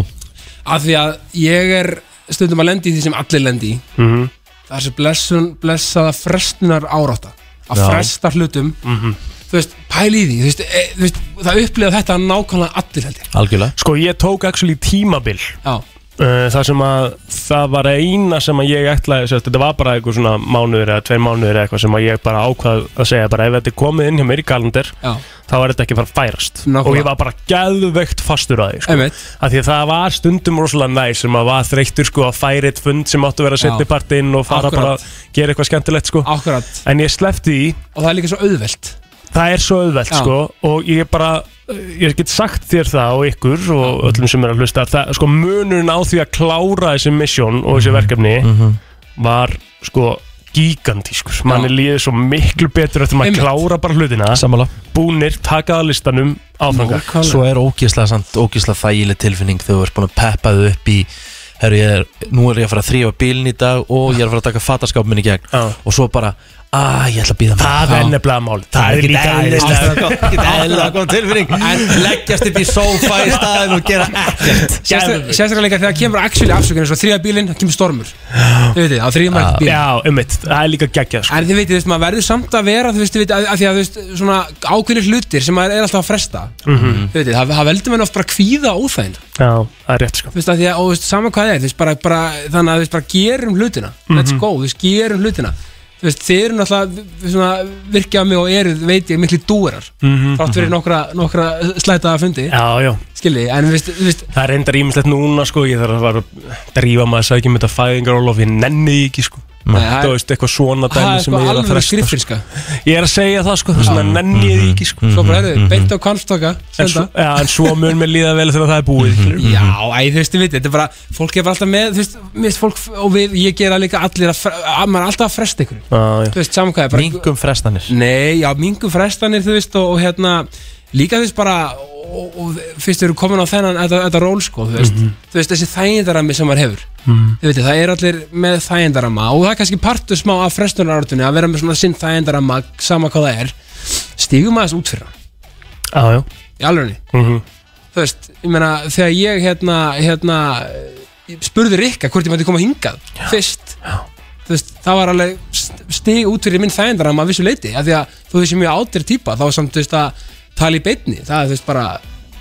L: Af því að ég er stundum að lendi í því sem allir lendi í
B: Mhm.
L: Það er sem blessun, blessaða frestunar árátta Að
B: Já.
L: fresta hlutum
B: Mhm.
L: Þú veist, pæli í því, þú veist, e, þú veist það upplifa þetta nákvæmlega allir heldur
A: Algjörlega
B: Sko ég tók actually tímabil
L: Já
B: Uh, það sem að það var eina sem að ég ætlaði sérst, þetta var bara einhver svona mánuður eða tveir mánuður eða eitthvað sem að ég bara ákvað að segja bara ef þetta er komið inn hjá mér í kalender
L: Já.
B: þá er þetta ekki bara færast
L: Nákvæmlega.
B: og ég var bara gæðvegt fastur að því sko.
L: Einmitt.
B: að því að það var stundum rosalega næs sem að var þreyttur sko að færi eitt fund sem áttu að
L: Já.
B: vera setni partinn og fara
L: Akkúrat.
B: bara að gera eitthvað skemmtilegt sko
L: Akkurat.
B: en ég sleppti í
L: og það er líka svo auðvelt
B: það er svo auðvelt
L: Já.
B: sko og ég bara eh, ég get sagt þér það og ykkur og öllum sem er að hlusta það, sko munurinn á því að klára þessi mission og
L: Mhm.
B: þessi verkefni var sko gigantískur, manni líði svo miklu betur eftir maður klára bara hlutina
A: Sammála.
B: búnir, taka að listanum áfranga
A: Svo er ógísla samt, ógísla þægileg tilfinning þegar þú ert búin að peppa þau upp í herru, ég er, nú er ég að fara að þrýfa bílinn í dag og ég er að fara að taka fataskáp minn í gegn og svo bara, að ég ætla að býða
B: Það er nefnilega mál
A: Það er líka eðlilega
B: eðlilega-
L: sko.
A: Ekkert eðlilega góð tilfinning Leggjast upp í sófa í staðin og gera ekkert
L: Sérstaklega sérstaklega líka þegar kemur actually afsökun eins og þrýja bílinn, það kemur stormur Þið veitir, á þrýja mætt bílinn
B: Já, ummitt, það er líka geggjað sko.
L: En þið veitir, þú veist, maður verður samt að vera, þú veist, þið veitir, að, að því að, þú veist, svona ákveðnir hlutir sem maður er alltaf að fresta
B: Mhm.
L: Þið veitir, það, það veldur mann oft bara kvíða óþægind
B: Já, það er rétt sko
L: Þú veist, að því að, og þú veist, sama hvað það er, þú veist, bara, bara, þannig að, þú veist, bara gerum hlutina Let's
B: Mhm.
L: go, þú veist, gerum hlutina Þú veist, þið eru náttúrulega, við- svona, virkjað mig og eru, veit ég, miklu dúerar
B: Mhm.
L: Þrátt fyrir nokkra, nokkra slætaða fundi
B: Já, já
L: Skilji, en veist, veist
B: Það er reyndar ímislegt núna sko Ég þarf að fara að drífa maður að sækja mitt að fæðingar Ólof, ég nenni því ekki sko
L: Nei,
B: Þú veist, eitthvað svona
L: Það er
B: dæmi sem
L: sko
B: ég er að
L: alveg
B: fresta
L: skriffir,
B: sko. Ég er að segja það sko, þess vegna nenni ég því ekki sko
L: Svo bara, heyrðu, beint á kvalstokka,
B: En svo,
L: senda Mm-hmm.
B: ja, en svo mun mér líða vel þegar það er búið skilurðu.
L: Já, æ, þú veist, ég veit, þetta er bara fólk er bara alltaf með, þú veist, mist fólk og við, ég gera líka allir að, fre- að maður er alltaf að fresta ykkur,
B: Ah, Já, já.
L: þú veist, saman hvað er bara
A: Mingum frestanir
L: Nei, já, mingum frestanir, þú veist, og, og hérna líka þú veist bara og, og fyrst eru komin á þennan, þetta, þetta ról sko, þú veist,
B: Mhm.
L: þú veist, þessi þægindarami sem maður hefur
B: Mhm.
L: Þú veit, það er allir með þægindarama og það er kannski partur smá af frestunarartunni að vera með svona sinn þægindarama, sama hvað það er stígum aðeins út fyrir hann
B: Já, já
L: í alvegni
B: Mhm.
L: þú veist, ég meina, þegar ég hérna, hérna eh, spurði Rikka hvort ég mætti koma hingað fyrst, þú veist, það var alveg st- stig út fyrir minn þægindar að maður vissu leiti, af því að þú veist, ég er mjög átir típa, þá samt, þú veist, að tala í beinni, það er, þú veist, bara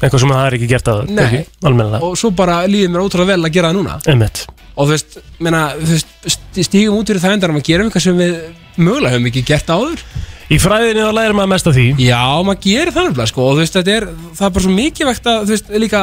B: Eitthvað sem það er ekki gert að
L: Nei.
B: ekki, Almennilega
L: og svo bara líður mér ótrúlega vel að gera það núna
B: Einmitt
L: og þú veist, meina, þú veist, st- stígum út fyrir þægindar að gera eitthvað sem við mögulega höfum ekki gert áður
B: Í fræðinni þá lærir maður mest af því
L: Já, maður gerir þannig blað, sko, og þú veist, þetta er það er bara svo mikilvægt að, þú veist, líka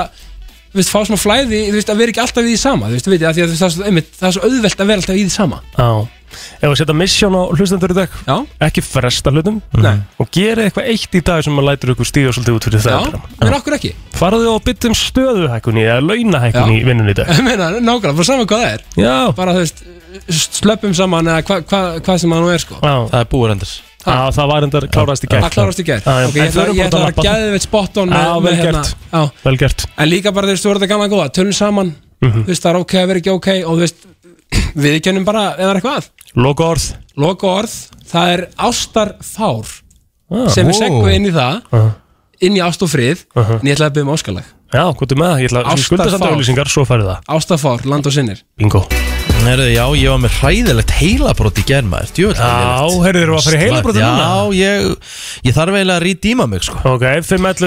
L: þú veist, fá smá flæði, þú veist, að vera ekki alltaf í því sama þú veist, þú veit, af því að þú veist, það er svo- einmitt, það er svo auðvelt að vera alltaf í því sama
B: Já Ef við setja misjón á hlustendur í dag
L: Já
B: Ekki fresta hlutum
L: Nei.
B: Og gera eitthvað eitt í dag sem maður lætur ykkur stíða svolítið út fyrir það
L: Já, en okkur ekki
B: Farðu og byttum stöðuhækkunni eða launahækkunni í vinnunni í dag
L: Ég meina, nákvæmlega, bara saman hvað það er
B: Já
L: Bara, þú veist, slöppum saman eða hvað hva, hva sem það nú er, sko
B: Já.
A: Það er búið endur
B: Já, það var endar klárast í gær
L: Það klárast í gær
B: Já, já.
L: Ok, ég
B: En
L: ætla
B: förum
L: ég
B: bara
L: ætla að
B: að labba.
L: gæða veit spot on
B: Já,
L: með-
B: vel
L: með hérna-
B: gert.
L: Já.
B: Vel gert
L: En líka bara, þú veist, þú verður þetta gaman góða Tölum saman,
B: Mhm.
L: þú veist, það er ok að vera ekki ok Og þú veist, við kennum bara, eða er eitthvað
B: Loka orð
L: Loka orð, það er ástarfár
B: Ah,
L: sem er
B: ó.
L: segguð inn í það inn í ást og frið en ég ætlaði að byrja um áskalag
B: Já, hvað er með það? Ég ætla að
L: Ástarfár.
B: skulda samt auðlýsingar, svo færðu það
L: Ástafár, land og sinnir
B: Bingo
A: Herðu, já, ég var með hræðilegt heilabrót í gerð maður Djöfull
B: Já,
A: hræðilegt.
B: heyrðu, þeir eru að fara í heilabrót
A: Já,
B: núna?
A: ég, ég þarf eiginlega að rýdíma mig sko.
B: Ok,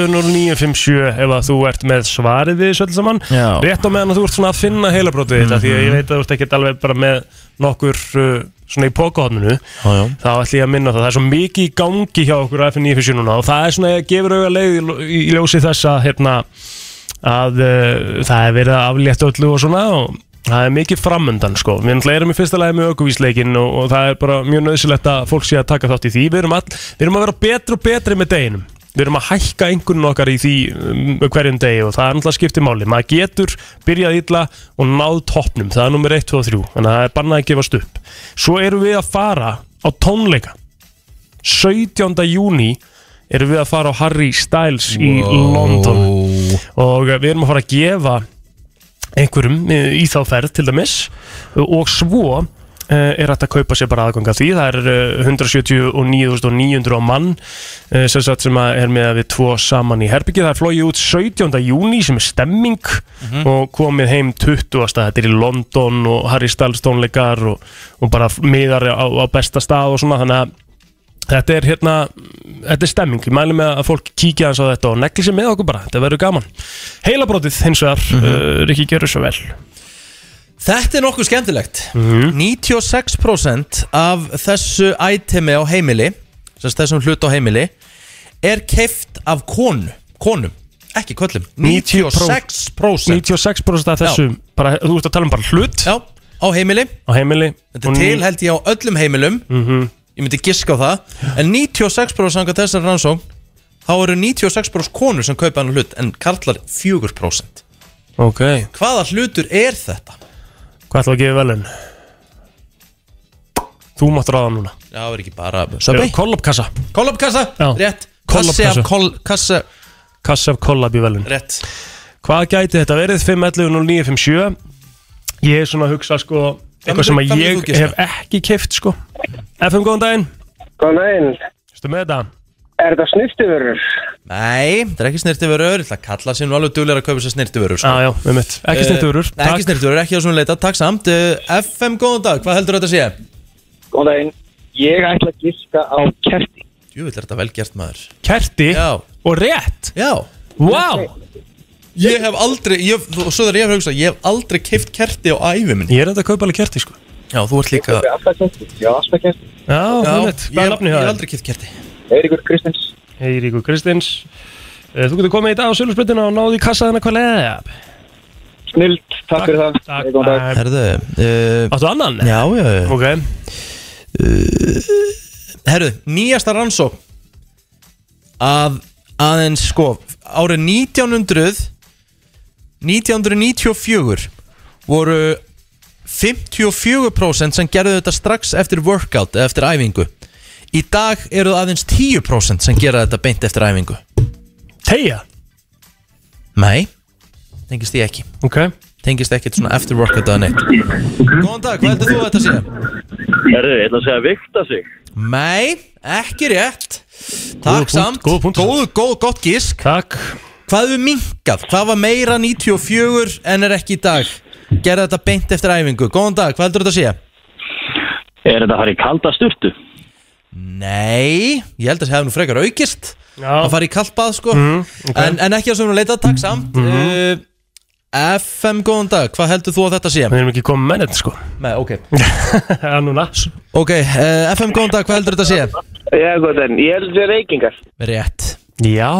B: 5.11.09.57 ef að þú ert með svarið við þessu öll saman
A: Já. Mhm.
B: Rétt á meðan að þú ert svona að finna heilabrótið þetta Því að ég veit að þú ert ekkert alveg bara með nokkur uh, svona í pokahotninu
A: Já, já.
B: Þá ætlum ég að minna á það, það er svo mikið í gangi hjá okkur á FN957 núna og það er svona, gefur auðvitað leið í lo- í ljósi þess að hérna, að uh, það er verið að aflétta öllu og svona og það er mikið framöndan sko, við náttúrulega erum í fyrsta lagi með aukuvísleikin og, og það er bara mjög nöðsilegt að fólk sé að taka þátt í því, við erum, all, við erum að vera betri og betri með deginum Við erum að hækka einhvern okkar í því um, hverjum degi og það er náttúrulega skiptið máli. Maður getur byrjað illa og náð toppnum. Það er nummer 1, 2 og 3. Þannig að það er bannað að gefast upp. Svo erum við að fara á tónleika. 17. júni erum við að fara á Harry Styles í London og eh, við erum að fara að gefa einhverjum eh, í þá ferð til dæmis og svo eh, er hægt að kaupa sér bara aðganga því það er eh, 179.900 á mann eh, sem, sagt sem að er með að við tvo saman í herbyggið það er flogið út 17. júni sem er stemming og komið heim 20. þetta er í London og Harry Styles tónleikar og, og bara miðar á, á besta stað og svona þannig að Þetta er hérna, þetta er stemming Ég mælu með að fólk kíkja hans á
A: Mhm.
B: þetta og negli sér með okkur bara Þetta verður gaman Heilabrótið hins vegar mm -hmm. Rikki gerur Eh, svo vel
A: Þetta er nokkuð skemmtilegt 96% af þessu itemi á heimili sérst þessum hlut á heimili er keift af konu konum, ekki köllum 96%
B: 96% af þessum, bara, þú ert að tala um bara hlut
A: Já, á heimili
B: Á heimili Mhm.
A: Þetta er til held ég á öllum heimilum Ég myndi giska á það En 96% sanga þessar rannsókn Þá eru 96% konur sem kaupa hann hlut En karlar 4%
B: Ok,
A: Hvaða hlutur er þetta?
B: hvað ætlum við að gefa velun? Þú mátt ráða núna
A: Já, það er ekki bara Subway?
B: Kollopkassa
A: Kollopkassa, rétt Kassi af
B: Kollabkassa.
A: koll- kassa
B: Kassi af kollab í velun
A: Rétt
B: Hvað gæti þetta verið 5.11.09.57 Ég er svona að hugsa sko
G: myndir-
B: Eitthvað sem
G: hvað
B: að
G: myndir þú
B: ég
G: giska?
B: hef ekki keift sko FM, góðan daginn
M: Góðan daginn
B: Vistu með þetta?
M: Er þetta snýftivörur?
A: Nei, þetta er ekki snirtivörur Það kalla sér nú alveg duglegar að kaupa sér snirtivörur sko.
B: Ah, Já, já, með mitt Ekki snyrtivörur,
A: uh, Ekki snirtivörur, ekki á svona leita, takk samt uh, FM, góðan dag, hvað heldur þetta að sé?
M: Góðan daginn Ég ætla að giska á kerti
A: Jú, er þetta vel gert maður
B: Kerti
A: Já.
B: og rétt
A: Já
B: Vá
A: Ég hef aldrei, ég, hef- og svo þegar ég hef hugsað Ég hef aldrei keift kerti á ævi minni
B: Ég er þetta að kaupa alveg kerti sko
A: Já, þú ert líka Já,
M: Já, alltaf kerti
B: Já,
A: ég,
B: einmitt. Hvað er
A: ég
B: nafnið hjá
A: hef
B: þér?
A: aldrei keift kerti
M: Eiríkur Kristins
B: Eiríkur Kristins Eh, Þú getur komið í dag á Sölusbrytina og náðu í kassa þennan hvað leiðið það
M: Snild, takk fyrir það
B: Takk, Eh,
M: Góðan dag
A: Herðu uh,
B: Áttu annan?
A: Já, já, já Eh,
B: Ok
A: Herðu, nýjasta rannsók Að aðeins sko Árið 1900 1994 Voru 54% sem gerðu þetta strax eftir workout eða Eftir æfingu Í dag eru það aðeins 10% sem gera þetta beint eftir æfingu
B: Teia?
A: Nei, tengist því ekki
B: Ok
A: Tengist ekkert svona eftir workout eða neitt Góðan dag, hvað heldur þú að þetta sé?
F: Herðu, ég ætla að segja að vikta sig
A: Nei, ekki rétt Takk
F: punkt,
A: samt Góð punkt Góð, góð, gott gísk
B: Takk
A: Hvað hefur minkað? Hvað var meira 94 en er ekki í dag? Gerða þetta beint eftir æfingu Góðan dag, hvað heldur þetta að sé?
F: Er þetta að fara í kalda sturtu?
A: Nei, ég held að það hefði nú frekar aukist
B: Já. Mhm.
A: Að fara í kalpað sko
B: ok. Mhm.
A: en, en ekki að sem við leitað, takk samt uh, FM, góðan dag, hvað heldur þú að þetta sé?
B: Við erum ekki komið með þetta sko
A: Nei, ok
B: Já, núna
A: Ok, uh, FM, góðan dag, hvað heldur þetta að sé?
M: Já, góðan daginn Ég held þetta reykingar
A: Rétt
B: Já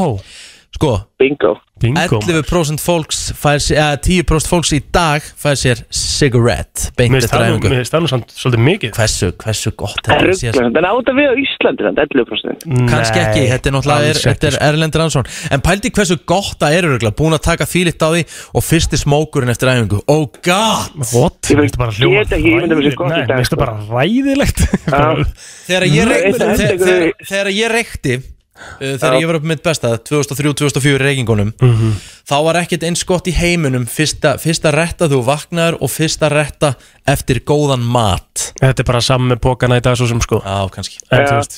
A: Sko
M: Bingo
B: Bingo
A: 11% fólks fær sér, eða 10% fólks í dag fær sér cigarette beint
B: Mér finnst
A: eftir
B: það nú-
A: æfingu
B: mér finnst það nú samt svolítið mikið
A: Hversu, hversu gott
M: Það er
A: þetta sé
M: rugglega, en áta við á Íslandi þannig 11%
B: Mm.
A: kannski ekki, þetta er náttúrulega er,
M: alls sko.
A: þetta
B: sko.
A: er Erlendur Hansson en pældi hversu gott það er öruglega búin að taka fílitt á því og fyrsti smókurinn eftir æfingu oh god
B: What? Mér finnst það bara hljóma
M: Geta ekki ímynda mér sér gott í
B: Nei,
M: dag
B: mér finnst það bara ræðilegt
A: þegar
M: Ah. Nei,
A: ég reykti
M: það er
A: þegar,
M: einhverju-
A: þegar, þegar ég reykti uh, þegar
M: Já.
A: ég var upp mitt besta 2003-2004 reykingunum
B: Mhm.
A: þá var ekkert eins gott í heiminum fyrsta, fyrsta retta þú vaknar og fyrsta retta eftir góðan mat
B: Þetta er bara saman með pókana í dag svo sem sko
A: Já, kannski
B: En
A: Já.
B: þú veist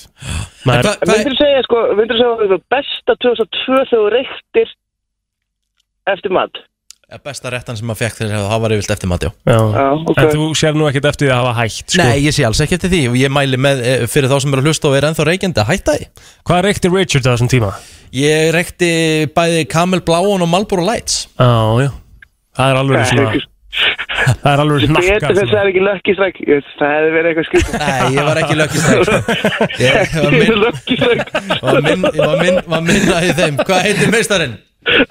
B: maður-
A: En
M: Vindur að segja, sko, vindur að segja að það var besta 2002 þegar þú reyktir eftir mat
A: Ja, Besta rettan sem maður fekk þegar það var yfirlt eftir mat, já.
B: Já,
M: ok.
B: En þú sér nú ekkert eftir því að hafa hægt sko.
A: Nei, ég sé alls ekki eftir því og ég mæli með eh, fyrir þá sem eru að hlusta og er ennþá reykjandi að hætta því
B: Hvað reykti Richard á þessum tíma?
A: Ég reykti bæði Kamel Bláon og Marlboro Lights
B: Já, já Það er alveg svona Það er alveg
M: Betur
B: nakka
M: þess að það er ekki lökki stræk Það hefði verið eitthvað skrið
A: Nei, ég var ekki Lucky Strike sko. Ég var minn-
M: Lucky Strike
A: var minn- ég var minn- var minna í þeim Hvað heitir meistarinn?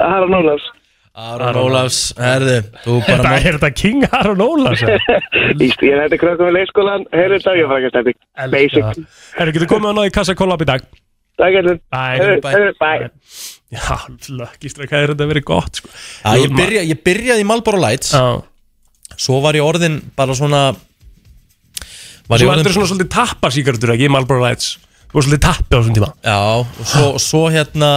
M: Aron Ólafs
A: Aron Ólafs, herðu Þú bara
B: Þetta er þetta King Aron Ólafs eða?
M: Íst, ég hætti krökkum við leikskólan Heyrðu þetta, ég fara ekki að stefni Basic
B: Herru, getur komið að náði kassa kollab í dag
M: Takk allir
B: Bye.
M: Heyrðu, bye
B: Já, lökki stræk, það er þetta verið gott sko.
A: Já, ég, byrja, ég byrjaði í Marlboro Lights
B: Já.
A: Svo var ég orðin bara svona Var ég
B: Svo
A: orðin
B: endur svona svolítið tappa síkardur ekki, Marlboro Lights Þú var svolítið tappi á þessum tíma
A: Já, og svo, og svo hérna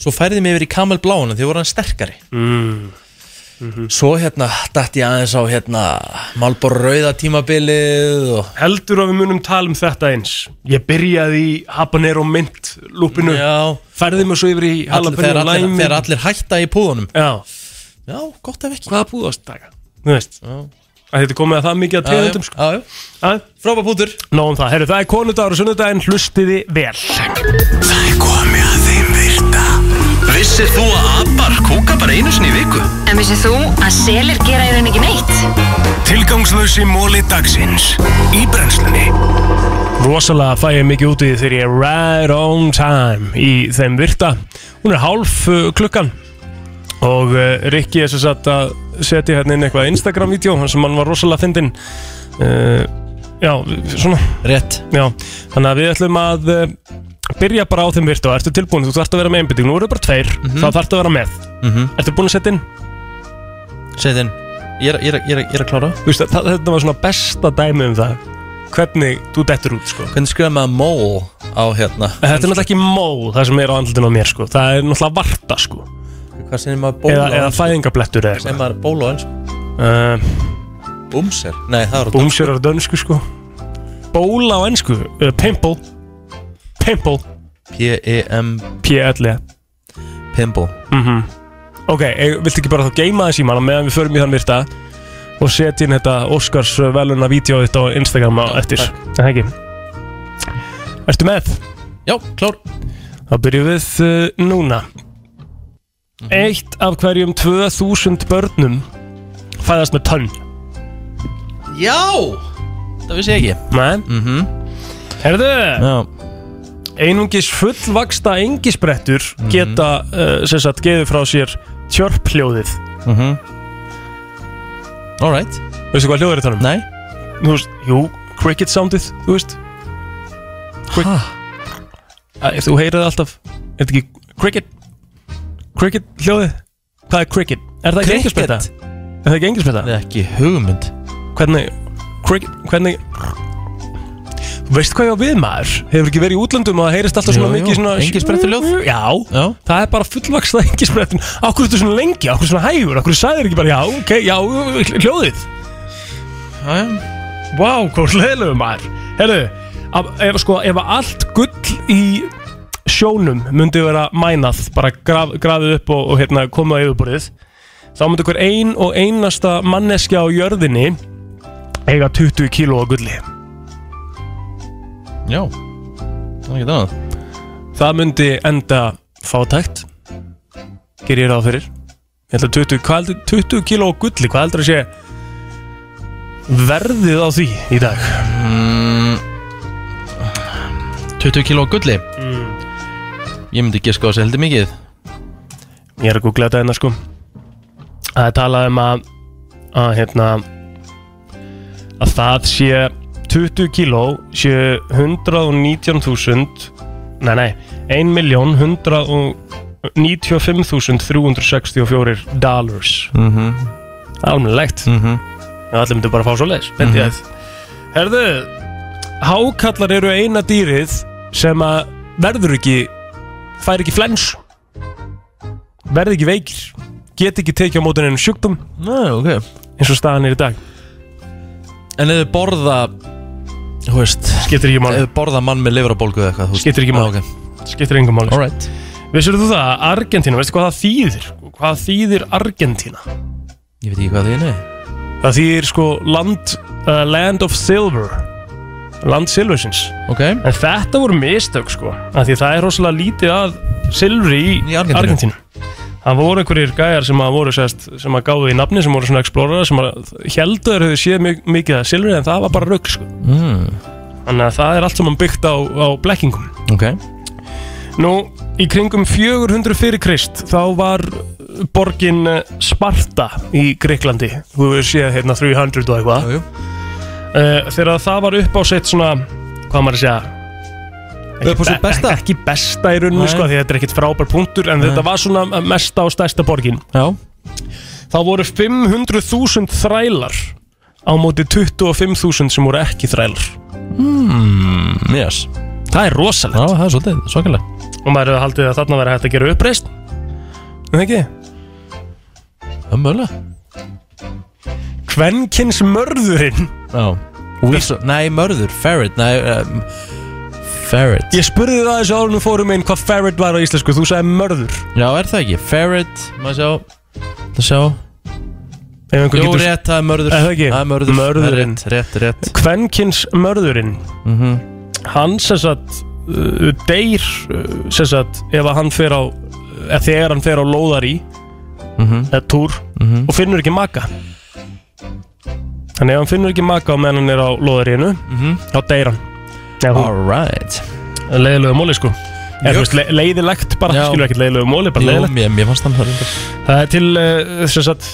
A: Svo færði mig yfir í Kamel Bláun Því voru hann sterkari
B: mm.
A: Svo hérna dætt ég aðeins á hérna Malbor Rauða tímabilið og...
B: Heldur að við munum tala um þetta eins Ég byrjaði í habanero mint lúpinu
A: Já.
B: Færði mig svo yfir í
A: All,
B: habanero
A: þegar, allir,
B: lime.
A: þegar allir hætta í púðunum
B: Já,
A: Já, gott ef ekki
B: Hvaða búðast taka? þú veist að Þetta er komið að það mikið að
A: Já, já,
B: tegundum sko.
A: Frábæ pútur
B: Nóðum það, herru, það er konudagur og sunnudaginn Hlustiði vel
D: Það er komið að þeim virta
C: Vissir þú að abar kúka bara einu sinni í viku?
E: En
N: Vissir þú að selir gera í rauninni ekki neitt?
D: Tilgangslösi móli dagsins Í brennslunni
B: Rosalega fæ ég mikið út í því þegar ég er right on time í þeim virta. Hún er hálf uh, klukkan og uh, Rikki er sem sagt að setja hérna inn eitthvað Instagram-vídeó sem hann var rosalega fyndinn. Uh, já, svona.
A: Rétt.
B: Já, þannig að við ætlum að uh, byrja bara á þeim virta og ertu tilbúin, þú þarft að vera með einbytting, nú eru bara tveir, mm
A: Mhm.
B: það þarft að vera með.
A: Mhm.
B: Ertu búin að setja inn?
A: Setja inn. Ég er, ég er, ég er, ég er að klára.
B: Þú veist, það- þetta var svona besta dæmi um það, hvernig þú dettur út, sko.
A: Hvernig skrifa maður mól á hérna?
B: Þetta er náttúrulega ekki mól það sem er á andlutinu á mér sko Það er náttúrulega varta sko
A: Hvað segir maður ból
B: Eða,
A: á
B: eða
A: ensku?
B: fæðingablettur eða
A: Segir maður ból á ennsku?
B: eitthvað
A: Uh, Búmser? Nei, það eru
B: Búmsjör á dönsku sko Ból á ennsku uh, Pimple Pimple
A: P-E-M
B: P-L-E
A: Pimple
B: mm Ok, eh, viltu ekki bara þá geima það síman meðan við förum í þann virta og setja inn þetta Óskars veluna vídeo þetta á Instagram á eftir
A: takk.
B: Það ekki Ertu með?
A: Já, klár
B: Þá byrjum við uh, núna
A: Mhm.
B: Eitt af hverjum 2000 börnum fæðast með tönn
A: Já! Það vissi ég ekki
B: Nei
A: mm -hmm.
B: Herðu
A: Já
B: Einungis fullvaksta engisbrettur
A: Mhm.
B: geta uh, sem sagt geðu frá sér tjörpljóðið
A: mm -hmm. Alright
B: Veistu hvað hljóður þetta um?
A: Nei
B: Þú veist, jú, cricket soundið, þú veist Hæ? Ef þú heyrið alltaf, er þetta ekki cricket? Cricket hljóðið? Hvað er cricket? Er það ekki
A: Cricket?
B: engisbretta? Er það ekki engisbretta?
A: Það er ekki hugmynd
B: Hvernig, cricket, hvernig Þú veist hvað ég á við maður? Hefur ekki verið í útlöndum og það heyrist alltaf svona
A: Jú, jú,
B: mikið svona
A: engisbrettuljóð.
B: Já, já, það er bara fullvaksna engisbrettin Akkur er þetta svona lengi, akkur svona hægur Akkur sagðir ekki bara, já, ok, já, hljóðið
A: Jæja
B: Vá, hvað hlæðilegu maður Herðu, af- ef, sko, ef allt gull í sjónum myndi vera mænað bara graf, grafið upp og, og hérna, komið á yfirborðið þá myndi hver ein og einasta manneskja á jörðinni eiga 20 kíló á gulli
A: Já, það er ekki það
B: Það myndi enda fátækt Ger ég ráð fyrir Ég held að 20, hvað heldur, 20 kíló á gulli Hvað heldur að sé Verðið á því í dag
A: mm, 20 kíló á gulli
B: Mm.
A: Ég myndi ekki sko að seldi mikið
B: Ég er að googla þetta hérna sko Það er talað um að að hérna að það sé 20 kíló sé 119.000 nei nei 1.195.364 dollars
A: Mhm.
B: Það er almennilegt mm -hmm. Allir myndu bara að fá svo leis mm
A: Mhm.
B: Herðu Hákallar eru eina dýrið sem að verður ekki fær ekki flens verður ekki veikir get ekki tekið á mótin ennum sjúkdum
A: Nei, ok
B: eins og staðan er í dag
A: En ef þið borða Þú veist
B: Skiptir ekki máli
A: Ef þið borða mann með livrabólgu eða eitthvað þú veist.
B: Skiptir ekki
A: Já,
B: máli.
A: ok.
B: skiptir engum máli
A: Alright.
B: Vissur þú það, Argentína, veistu hvað það þýðir? Hvað þýðir Argentína?
A: Ég veit ekki hvað þið er
B: Það þýðir sko land, uh, land of silver Land silversins
A: okay.
B: En þetta voru mistök sko af Því það er rosalega lítið að silfri í, í
A: Argentínu.
B: Það voru einhverjir gæjar sem að voru sest, sem að gáðu í nafni sem voru svona explorerar sem að heldur þeir höfðu séð mik mikið að silfri en það var bara rugg sko
A: mm.
B: Þannig að það er allt saman byggt á, á blekkingum
A: Ok
B: Nú, í kringum 400 fyrir Krist þá var borgin eh, Sparta í Greiklandi þú hefur séð hérna 300 og eitthvað Eh,
A: jú.
B: þegar það var upp á sitt svona hvað á maður að segja
A: Upp á sitt
B: be-
A: besta?
B: ekki besta í rauninu
A: Nei.
B: sko, því þetta er ekkit frábær punktur en
A: Nei.
B: þetta var svona eh, mesta og stærsta borgin
A: Já
B: þá voru 500.000 þrælar á móti 25.000 sem voru ekki þrælar
A: mm, Yes
B: Það er rosalegt
A: Já, það er svolítið, svakalega
B: og maður hefði haldið að þarna væri hægt að gera uppreist en það ekki
A: Það er mögulega
B: Kvenkins mörðurinn
A: Já Wilson, Nei, mörður, ferret Nei, um, ferret
B: Ég spurði það þessu árunum fórum einn hvað ferret var á íslensku Þú sagði mörður
A: Já, er það ekki? Ferret, maður sjá Það sjá
B: Ef einhver
A: Jú,
B: getur-
A: rétt, það er mörður
B: Er það ekki?
A: Það er mörður
B: Mörðurinn.
A: Það er Rétt, rétt, rétt
B: Kvenkins mörðurinn
A: Mhm.
B: Hann sem sagt uh, deyr uh, sem sagt ef að hann fer á eða þegar hann fer á lóðar í
A: Mhm.
B: eða túr og finnur ekki maka Þannig ef hann finnur ekki maka á meðan hann er á loðarínu
A: Mhm.
B: þá deyr hann Alright Leiðilegu móli sko Eða, þú veist, le leiðilegt bara,
A: Já.
B: skilur ekkert leiðilegu móli bara
A: Jú,
B: leiðilegt
A: mér, mér fannst hann það reyndar
B: Það er til uh, sem sagt,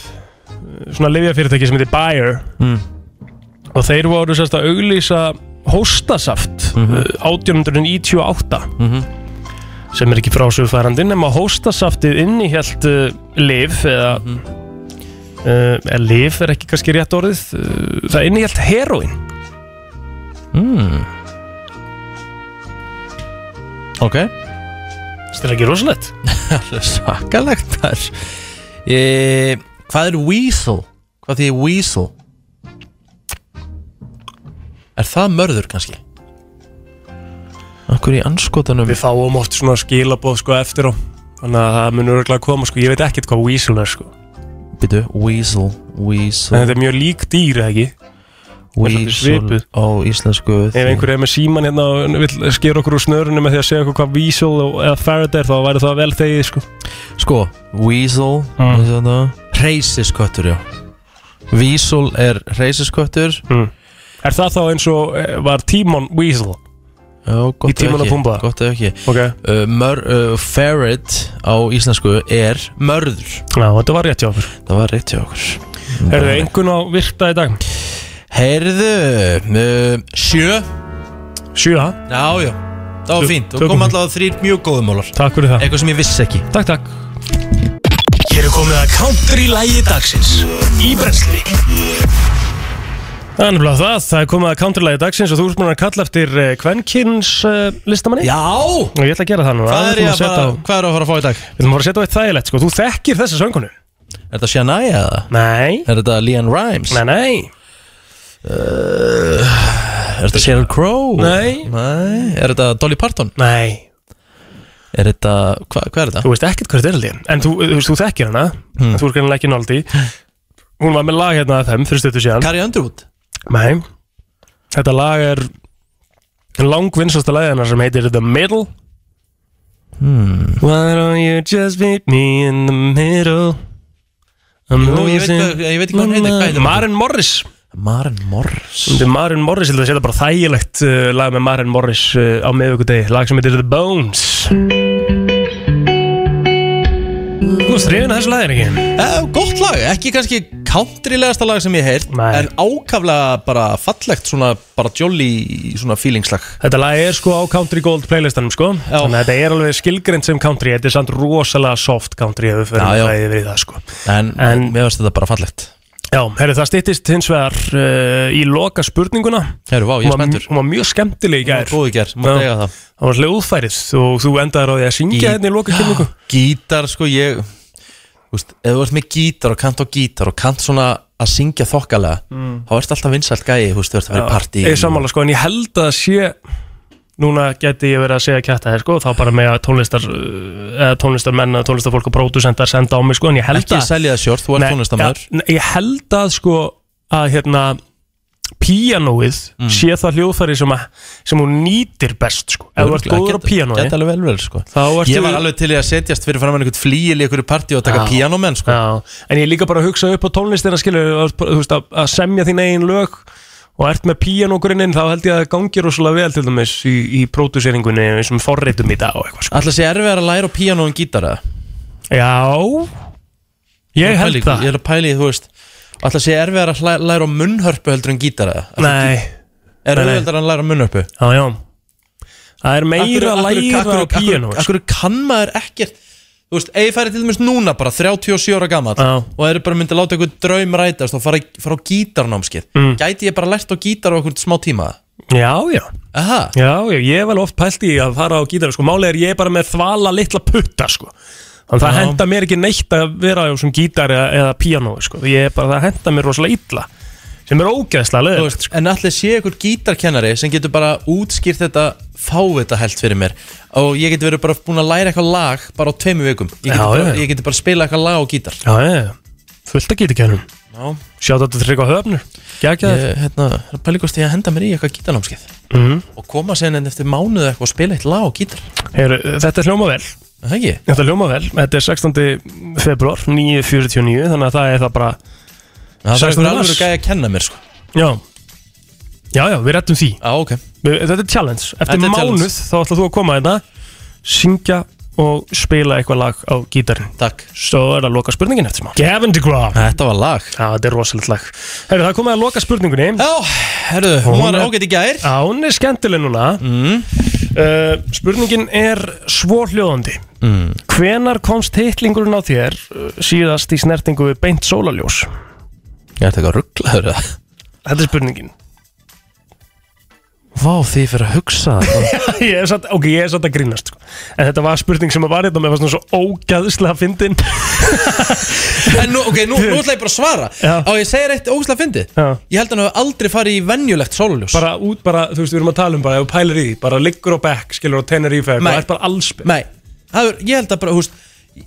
B: svona livjafyrirtæki sem heitir Bayer
A: Mm.
B: og þeir voru sem sagt, að auglýsa hóstasaft mm 1898
A: Mhm.
B: sem er ekki frásugfærandi nema hóstasaftið inníhjælt uh, liv eða
A: Mhm.
B: mm eða liv er ekki kannski rétt orðið uh, það inníhjælt heroin
A: mm. Ok
B: Þetta er ekki rosalegt
A: Svakalegt þar e, Hvað er weasel? Hvað því er weasel? Er það mörður kannski? Akkur í anskotanum
B: Við fáum oft svona skilaboð sko eftir á Þannig að það munur örgulega að koma sko Ég veit ekkert hvað weasel er sko
A: Býtu, weasel, weasel
B: En þetta er mjög lík dýr eða ekki Þetta er
A: Weasel
B: svipuð.
A: á íslensku
B: Ef einhver er með síman hérna og vil skera okkur úr snörunum með því að segja okkur hvað weasel og- eða ferret er þá væri það vel þegið sko
A: Sko, weasel mm. Reisisköttur, já Weasel er reisisköttur
B: mm. Er það þá eins og eh, var Tímon weasel?
A: Já, gott
B: Í Tímon og
A: ef ekki,
B: Pumba?
A: Gott ef ekki
B: okay.
A: uh, mör, uh, Ferret á íslensku er mörður
B: Já, þetta var rétt hjá okkur
A: Það var rétt hjá okkur
B: Er það einhvern á virta í dag?
A: Heyrðu, uh, sjö
B: Sjö, ha?
A: Já, já, það var
B: Tök-
A: fínt
B: tökum
A: Og kom
B: því.
A: allavega þrýr mjög góðum mólar
B: Takk fyrir það
A: Eitthvað sem ég vissi ekki
B: Takk, takk
D: Hér er komið að counter í lægi dagsins Í brensli
B: Það er nefnilega það, það er komið að counterlægi dagsins og þú ert búin að kalla eftir eh, Kvenkins uh, listamanni
A: Já Og
B: ég ætla að gera það núna
A: Hvað
B: Við
A: er,
B: ætlum
A: ég
B: að
A: að
B: setja
A: fara,
B: á-
A: hvað er að fara að fá í dag?
B: Við ætlum að fara að setja á eitt þægilegt sko, þú þekkir þessa söngunu
A: Er þetta Shania eða?
B: Nei
A: Er þetta Leon Rimes?
B: Nei, nei
A: uh, Er þetta Sheryl Crow?
B: Nei.
A: Nei Er þetta Dolly Parton?
B: Nei
A: Er þetta, hva, hvað er þetta?
B: Þú veist ekkert hvað þetta er held ég En þú, þú, veist, þú þekkir hana,
A: Mm.
B: en þú er greinlega ekki náldi Hún var með lag hérna að þeim fyrir stöttu síðan
A: Carrie Underwood?
B: Nei Þetta lag er langvinsasta lagið hennar sem heitir The Middle
A: Hmm.
B: Why don't you just meet me in the middle I'm
A: Jú, ég veit
B: losing
A: hvað- ég veit ekki hvað hún heitir, hvað heitir hún?
B: Maren Morris
A: Maren Morris
B: Þetta er Maren Morris, ég held að setja bara þægilegt uh, lag með Maren Morris uh, á miðvíkudegi Lag sem heitir The Bones Þú varst reyðin að þessu lagin ekki?
A: Eh, gott lag, ekki kannski countrylegasta lag sem ég heirt
B: Nei.
A: En ákaflega bara fallegt, svona bara jolly, svona feelingslag
B: Þetta lag er sko á Country Gold playlistanum sko Þannig að þetta er alveg skilgrend sem country Þetta er samt rosalega soft country ef við
A: Já, já.
B: förum bæði við það sko
A: En, en mér finnst þetta bara fallegt
B: Já, herri, það styttist hins vegar uh, í loka spurninguna
A: Herru, vá, ég er
B: Hún var-
A: spenntur.
B: Hún var mjög skemmtileg í gær
A: Góð í gær, maður
B: Já.
A: dega það
B: Það var hljóðfærið og þú endaðir á því að syngja hérna í loka kynningu
A: Gítar, sko, ég Úst, Ef þú ert með gítar og kant á gítar og kant svona að syngja þokkalega
B: Mm.
A: þá ert alltaf vinsælt gæi, þú veist, þú ert að vera í partí
B: Ég er sammála sko, en ég held að sé Núna geti ég verið að segja kætta þér sko Þá bara með að tónlistar eh, eða tónlistarmenn eða tónlistarfólk og pródusentar senda á mig sko En ég held
A: Ekki
B: að
A: selja það sjórn, þú ert
B: Nei,
A: tónlistamöður
B: ja, nei, Ég held að sko að hérna Píanóið
A: Mm.
B: sé það hljóðfæri sem, að, sem hún nýtir best sko Ef þú ert
A: Örugglega,
B: góður á
A: geta-
B: píanói
A: geta alveg vel vel sko
B: Þá ertu
A: Ég var alveg til í að setjast fyrir framann einhvern flýil í einhverju partí og taka
B: Já.
A: píanómenn sko
B: Já, en ég er líka bara að hugsa upp á tónlistina skilur, að, þú veist, að, að semja þín eigin lög og ert með píanógrunninn þá held ég að það gangi rosalega vel til dæmis í, í próduseringunni eins og forreitum í dag og eitthvað sko.
A: Alltaf sé erfiðar að læra á píanó en gítar eða?
B: Já, ég held
A: það Ég er að pæli, þú veist Alltaf sé erfiðar að hlæ- læra á munnhörpu heldur en gítar eða? Af því
B: Nei.
A: gít- Er
B: Nei, nei.
A: auðveldar að læra á munnhörpu?
B: Já, já Það er meira að læra á píanó, sko.
A: Akkur kann maður ekkert Þú veist, eigi færi til dæmis núna bara 37 ára gammal já. og eru bara myndið að láta einhvern draum rætast og fara, fara á gítarnámskið
B: Mm.
A: Gæti ég bara lært á gítar á einhvern smá tíma?
B: Já, já
A: Aha.
B: Já, já, ég hef alveg oft pælt í að fara á gítar sko. Málið er ég er bara með þvala litla putta sko. Þannig það
A: Já.
B: henda mér ekki neitt að vera á svona gítar eða, eða píanó sko. Ég er bara, það henda mér rosalega illa sem er ógeðslega sko. leður
A: Þú veist, En allir sé einhver gítarkennari sem getur bara útskýrt þetta fávita held fyrir mér og ég getur verið bara búin að læra eitthvað lag bara á tveimu vikum Ég
B: Já,
A: getur bara,
B: já.
A: ég getur bara spila eitthvað lag á gítar
B: Já, já, já, fullt að geta kennum
A: Já.
B: Sjátt að þetta tryggva höfnur Gækja
A: Ég, hérna, það er pæli hvort ég að henda mér í eitthvað gítarnámskið
B: Mhm.
A: og koma sen enn eftir mánuð eitthvað og spila eitt lag á gítar
B: Heru, Þetta hljóma vel
A: Það ekki?
B: Þetta ljóma vel, þetta er 16. februar 9.49, þannig að það er það bara
A: Það þarf
B: 16.
A: einhver alveg
B: mars.
A: að gæja að kenna mér sko
B: Já, já, já, við rettum því
A: Já, ok
B: við, Þetta er challenge, eftir
A: Þetta er
B: mánuð
A: challenge.
B: þá ætlar þú að koma hérna syngja og spila eitthvað lag á gítarinn
A: Takk
B: Svo er að loka spurningin eftir smá Gavin DeGraw
A: Þetta var lag
B: Já, þetta er rosalegt lag Herru, það er komið að loka spurningunni
A: Já, herru, hún var ágætt í gær
B: Já, hún er skemmtileg núna mm. Spurningin er svohljóðandi
A: mm.
B: Hvenar komst hitlingurinn á þér uh, síðast í snertingu við beint sólaljós?
A: Ég ætti ekki að ruggla þurra
B: Þetta er spurningin
A: Vá, því fyrir að hugsa það
B: ég er satt, ok, ég er satt að grínast sko. en þetta var spurning sem að var hérna þetta með var svona svo ógæðslega fyndin
A: En nú, ok, nú, nú ætla ég bara að svara
B: Já.
A: Á, ég segir eitt ógæslega fyndið
B: Já.
A: Ég held að hann hafa aldrei farið í venjulegt sóluljós
B: bara út, bara, þú veist, við erum að tala um bara ef þú pælir í, því, bara liggur á bekk, skilur á Tenerife
A: Nei.
B: eitthvað, það er bara allspil
A: Nei, það er, ég held að bara, húst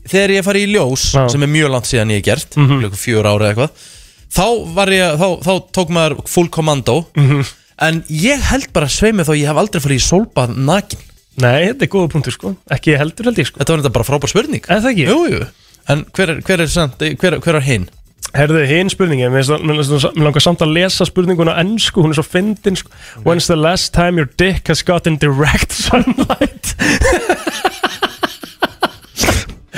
A: Þegar ég farið í ljós, sem er mjög langt síðan ég er gert
B: Mhm.
A: mm Fjör ára eða eitthvað Þá var ég, þá, þá tók maður full kommando
B: Mhm.
A: En ég held bara sveimi þá að ég hef aldrei farið í sólbað nakin
B: Nei, þetta er góða punktur sko Ekki heldur held ég sko
A: Þetta var þetta bara frábær spurning
B: Eða það ekki?
A: Jú, jú En hver er, hver er, samt, hver, hver er hinn?
B: Herðu, hinn spurningin, mér finnst- mér finnst- mér langar samt að lesa spurninguna á ennsku, hún er svo fyndin sko. When's the last time your dick has gotten direct sunlight?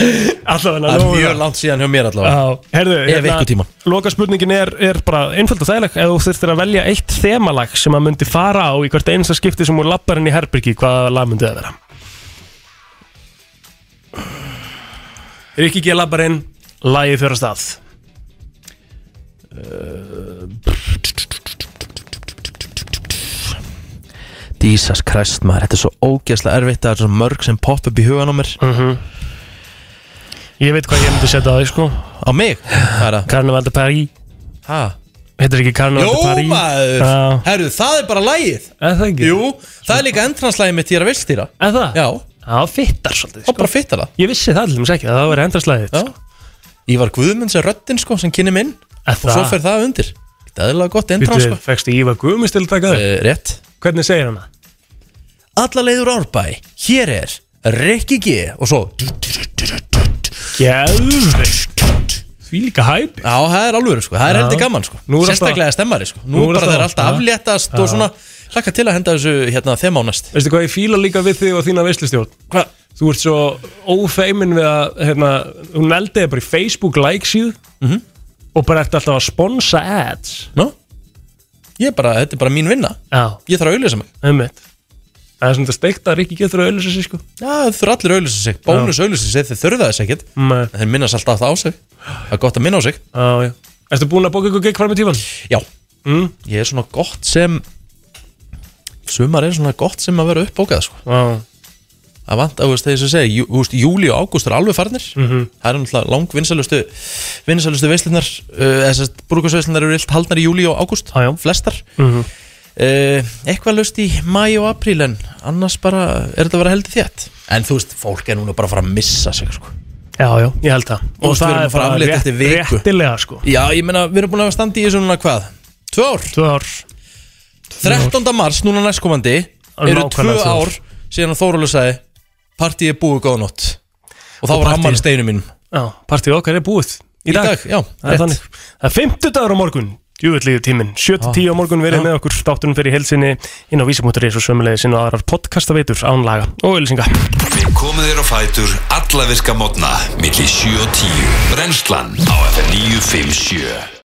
B: Alltaf hennar
A: Það er mjög langt síðan hjá mér allavega
B: Já, herðu,
A: Ef einhvern tímann.
B: loka spurningin hérna, er, er bara einföld og þægileg ef þú þurftir að velja eitt þemalag sem að myndi fara á í hvert einsta skipti sem úr labbarinn í herbyrgi, hvaða lag myndi það vera? Rikki G. labbarinn lagið fyrir að stað
A: Uh, Jesus Christ maður, þetta er svo ógeðslega erfitt Það er svo mörg sem popp upp í hugan á mér
B: Mhm. Ég veit hvað ég myndi setja á því sko
A: Á mig? Það er að
B: Carnaval de Paris
A: Ha?
B: Heitir ekki Carnaval
A: Jó
B: de Paris
A: maður,
B: Já.
A: herru, það er bara lægið
B: Það ekki?
A: Jú, það er líka endranslægið mitt ég er að vilstýra
B: Er það?
A: Já,
B: það fittar svolítið sko.
A: Það bara fittar það
B: Ég vissi það allir ekki, að það var endraslæðið sko.
A: Ívar Guðmunds er röddinn sko sem kynni minn Og svo fer það undir Þetta er alveg gott endrans
B: Býttu,
A: sko Eh,
B: fegstu Ívar Guðmunds til að taka þér?
A: Rétt
B: Hvernig segir hann það?
A: Alla leiður árbæ, hér er Rikki G og svo
B: Gæðveikt Því líka hæp
A: Já, það er alveg sko, það er
B: Já.
A: heldur gaman sko
B: Nú er alltaf-
A: Sérstaklega stemmari sko Nú,
B: Nú
A: bara
B: er alltaf-
A: þeir alltaf
B: Já.
A: afléttast
B: Já.
A: og svona Hlakka til að henda þessu hérna þeim á næst
B: Veistu hvað ég fíla líka við þig og þína veistlistjórn?
A: Hva?
B: Þú ert svo ófeimin við að, hérna, hún eldi þig bara í Facebook like síð
A: Mhm.
B: og bara ert alltaf að sponsa ads
A: Nó? Ég er bara, þetta er bara mín vinna
B: Já
A: Ég þarf að auðlýsa mig
B: Einmitt. Það er svona þetta steikt að Rikki getur að auðlýsa sig sko
A: Já, það þurfa allir auðlýsa sig Bónus auðlýsa sig, þeir þurfa þess ekkert
B: Nei.
A: En Þeir minnast alltaf á sig Það er gott að minna á sig
B: Já, já Erstu búin að bóka ykkur gig fram í tíman?
A: Já
B: mm.
A: Ég er svona gott sem Sumar er svona gott sem að vera uppbókað sko.
B: Já
A: Það vant, þú veist, þess að segja jú, þú veist, Júli og ágúst er alveg farnir
B: Mhm.
A: Það er náttúrulega lang vinsalustu Vinsalustu veislunar uh, Þessast brúkasveislunar eru illt haldnar í júli og ágúst
B: ah,
A: Flestar
B: Mhm.
A: uh, Eitthvað lust í mæ og apríl En annars bara er þetta að vera heldur þétt En þú veist, fólk er núna bara að fara að missa sig sko.
B: Já, já, ég held það
A: Og við erum að fara afleitt eftir viku.
B: réttilega sko
A: Já, ég meina, við erum búin að standa í þessu núna hvað? Tvö ár?
B: Tvö ár
A: 13. mars, núna næstkomandi
B: Alveg
A: Eru tvö
B: nákvæmlega tvö ár.
A: ár síðan að Þórólu sagði Partíið er búið góða nótt Og þá
B: Og
A: var
B: partíið-
A: ammali steinu mínum
B: Já, partíð okkar er búið Í dag,
A: dag, já, rétt.
B: það er þannig Það er 50 dagur á morgun, djúvöldliðu tíminn
A: Ah.
B: 7-10 á morgun verið með okkur Státtunum fyrir helsini inn á vísimútur.is og sömulegis inn á aðrar podcastaveitur án laga og ölsinga
C: Við komum þér á fætur alla virka mótna milli 7 og 10 Brennslan á FM 957